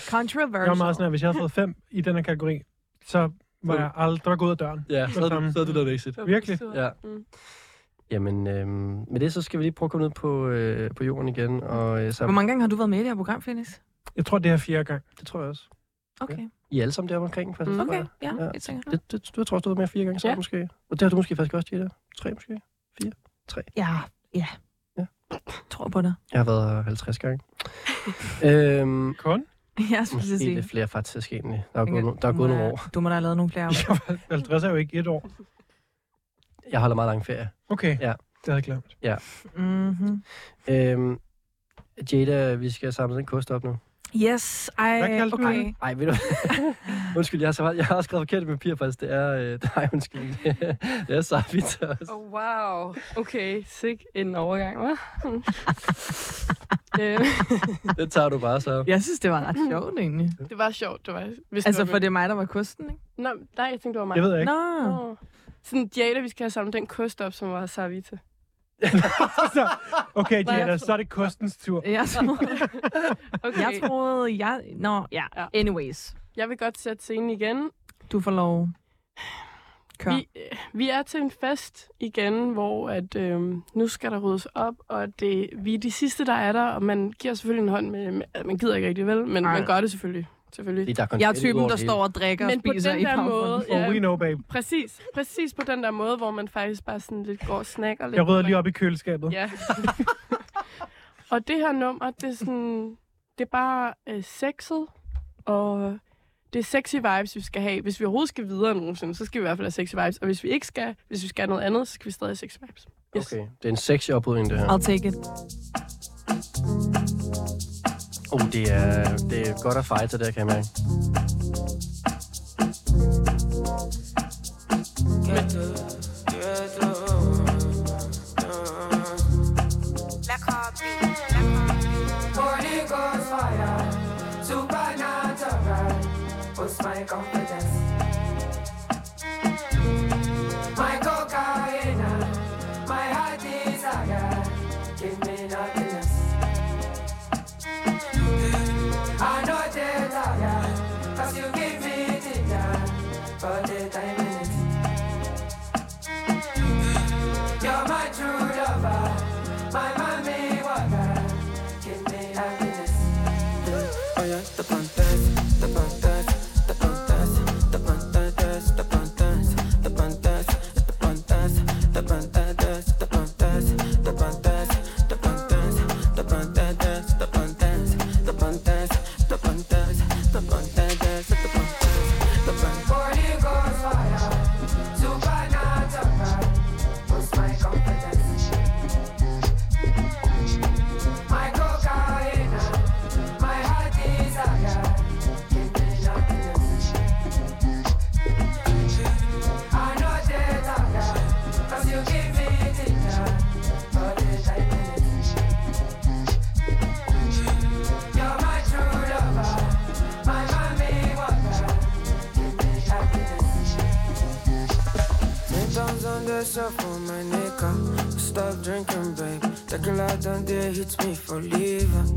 Speaker 3: controversial.
Speaker 4: meget
Speaker 2: altså,
Speaker 4: sådan, at hvis jeg havde fået fem i den her kategori, så var
Speaker 2: Så-
Speaker 4: jeg aldrig gået ud af døren.
Speaker 2: ja, så, havde du- så er du lavet exit.
Speaker 4: Virkelig?
Speaker 2: Ja.
Speaker 5: Mm.
Speaker 2: Jamen, øh, med det så skal vi lige prøve at komme ned på, øh, på jorden igen. Og, øh,
Speaker 3: Hvor
Speaker 2: sammen.
Speaker 3: mange gange har du været med i det her program, Felix?
Speaker 4: Jeg tror, det er fjerde gang.
Speaker 2: Det tror jeg også.
Speaker 3: Okay,
Speaker 2: I er alle sammen deroppe omkring, faktisk.
Speaker 5: Mm.
Speaker 2: tror
Speaker 3: okay,
Speaker 2: jeg.
Speaker 3: ja,
Speaker 2: Ja.
Speaker 3: helt sikkert.
Speaker 2: Det, det, du tror, jeg, du har været med fire gange sammen,
Speaker 5: Ja.
Speaker 2: måske. Og det har du måske faktisk også, Jette. Tre måske.
Speaker 3: Ja, ja.
Speaker 2: Ja.
Speaker 3: Tror på dig.
Speaker 2: Jeg har været her 50 gange. øhm,
Speaker 4: Kun?
Speaker 3: Jeg skulle til
Speaker 2: måske
Speaker 3: at sige.
Speaker 2: lidt flere faktisk, egentlig. Der er gået, no- der er gået
Speaker 3: Du må
Speaker 2: nogle
Speaker 3: da-
Speaker 2: år.
Speaker 3: Du må da have lavet nogle flere.
Speaker 4: Jeg var 50 er jo ikke et år.
Speaker 2: Jeg holder meget lang ferie.
Speaker 4: Okay,
Speaker 2: Ja.
Speaker 4: det havde jeg glemt.
Speaker 3: Mm-hmm.
Speaker 2: Øhm, Jada, vi skal samle den kost op nu.
Speaker 3: Yes, ej,
Speaker 4: Hvad kaldte du
Speaker 3: okay.
Speaker 4: hende?
Speaker 2: Ej, ved du Undskyld, jeg har, så meget, jeg har også skrevet forkert i papir, faktisk. Det er... Øh, nej, undskyld. det er Savit også.
Speaker 5: Oh, wow. Okay, sick en overgang, hva'? Øh,
Speaker 2: Det tager du bare så.
Speaker 3: Jeg synes, det var ret sjovt egentlig.
Speaker 5: det var sjovt, det var. Hvis
Speaker 3: Altså,
Speaker 5: det
Speaker 3: for
Speaker 5: var
Speaker 3: det er mig, der var kusten, ikke?
Speaker 5: Nå, nej, jeg tænkte, det var mig.
Speaker 4: Det ved jeg ikke.
Speaker 3: Nå,
Speaker 5: Nå. Sådan, Jada, vi skal have samlet den kost op, som var Savita.
Speaker 4: Så, okay,
Speaker 5: Nej, jeg
Speaker 4: Diana,
Speaker 5: tror-
Speaker 4: så er det kostens tur.
Speaker 3: jeg troede,
Speaker 5: Okay,
Speaker 3: jeg, troede, jeg... Nå, ja.
Speaker 5: Ja.
Speaker 3: Anyways,
Speaker 5: jeg vil godt sætte scenen igen.
Speaker 3: du får lov. Kør.
Speaker 5: Vi, øh, vi er til en fest igen, hvor at, øh, nu skal der ryddes op, og det, vi er de sidste, der er der, og man giver selvfølgelig en hånd med, med man gider ikke rigtig vel, men
Speaker 3: Nej.
Speaker 5: man gør det selvfølgelig. selvfølgelig.
Speaker 2: Fordi der er konfetti
Speaker 3: Jeg er typen,
Speaker 2: over
Speaker 3: der
Speaker 2: det hele.
Speaker 3: står og drikker
Speaker 5: Men
Speaker 3: og
Speaker 5: på
Speaker 3: spiser
Speaker 5: den
Speaker 3: i
Speaker 5: der
Speaker 3: baggrunden.
Speaker 5: måde,
Speaker 4: Oh,
Speaker 5: ja.
Speaker 4: we know, babe.
Speaker 5: Præcis, præcis på den der måde, hvor man faktisk bare sådan lidt går og snakker lidt.
Speaker 4: Jeg rydder lige op i køleskabet.
Speaker 5: Ja. og det her nummer, det er sådan, det er bare øh, sexet, og det er sexy vibes, vi skal have. Hvis vi overhovedet skal videre nogensinde, så skal vi i hvert fald have sexy vibes. Og hvis vi ikke skal, hvis vi skal have noget andet, så skal vi stadig have sexy vibes. Yes.
Speaker 2: Okay, det er en sexy oprydning, det her.
Speaker 3: I'll take it.
Speaker 2: Oh, det er, det er godt at fejre til det, her, kan jeg mærke.
Speaker 13: My confidence. My cocaine, my heart desire. Give me nothing else. I know that I am, cause you give me ginger for the time in it. You're my true lover, my mommy water. Give me happiness. Oh yeah, the pantas, the pantas, the pantas, the pantas, the pantas, the pantas, the pantas, the pantas, the pantas, the pantas, the pantas, the pantas, the pantas, the pantas, the pantas, the pantas, the pantas, the pantas. Forty goes fire, supernatural. What's my confidence? My cocaine, my heart desire. Give me happiness. I know that I got, 'cause you give me ginger for the time in it. You're my true lover, my mommy water. Give me happiness. Ten times on the shuffle, my nigga. Stop drinking, babe. The girl down there hits me for leaving.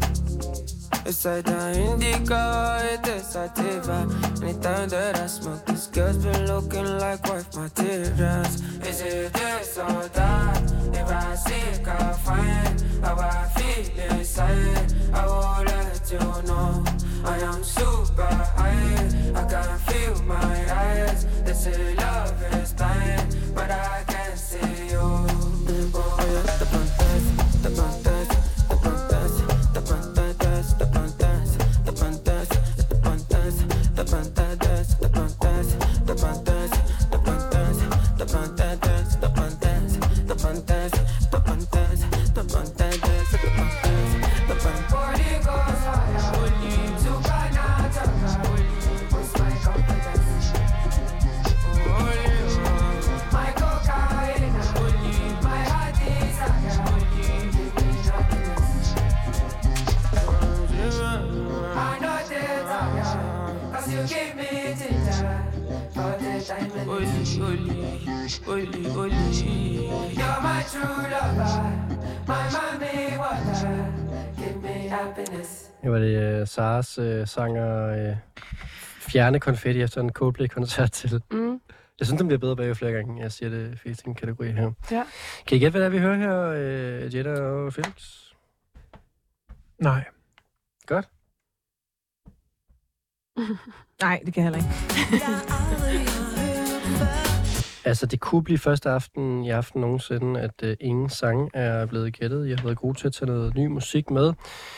Speaker 13: It's either indica or it is sativa. Anytime that I smoke, this girl's been looking like wife materials. Is it this or that? If I seek, I find how I feel inside. I will let you know. I am super high. I can feel my eyes. They say love is dying, but I can't see you. Oh, yeah. The pantas, the pantas, the pantas, the pantas, the pantas, the pantas, the pantas, the pantas, the pantas, the pantas, the pantas, the pantas, the pantas, the pantas, the pantas, the pantas, the pantas, the pantas. Forty goes higher. Supernatural. What's my confidence? My cocaine. My heart desire. Give me happiness. I know that I am, 'cause you give me ginger for the time in it. You're my true lover, my mommy water. Give me happiness.
Speaker 2: Det var det uh, Saras uh, sang og uh, fjerne konfetti efter en Coldplay-koncert til.
Speaker 5: Mm.
Speaker 2: Jeg synes, den bliver bedre bag flere gange. Jeg siger det i en kategori her.
Speaker 5: Ja.
Speaker 2: Kan I gætte, hvad det er, vi hører her, uh, Jetta og Felix?
Speaker 4: Nej.
Speaker 3: Nej, det kan jeg heller ikke.
Speaker 2: Altså, det kunne blive første aften i aften nogensinde, at uh, ingen sang er blevet gættet. Jeg har været god til at tage noget ny musik med.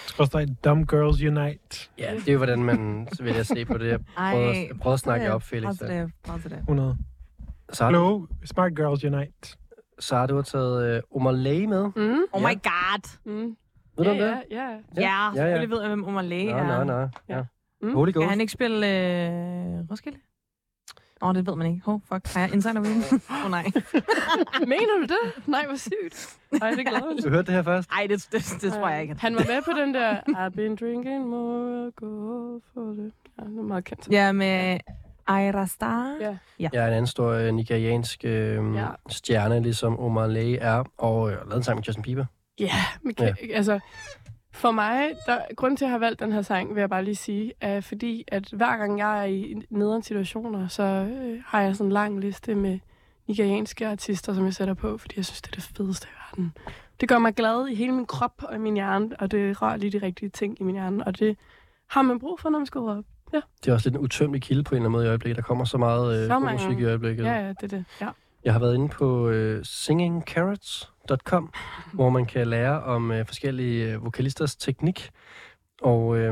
Speaker 4: Skrådstræk Dumb Girls Unite.
Speaker 2: Ja, det er jo, hvordan man vil jeg se på det. Jeg
Speaker 3: Ej,
Speaker 2: prøver, jeg prøver at snakke jer op, Felix.
Speaker 3: Positive, positive.
Speaker 4: 100.
Speaker 2: Sara,
Speaker 4: Hello, Smart Girls Unite.
Speaker 2: Sara, du har taget uh, Omar Lay med.
Speaker 5: Mm.
Speaker 3: Oh my god.
Speaker 5: Mm.
Speaker 2: Ved du
Speaker 5: ja,
Speaker 2: om det?
Speaker 5: ja, ja.
Speaker 2: Ja,
Speaker 3: Ja,
Speaker 2: ja, ja.
Speaker 3: ja selvfølgelig ved jeg, hvem Omar Læge
Speaker 2: Nå, nå,
Speaker 3: er.
Speaker 2: nå. Ja.
Speaker 5: Mm.
Speaker 2: Holy
Speaker 3: Kan
Speaker 2: Ghost.
Speaker 3: han ikke spille øh, Roskilde? Åh, oh, det ved man ikke. Hov, fuck. Har jeg insider viden? Åh, oh, nej.
Speaker 5: Mener du det? Nej, hvor sygt. Ej, det glæder mig.
Speaker 2: Du hørte det her først?
Speaker 3: Ej, det, det, det tror jeg ikke.
Speaker 5: Han var med på den der, I've been drinking more alcohol for det. Ja, det er meget kendt.
Speaker 3: Ja, med Aira Star.
Speaker 5: Ja.
Speaker 2: Jeg er en anden stor øh, nigeriansk øh,
Speaker 5: Ja.
Speaker 2: ja. stjerne, ligesom Omar Lay er, og øh, har lavet en sang med Justin Bieber.
Speaker 5: Ja, men kan, ja. altså, for mig, der, grunden til, at jeg har valgt den her sang, vil jeg bare lige sige, er fordi, at hver gang jeg er i nederen situationer, så øh, har jeg sådan en lang liste med nigerianske artister, som jeg sætter på, fordi jeg synes, det er det fedeste i verden. Det gør mig glad i hele min krop og i min hjerne, og det rører lige de rigtige ting i min hjerne, og det har man brug for, når man skal rydde op.
Speaker 2: Det er også lidt en utømmelig kilde på en eller anden måde i øjeblikket. Der kommer så meget øh,
Speaker 5: Så
Speaker 2: god
Speaker 5: mange.
Speaker 2: musik i øjeblikket.
Speaker 5: Ja, ja, det er det. Ja.
Speaker 2: Jeg har været inde på øh, singingcarrots.com, hvor man kan lære om øh, forskellige øh, vokalisters teknik. Og øh,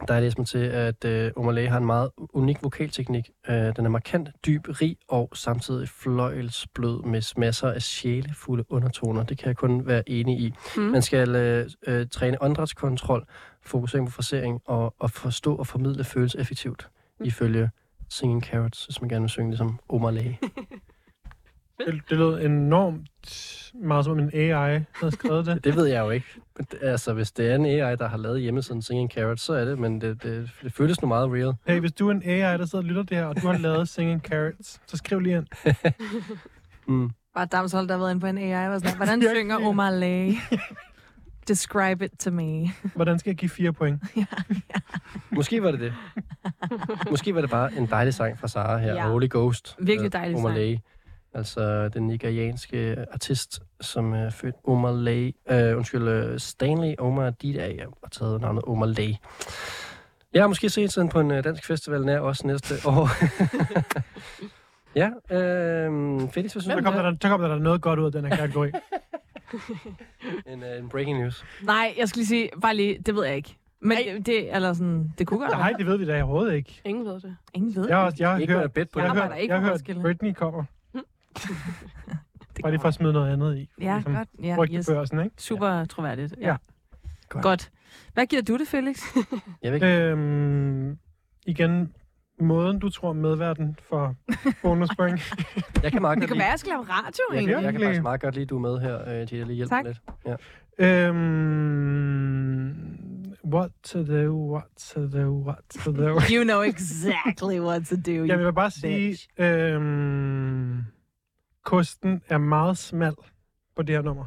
Speaker 2: der har jeg læst mig til, at øh, Omalay har en meget unik vokalteknik. Øh, den er markant, dyb, rig og samtidig fløjelsblød med masser af sjælefulde undertoner. Det kan jeg kun være enig i.
Speaker 5: Mm.
Speaker 2: Mm. Man skal øh, øh, træne åndedrætskontrol, fokusering på frasering og, og forstå og formidle følelser effektivt, mm. ifølge Singing Carrots, hvis man gerne vil synge ligesom Omalay.
Speaker 4: Det, det lød enormt meget som en AI havde skrevet det.
Speaker 2: Det ved jeg jo ikke. Men det- Altså, hvis det er en AI, der har lavet hjemmesiden Singing Carrots, så er det, men det, det, det føles nu meget real.
Speaker 4: Hey, hvis du er en AI, der sidder og lytter det her, og du har lavet Singing Carrots, så skriv lige ind.
Speaker 2: Mm.
Speaker 3: Bare Damshold, der har været inde på en AI. Var sådan, Hvordan synger Omar Lay? Describe it to me.
Speaker 4: Hvordan skal jeg give fire point?
Speaker 2: Måske var det det. Måske var det bare en dejlig sang fra Sara her,
Speaker 3: Ja.
Speaker 2: ja. Holy Ghost.
Speaker 3: Virkelig
Speaker 2: med
Speaker 3: dejlig
Speaker 2: Omar
Speaker 3: sang.
Speaker 2: Lay. Altså den nigerianske artist, som er født Omar Lay, øh, undskyld, øh, Stanley Omar Dida, og taget navnet Omar Lay. Jeg har måske set sådan på en øh, dansk festival nær os næste år. ja, øh, Felix, hvad synes
Speaker 4: Så
Speaker 2: du?
Speaker 4: kommer, der, så kommer der noget godt ud af den her kategori.
Speaker 2: En, øh, en breaking news.
Speaker 3: Nej, jeg skal lige sige, bare lige, det ved jeg ikke. Men det, det, eller sådan, det kunne godt
Speaker 4: Nej,
Speaker 3: være.
Speaker 4: det ved vi da overhovedet ikke.
Speaker 5: Ingen ved det.
Speaker 3: Ingen ved
Speaker 4: Jeg har,
Speaker 3: det.
Speaker 4: jeg har
Speaker 2: Ikke noget
Speaker 4: hørt,
Speaker 2: at bet på.
Speaker 4: jeg
Speaker 2: det.
Speaker 4: har
Speaker 3: arbejder
Speaker 4: hørt,
Speaker 3: ikke
Speaker 4: jeg
Speaker 3: på
Speaker 4: har hørt
Speaker 3: Roskilde.
Speaker 4: Britney kommer.
Speaker 3: Det
Speaker 4: Bare lige for at ligesom smide noget andet i.
Speaker 3: Ja, godt. Ja, yes.
Speaker 4: Rygtebørsen, ikke?
Speaker 3: Super troværdigt. Ja.
Speaker 4: Ja.
Speaker 2: Godt.
Speaker 3: Godt. Hvad giver du det, Felix?
Speaker 2: Jeg ved ikke.
Speaker 4: Øhm, igen, måden du tror medverden for bonuspoint.
Speaker 2: Jeg kan meget godt
Speaker 3: Det kan
Speaker 2: lide.
Speaker 3: være, jeg skal lave radio,
Speaker 2: Jeg,
Speaker 3: egentlig.
Speaker 2: kan- jeg kan
Speaker 4: virkelig.
Speaker 2: faktisk meget godt lide, at du er med her, øh, Tita. Lige hjælp
Speaker 3: Tak.
Speaker 2: mig lidt.
Speaker 4: øhm, what to do, what to do, what to do.
Speaker 3: You know exactly what to do.
Speaker 4: Jeg vil bare sige,
Speaker 3: bitch.
Speaker 4: øhm, kosten er meget smal på det her nummer.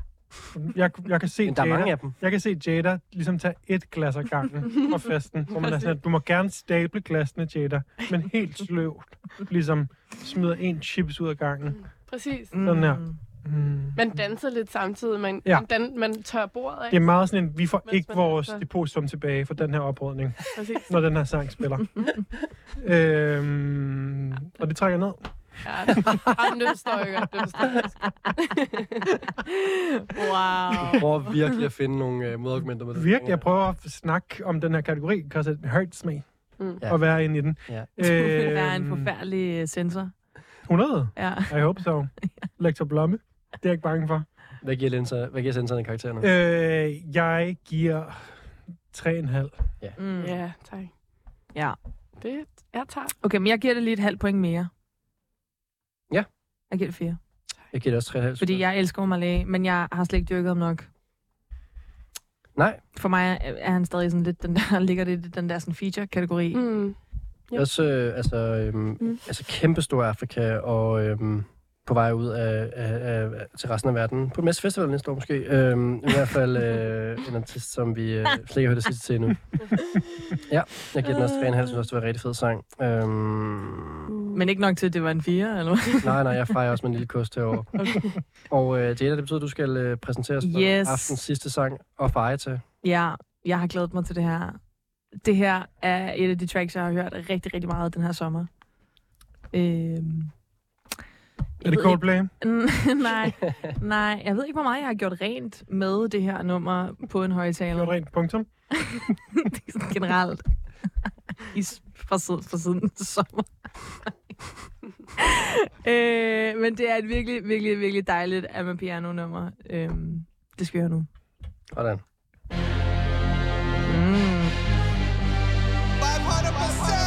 Speaker 4: Jeg, jeg kan se
Speaker 2: Men der er
Speaker 4: Jada-
Speaker 2: mange af dem.
Speaker 4: Jeg kan se Jada ligesom tage et glas af gangen fra festen, hvor man er sådan, at du må gerne stable glasene, Jada, men helt sløvt, ligesom smider en chips ud af gangen.
Speaker 5: Præcis.
Speaker 4: sådan her.
Speaker 3: Mm.
Speaker 4: Mm.
Speaker 5: Man danser lidt samtidig. Man,
Speaker 4: Ja.
Speaker 5: ja. man, dan- man tør bordet af.
Speaker 4: Det er meget sådan en, vi får
Speaker 5: Mens
Speaker 4: ikke
Speaker 5: man
Speaker 4: vores
Speaker 5: danser.
Speaker 4: depositum tilbage for den her oprydning,
Speaker 5: Præcis.
Speaker 4: når den her sang spiller. øhm, og det trækker ned.
Speaker 5: Ja. Jamen, det forstår jeg godt. Det forstår jeg godt.
Speaker 3: Wow.
Speaker 2: prøver virkelig at finde nogle øh, modargumenter med det.
Speaker 4: Virkelig, jeg prøver at snakke om den her kategori, because it hurts me
Speaker 5: Mm.
Speaker 4: at være inde i den.
Speaker 2: Ja.
Speaker 3: Det ville være en
Speaker 4: Øhm,
Speaker 3: forfærdelig øh, sensor.
Speaker 4: 100?
Speaker 3: Ja.
Speaker 4: I hope so. Lektor Blomme. Det er jeg ikke bange for.
Speaker 2: Hvad giver, linser, hvad giver sensoren karaktererne?
Speaker 4: Øh, jeg giver 3,5.
Speaker 3: Mm.
Speaker 5: Ja, tak.
Speaker 3: Ja.
Speaker 5: Det er tak.
Speaker 3: Okay, men jeg giver det lige et halvt point mere.
Speaker 2: Ja.
Speaker 3: Jeg giver det fire.
Speaker 2: Jeg giver det også 3,5.
Speaker 3: Fordi jeg elsker Omalay, men jeg har slet ikke dyrket ham nok.
Speaker 2: Nej.
Speaker 3: For mig er- er han stadig sådan lidt den der, ligger det i den der sådan feature-kategori. Mm.
Speaker 5: Mm.
Speaker 2: Ja. Også øh, altså, øhm,
Speaker 5: Mm.
Speaker 2: mm. altså kæmpestor Afrika og øhm, på vej ud af, af, af, til resten af verden. På Mads Festival næste år måske. Øhm, I hvert fald øh, en artist, som vi øh, slet ikke har hørt det sidste til endnu. ja, jeg giver den også 3,5. Jeg synes også, det var en rigtig fed sang. Øhm,
Speaker 3: Men ikke nok til, at det var en fire, eller hvad?
Speaker 2: Nej, nej, jeg fejrer også med en lille kost herovre. Og øh, Jada, det betyder, at du skal øh, præsentere os for
Speaker 3: Yes.
Speaker 2: aftens sidste sang og feje til.
Speaker 3: Ja, jeg har glædet mig til det her. Det her er et af de tracks, jeg har hørt rigtig, rigtig meget den her sommer. Øhm,
Speaker 4: Er det
Speaker 3: jeg ved
Speaker 4: Coldplay?
Speaker 3: ikke- nej, nej, jeg ved ikke, hvor meget jeg har gjort rent med det her nummer på en højtaler.
Speaker 4: Gjort rent punktum.
Speaker 3: Det er sådan generelt. I, s- fra, siden, fra siden til sommer. øh, men det er et virkelig, virkelig, virkelig dejligt Amapiano-nummer. Øh, det skal vi høre nu.
Speaker 2: Hvordan?
Speaker 3: Mm.
Speaker 13: 500%.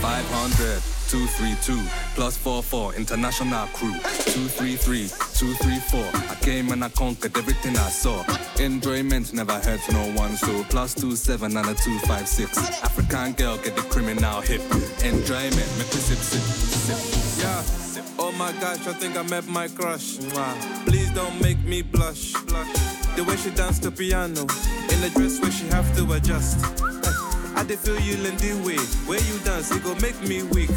Speaker 14: Five hundred two three two plus four four international crew two three three two three four I came and I conquered everything I saw enjoyment never hurts no one so plus two seven and a two five six African girl get the criminal hip enjoyment make me sip sip sip yeah oh my gosh I think I met my crush Mwah. please don't make me blush blush the way she danced the piano in a dress where she have to adjust. I did feel you Lindy way. Where you dance, it go make me weak.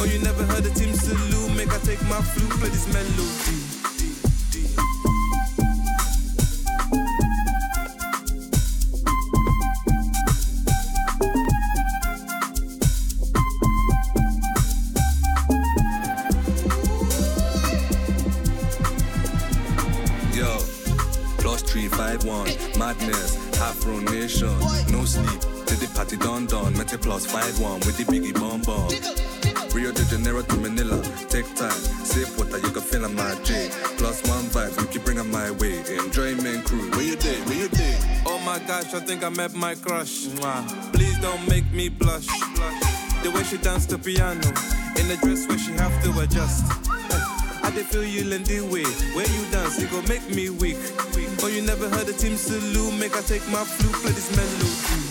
Speaker 14: Oh, you never heard of Team Sulu? Make I take my flute, play this melody. 351. Madness, Afro Nation. No sleep, till the party done done. Mete plus 5-1 with the biggie bomb bomb. Rio de Janeiro to Manila, take time, sip water, you can feel on my J. Plus one vibe, you keep bringing my way. Enjoyment crew, where you day, where you day?
Speaker 15: Oh my gosh, I think I met my crush. Mwah. Please don't make me blush. Blush. The way she danced to piano, in a dress where she have to adjust. Eh, I did feel you the way. Where you dance, it go make me weak. Oh, you never heard the team salute. Make I take my flute, play this melody.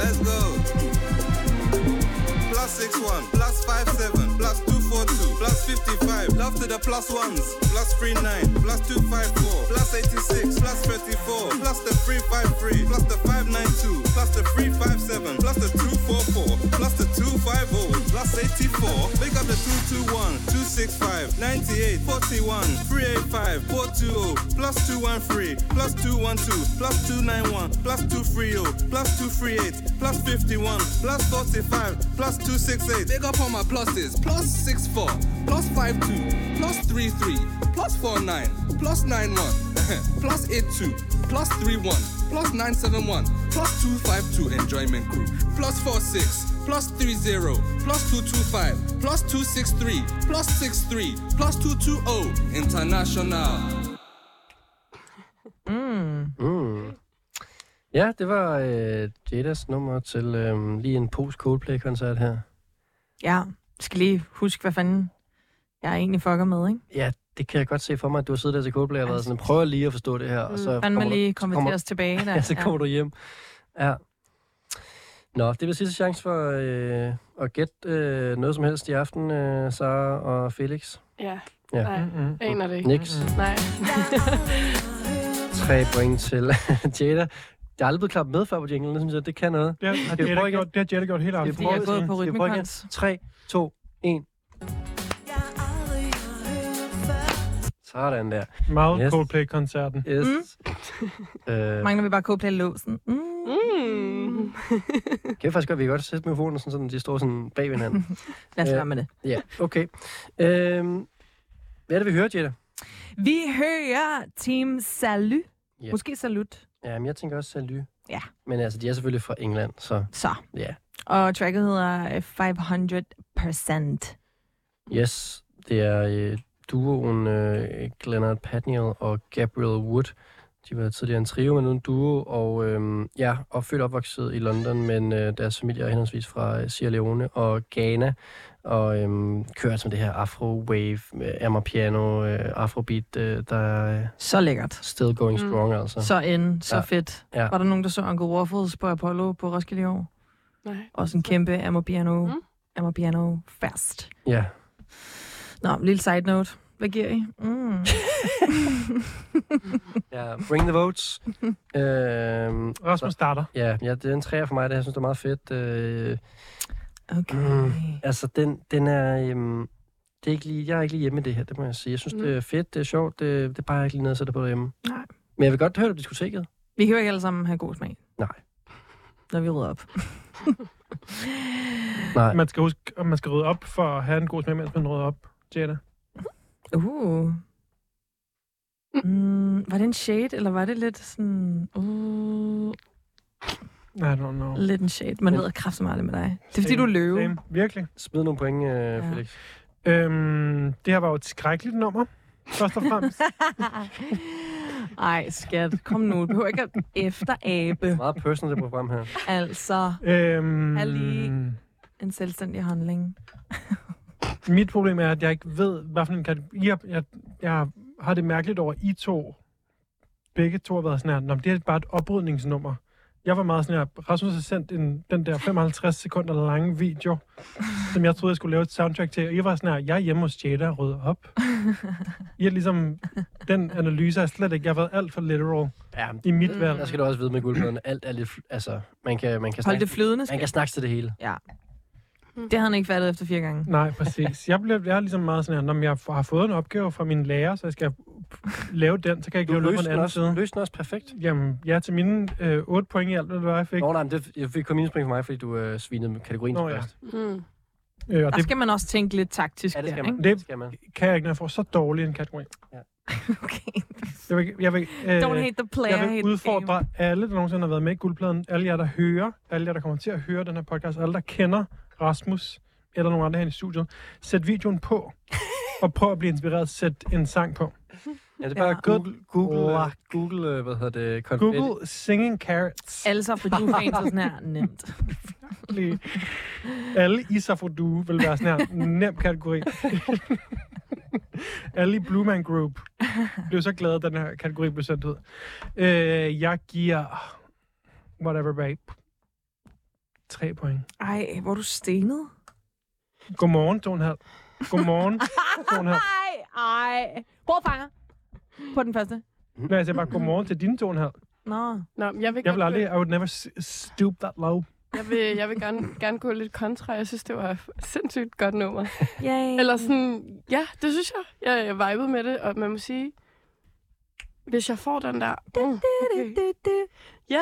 Speaker 15: Let's go. Plus six one, plus five seven, plus two four two, plus fifty five. Love to the plus ones, plus three nine, plus two five four, plus eighty six, plus thirty four, plus the three five three, plus the five nine two, plus the three five seven, plus the two four four, plus the two five oh, plus eighty four. Pick up the two two one, two six five, ninety eight, forty one, three eight five, four two oh, plus two one three, plus two one two, plus two nine one, plus two three oh, plus two three eight, plus fifty one, plus forty five, plus two six eight.
Speaker 14: Big up on my pluses. Plus six four, plus five two, plus three three, plus four nine, plus nine one, plus eight two, plus three one, plus nine seven one, plus two five two. Enjoyment crew. Plus four six, plus three zero, plus two two five, plus two six three, plus six three, plus two two oh. International.
Speaker 3: Mm.
Speaker 2: Mm. Ja, det var øh, Jadas nummer til øh, lige en post-Coldplay-koncert her.
Speaker 3: Ja, jeg skal lige huske, hvad fanden jeg egentlig fucker med, ikke?
Speaker 2: Ja, det kan jeg godt se for mig, at du har siddet der til Coldplay og været sådan, prøv lige at forstå det her, og så
Speaker 3: Fanden
Speaker 2: kommer,
Speaker 3: Altså, mm, lige
Speaker 2: du, så kommer,
Speaker 3: konverteres tilbage der.
Speaker 2: ja, så kommer du hjem. Ja. Nå, det var sidste chance for øh, at gætte øh, noget som helst i aften, øh, Sara og Felix.
Speaker 5: Ja.
Speaker 2: Ja.
Speaker 5: Nej,
Speaker 2: Mm-mm.
Speaker 5: jeg aner det ikke.
Speaker 2: Niks.
Speaker 5: Nej.
Speaker 2: Tre point til Jada. Jeg er aldrig blevet klappet med før på jinglen, det synes jeg, det kan noget.
Speaker 4: Det har
Speaker 2: Skal vi prøve
Speaker 4: Jette
Speaker 2: igen?
Speaker 4: gjort, det har Jette gjort helt
Speaker 2: Skal
Speaker 4: aften.
Speaker 2: vi prøve igen? Skal vi prøve igen? 3, 2, 1. Sådan der.
Speaker 4: Meget
Speaker 2: Yes.
Speaker 4: Coldplay-koncerten.
Speaker 2: Yes. Øh,
Speaker 3: Mangler vi bare Coldplay-låsen. Mm.
Speaker 5: Mm.
Speaker 2: Kan vi faktisk godt, vi kan godt sætte mikrofonen, sådan, sådan, de står sådan bag ved hinanden.
Speaker 3: Lad os
Speaker 2: Øh,
Speaker 3: være med det.
Speaker 2: Ja, okay. Øhm, hvad er det, vi hører, Jetta?
Speaker 3: Vi hører Team Salut.
Speaker 2: Ja.
Speaker 3: Måske Salut.
Speaker 2: Jamen, jeg tænker også Salut.
Speaker 3: Ja.
Speaker 2: Men altså, de er selvfølgelig fra England, så
Speaker 3: Så.
Speaker 2: ja.
Speaker 3: Og tracket hedder øh, 500 Percent.
Speaker 2: Yes, det er øh, duoen øh, Glennard Patniel og Gabriel Wood. De var tidligere en trio, men nu en duo, og øh, ja, opfødt og opvokset i London, men øh, deres familie er henholdsvis fra øh, Sierra Leone og Ghana, og øh, kører som det her afro-wave, øh, amapiano, øh, afrobeat, øh, der er øh,
Speaker 3: Så lækkert.
Speaker 2: still going
Speaker 3: Mm.
Speaker 2: strong, altså.
Speaker 3: Så end, så
Speaker 2: Ja.
Speaker 3: fedt.
Speaker 2: Ja.
Speaker 3: Var der nogen, der så Uncle Waffles på Apollo på Roskilde i år?
Speaker 5: Nej.
Speaker 3: Også en kæmpe Amapiano,
Speaker 5: Mm.
Speaker 3: mm. Amapiano fast.
Speaker 2: Ja.
Speaker 3: Nå, en lille side note. Hvad giver I? Mm.
Speaker 2: Ja, bring the votes. øhm,
Speaker 4: Rasmus starter.
Speaker 2: ja, ja, det er en træer for mig, det her. jeg synes, det er meget fedt. Øh,
Speaker 3: Okay.
Speaker 2: Mm, altså, den, den er... Øhm, det er ikke lige, jeg er ikke lige hjemme i det her, det må jeg sige. Jeg synes, mm. det er fedt, det er sjovt, det, det er bare ikke lige noget at sætte på derhjemme.
Speaker 3: Nej.
Speaker 2: Men jeg vil godt høre det på diskoteket.
Speaker 3: Vi kan jo ikke alle sammen have god smag.
Speaker 2: Nej.
Speaker 3: Når vi rydder op.
Speaker 2: Nej.
Speaker 4: Man skal huske, at man skal rydde op for at have en god smag, mens man rydder op. Jette.
Speaker 3: Uh. Mm, var det en shade, eller var det lidt sådan... Uh,
Speaker 4: I don't know.
Speaker 3: lidt en shade. Man
Speaker 2: Men-
Speaker 3: ved kraftigt meget med dig. Det er fordi, du er løve.
Speaker 4: Same. Virkelig.
Speaker 2: Smid nogle point, øh, ja. Felix.
Speaker 4: Øhm, det her var jo et skrækkeligt nummer, først og fremmest.
Speaker 3: Ej, skat. Kom nu. Du behøver ikke at efterabe.
Speaker 2: Meget personal, det program her.
Speaker 3: Altså,
Speaker 4: øhm,
Speaker 3: Ali. en selvstændig handling.
Speaker 4: Mit problem er, at jeg ikke ved, hvad for en kategori... Jeg, jeg, jeg har det mærkeligt over, at I to, begge to har været sådan her, Nå, men det er bare et oprydningsnummer. Jeg var meget sådan her, Rasmus har sendt en, den der 55 sekunder lange video, som jeg troede, jeg skulle lave et soundtrack til, og I var sådan her, jeg er hjemme hos Jada og rydder op. I er ligesom, den analyse er slet ikke, jeg har været alt for literal
Speaker 2: Ja,
Speaker 4: i mit valg.
Speaker 2: der skal du også vide med guldpladen. Alt er lidt... fl- Altså, man kan, man kan
Speaker 3: Hold
Speaker 2: snakke,
Speaker 3: det flydende,
Speaker 2: man kan
Speaker 3: skat.
Speaker 2: snakke til det hele.
Speaker 3: Ja. Det havde han ikke fattet efter fire gange.
Speaker 4: Nej, præcis. Jeg, blev, jeg er ligesom meget sådan her, når jeg har fået en opgave fra min lærer, så jeg skal lave den, så kan jeg ikke
Speaker 2: Du
Speaker 4: lave noget på den
Speaker 2: løste den
Speaker 4: anden
Speaker 2: også-
Speaker 4: side.
Speaker 2: Løste den også perfekt.
Speaker 4: Jamen, ja, til mine øh, 8 point i alt, hvad det var, jeg fik.
Speaker 2: Nå, nej, men det, jeg fik kun minuspoint for mig, fordi du øh, svinede med kategorien
Speaker 4: Nå,
Speaker 2: Nå,
Speaker 4: ja.
Speaker 2: først.
Speaker 5: Mm.
Speaker 4: Øh, og
Speaker 3: Der
Speaker 4: det-
Speaker 3: skal man også tænke lidt taktisk
Speaker 2: Ja, det skal
Speaker 3: der,
Speaker 2: man.
Speaker 3: ikke?
Speaker 4: Det,
Speaker 2: skal man.
Speaker 4: kan jeg ikke, når jeg får så dårlig en kategori.
Speaker 2: Ja.
Speaker 4: Jeg vil, jeg vil, øh,
Speaker 3: Don't hate the player,
Speaker 4: jeg
Speaker 3: hate
Speaker 4: vil
Speaker 3: the
Speaker 4: udfordre alle, der nogensinde har været med i guldpladen. Alle jer, der hører. Alle jer, der kommer til at høre den her podcast. Alle, der kender Rasmus eller nogen andre her i studiet. Sæt videoen på. og prøv at blive inspireret. Sæt en sang på.
Speaker 2: Ja, det er bare
Speaker 4: Ja.
Speaker 2: ja. Google, Google,
Speaker 4: Luck.
Speaker 2: øh, Google, øh, hvad hedder det? konfetti.
Speaker 4: Google singing carrots.
Speaker 3: Altså, for du er fan til sådan her nemt.
Speaker 4: Lige. Alle Isafodue vil være sådan her nem kategori. Alle i Blue Man Group blev så glade, da den her kategori blev sendt ud. Øh, jeg giver whatever, babe. Tre point.
Speaker 3: Ej, hvor er du stenet.
Speaker 4: Godmorgen, to og en halv. Godmorgen.
Speaker 3: Ej, ej. Hvor fanger? På den første.
Speaker 4: Nej, jeg siger bare godmorgen til dine to og en halv.
Speaker 3: Nå.
Speaker 5: Nå, men jeg vil,
Speaker 4: Jeg vil
Speaker 5: godt-
Speaker 4: aldrig, I would never s- stoop that low.
Speaker 5: Jeg vil, jeg vil gerne, gerne gå lidt kontra. Jeg synes, det var sindssygt godt nummer.
Speaker 3: Yay.
Speaker 5: Eller sådan, ja, det synes jeg. Jeg, jeg vibede med det, og man må sige, hvis jeg får den der... Mm, okay. Ja,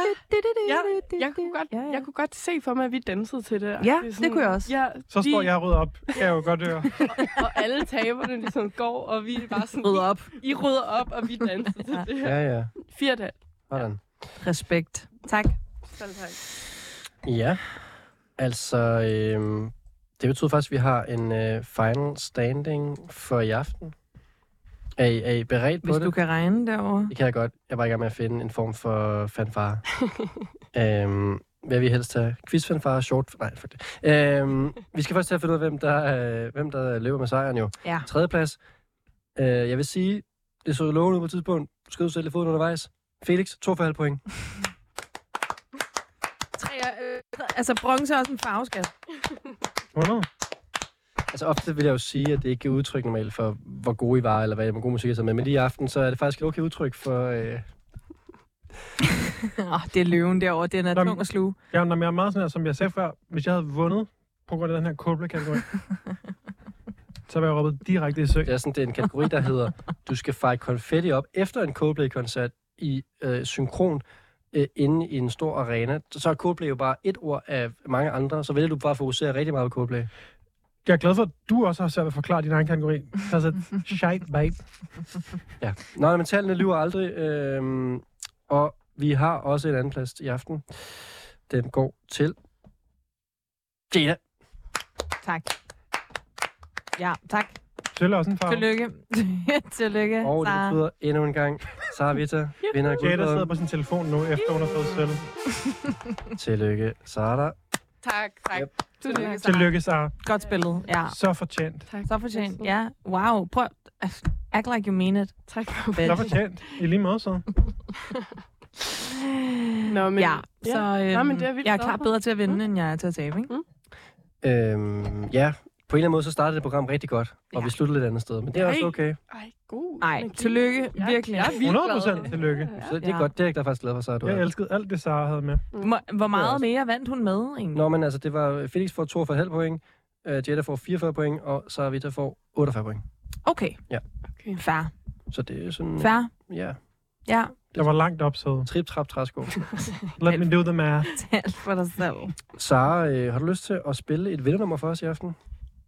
Speaker 5: ja, jeg kunne godt, jeg kunne godt se for mig, at vi dansede til det.
Speaker 3: Ja,
Speaker 5: er
Speaker 3: det kunne jeg også.
Speaker 5: Ja,
Speaker 4: Så står
Speaker 5: vi-
Speaker 4: jeg og rydder op. Kan jeg jo godt høre.
Speaker 5: Og alle taberne ligesom går, og vi er bare sådan...
Speaker 3: Rydder op.
Speaker 5: I, I rydder op, og vi danser til det her.
Speaker 2: Ja, ja.
Speaker 5: Fire dage.
Speaker 2: Hvordan?
Speaker 3: Respekt. Tak.
Speaker 5: Selv tak.
Speaker 2: Ja. Altså, øhm, det betyder faktisk, at vi har en øh, final standing for i aften. Er I, er I beredt
Speaker 3: Hvis
Speaker 2: på det?
Speaker 3: du kan regne derovre.
Speaker 2: Det kan jeg godt. Jeg var i gang med at finde en form for fanfare. øhm, hvad vi helst have? Quizfanfare, short... Nej, fuck det. Øhm, vi skal først til at finde ud af, hvem der, øh, hvem der løber med sejren jo.
Speaker 3: Ja.
Speaker 2: Tredjeplads. Øh, jeg vil sige, det så lovende ud på et tidspunkt. Du skød selv i foden undervejs. Felix, 2,5 point.
Speaker 3: Tre, øh, altså, bronze er også en farveskat.
Speaker 4: 100.
Speaker 2: Altså ofte vil jeg jo sige, at det ikke er udtryk normalt for, hvor gode I var, eller hvad hvor god musik er med. Men lige i aften, så er det faktisk et okay udtryk for... Øh,
Speaker 3: Åh, det er løven derovre. Den er
Speaker 4: Jamen-
Speaker 3: tung at sluge.
Speaker 4: Ja, men jeg er meget sådan her, som jeg sagde før, hvis jeg havde vundet på grund af den her Coldplay-kategori, så var jeg råbet direkte i sø.
Speaker 2: det, er sådan, det er en kategori, der hedder, du skal fejre konfetti op efter en Coldplay-koncert i øh, synkron øh, inde i en stor arena. Så er Coldplay jo bare et ord af mange andre, så vælger du bare at fokusere rigtig meget på Coldplay.
Speaker 4: Jeg er glad for, at du også har svært ved at forklare din egen kategori. Altså, shite, babe.
Speaker 2: Ja. Nå, men tallene lyver aldrig. Øhm, og vi har også en anden plads i aften. Den går til... Jada.
Speaker 3: Tak. Ja, tak.
Speaker 4: Sølv er også en farve.
Speaker 3: Tillykke. Tillykke,
Speaker 2: Og det
Speaker 3: Sara.
Speaker 2: betyder endnu en gang, Sara Vita vinder af
Speaker 4: Jada sidder
Speaker 2: guldpladen.
Speaker 4: på sin telefon nu, efter hun har fået sølv.
Speaker 2: Tillykke, Sara.
Speaker 5: Tak, tak.
Speaker 2: Yep.
Speaker 3: Tillykke, Sara.
Speaker 4: Tillykke, Sara.
Speaker 3: Godt spillet, ja.
Speaker 4: Så fortjent.
Speaker 5: tak.
Speaker 3: Så fortjent, ja. Wow, prøv. altså, Act like you mean it.
Speaker 5: Tak for
Speaker 4: Så
Speaker 3: Fedt.
Speaker 4: fortjent. I lige måde, så.
Speaker 5: Nå, men,
Speaker 3: Ja, så øhm,
Speaker 5: Nå, men det er vi
Speaker 3: jeg er
Speaker 5: glade
Speaker 3: klart
Speaker 5: for.
Speaker 3: bedre til at vinde, mm. end jeg er til at tabe, ikke?
Speaker 2: Øhm, ja, på en eller anden måde, så startede det program rigtig godt, og
Speaker 3: Ja.
Speaker 2: vi sluttede lidt andet sted, men det er også
Speaker 5: Ej.
Speaker 2: okay.
Speaker 5: Ej, god.
Speaker 3: Nej,
Speaker 5: energi.
Speaker 3: tillykke,
Speaker 5: Ja,
Speaker 3: virkelig.
Speaker 5: Jeg er vildt
Speaker 4: 100
Speaker 5: glad.
Speaker 4: procent tillykke.
Speaker 2: Så det er
Speaker 3: Ja.
Speaker 2: godt, det er jeg da faktisk glad for, Sara. Du
Speaker 4: Jeg
Speaker 2: er.
Speaker 4: elskede alt det, Sara havde med.
Speaker 3: Hvor- Hvor
Speaker 2: Det er
Speaker 3: meget
Speaker 2: også-
Speaker 3: mere vandt hun med, egentlig?
Speaker 2: Nå, men altså, det var Felix får 42,5 point, uh, Jada får 44 point, og Sara Vita får 48 point.
Speaker 3: Okay.
Speaker 2: Ja.
Speaker 5: Okay.
Speaker 3: Fair.
Speaker 2: Så det er sådan,
Speaker 3: Fair.
Speaker 2: ja,
Speaker 3: Ja,
Speaker 4: Jeg var langt op, så.
Speaker 2: trip, trap, træsko.
Speaker 4: Let me do the math.
Speaker 3: tal for dig selv.
Speaker 2: Sara, øh, har du lyst til at spille et vindernummer for os i aften?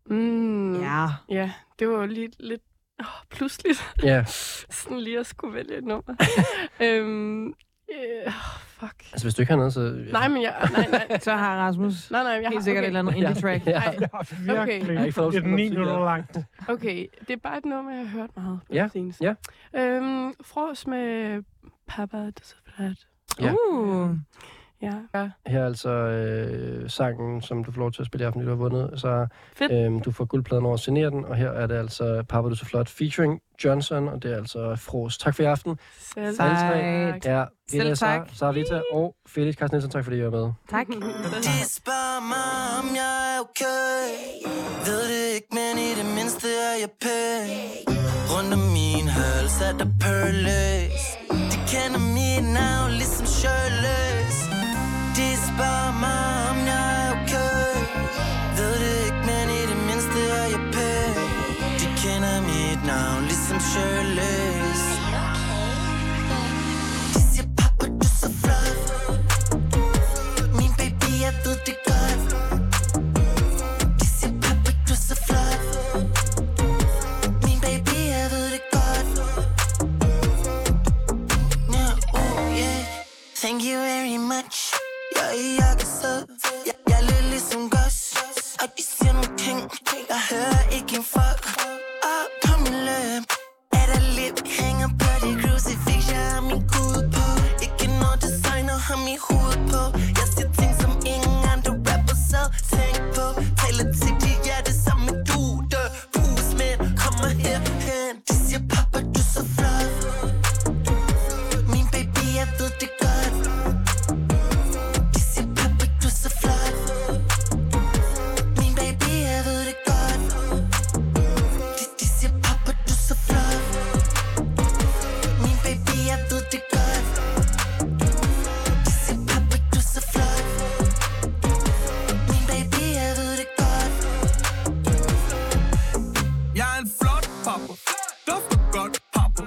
Speaker 5: Mm, ja.
Speaker 3: Ja.
Speaker 5: ja, det var jo lige lidt oh, pludseligt,
Speaker 2: Ja,
Speaker 5: sådan lige at skulle vælge et nummer. øhm, øh, fuck.
Speaker 2: altså hvis du ikke har noget, så...
Speaker 5: Nej, men jeg... Nej, nej,
Speaker 3: Så har Rasmus
Speaker 5: nej, nej jeg har,
Speaker 3: helt sikkert okay. et eller andet indie-track.
Speaker 2: Ja,
Speaker 5: Ej,
Speaker 2: ja.
Speaker 4: Jeg har virkelig
Speaker 2: Jeg har ikke fået
Speaker 4: et
Speaker 2: sådan
Speaker 4: 9
Speaker 2: noget
Speaker 4: minutter
Speaker 2: musik,
Speaker 4: langt.
Speaker 5: Okay, det er bare et nummer, jeg har hørt meget på
Speaker 2: Ja,
Speaker 5: det seneste.
Speaker 2: ja.
Speaker 5: Øhm, Fros med Papa Desperat.
Speaker 2: Ja.
Speaker 3: Uh,
Speaker 5: Ja. ja.
Speaker 2: Her er altså øh, sangen, som du får lov til at spille i aften, fordi du har vundet. Så
Speaker 5: Fedt.
Speaker 2: øh, du får guldpladen over at signere den, og her er det altså Papa Du er Så Flot featuring Johnson, og det er altså Fros. Tak for i aften.
Speaker 5: Selv
Speaker 2: Sejt.
Speaker 5: tak.
Speaker 2: Ja,
Speaker 3: Selv
Speaker 2: Ida, Sara,
Speaker 3: tak.
Speaker 2: Sara Vita og Felix Carsten Nielsen, tak fordi I var med.
Speaker 3: tak.
Speaker 8: Tis bare mig, om jeg er okay Ved det ikke, men i det mindste er jeg pæn Rundt om min hals er der pearløs De kender mit navn ligesom Shirley's De spørger mig, om jeg er okay Ved det ikke, men i det mindste er jeg pæn De kender mit navn ligesom Shirley's
Speaker 15: Dufter godt papper.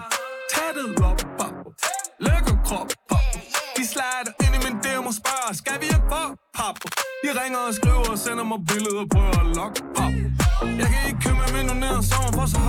Speaker 15: Tag det op, papper. Lækker krop, papper. De slider ind i min DM og spørger, skal vi have for papper? De ringer og skriver og sender mig billeder, prøver at lokke papper. Jeg kan ikke købe min nu ned og sover, for så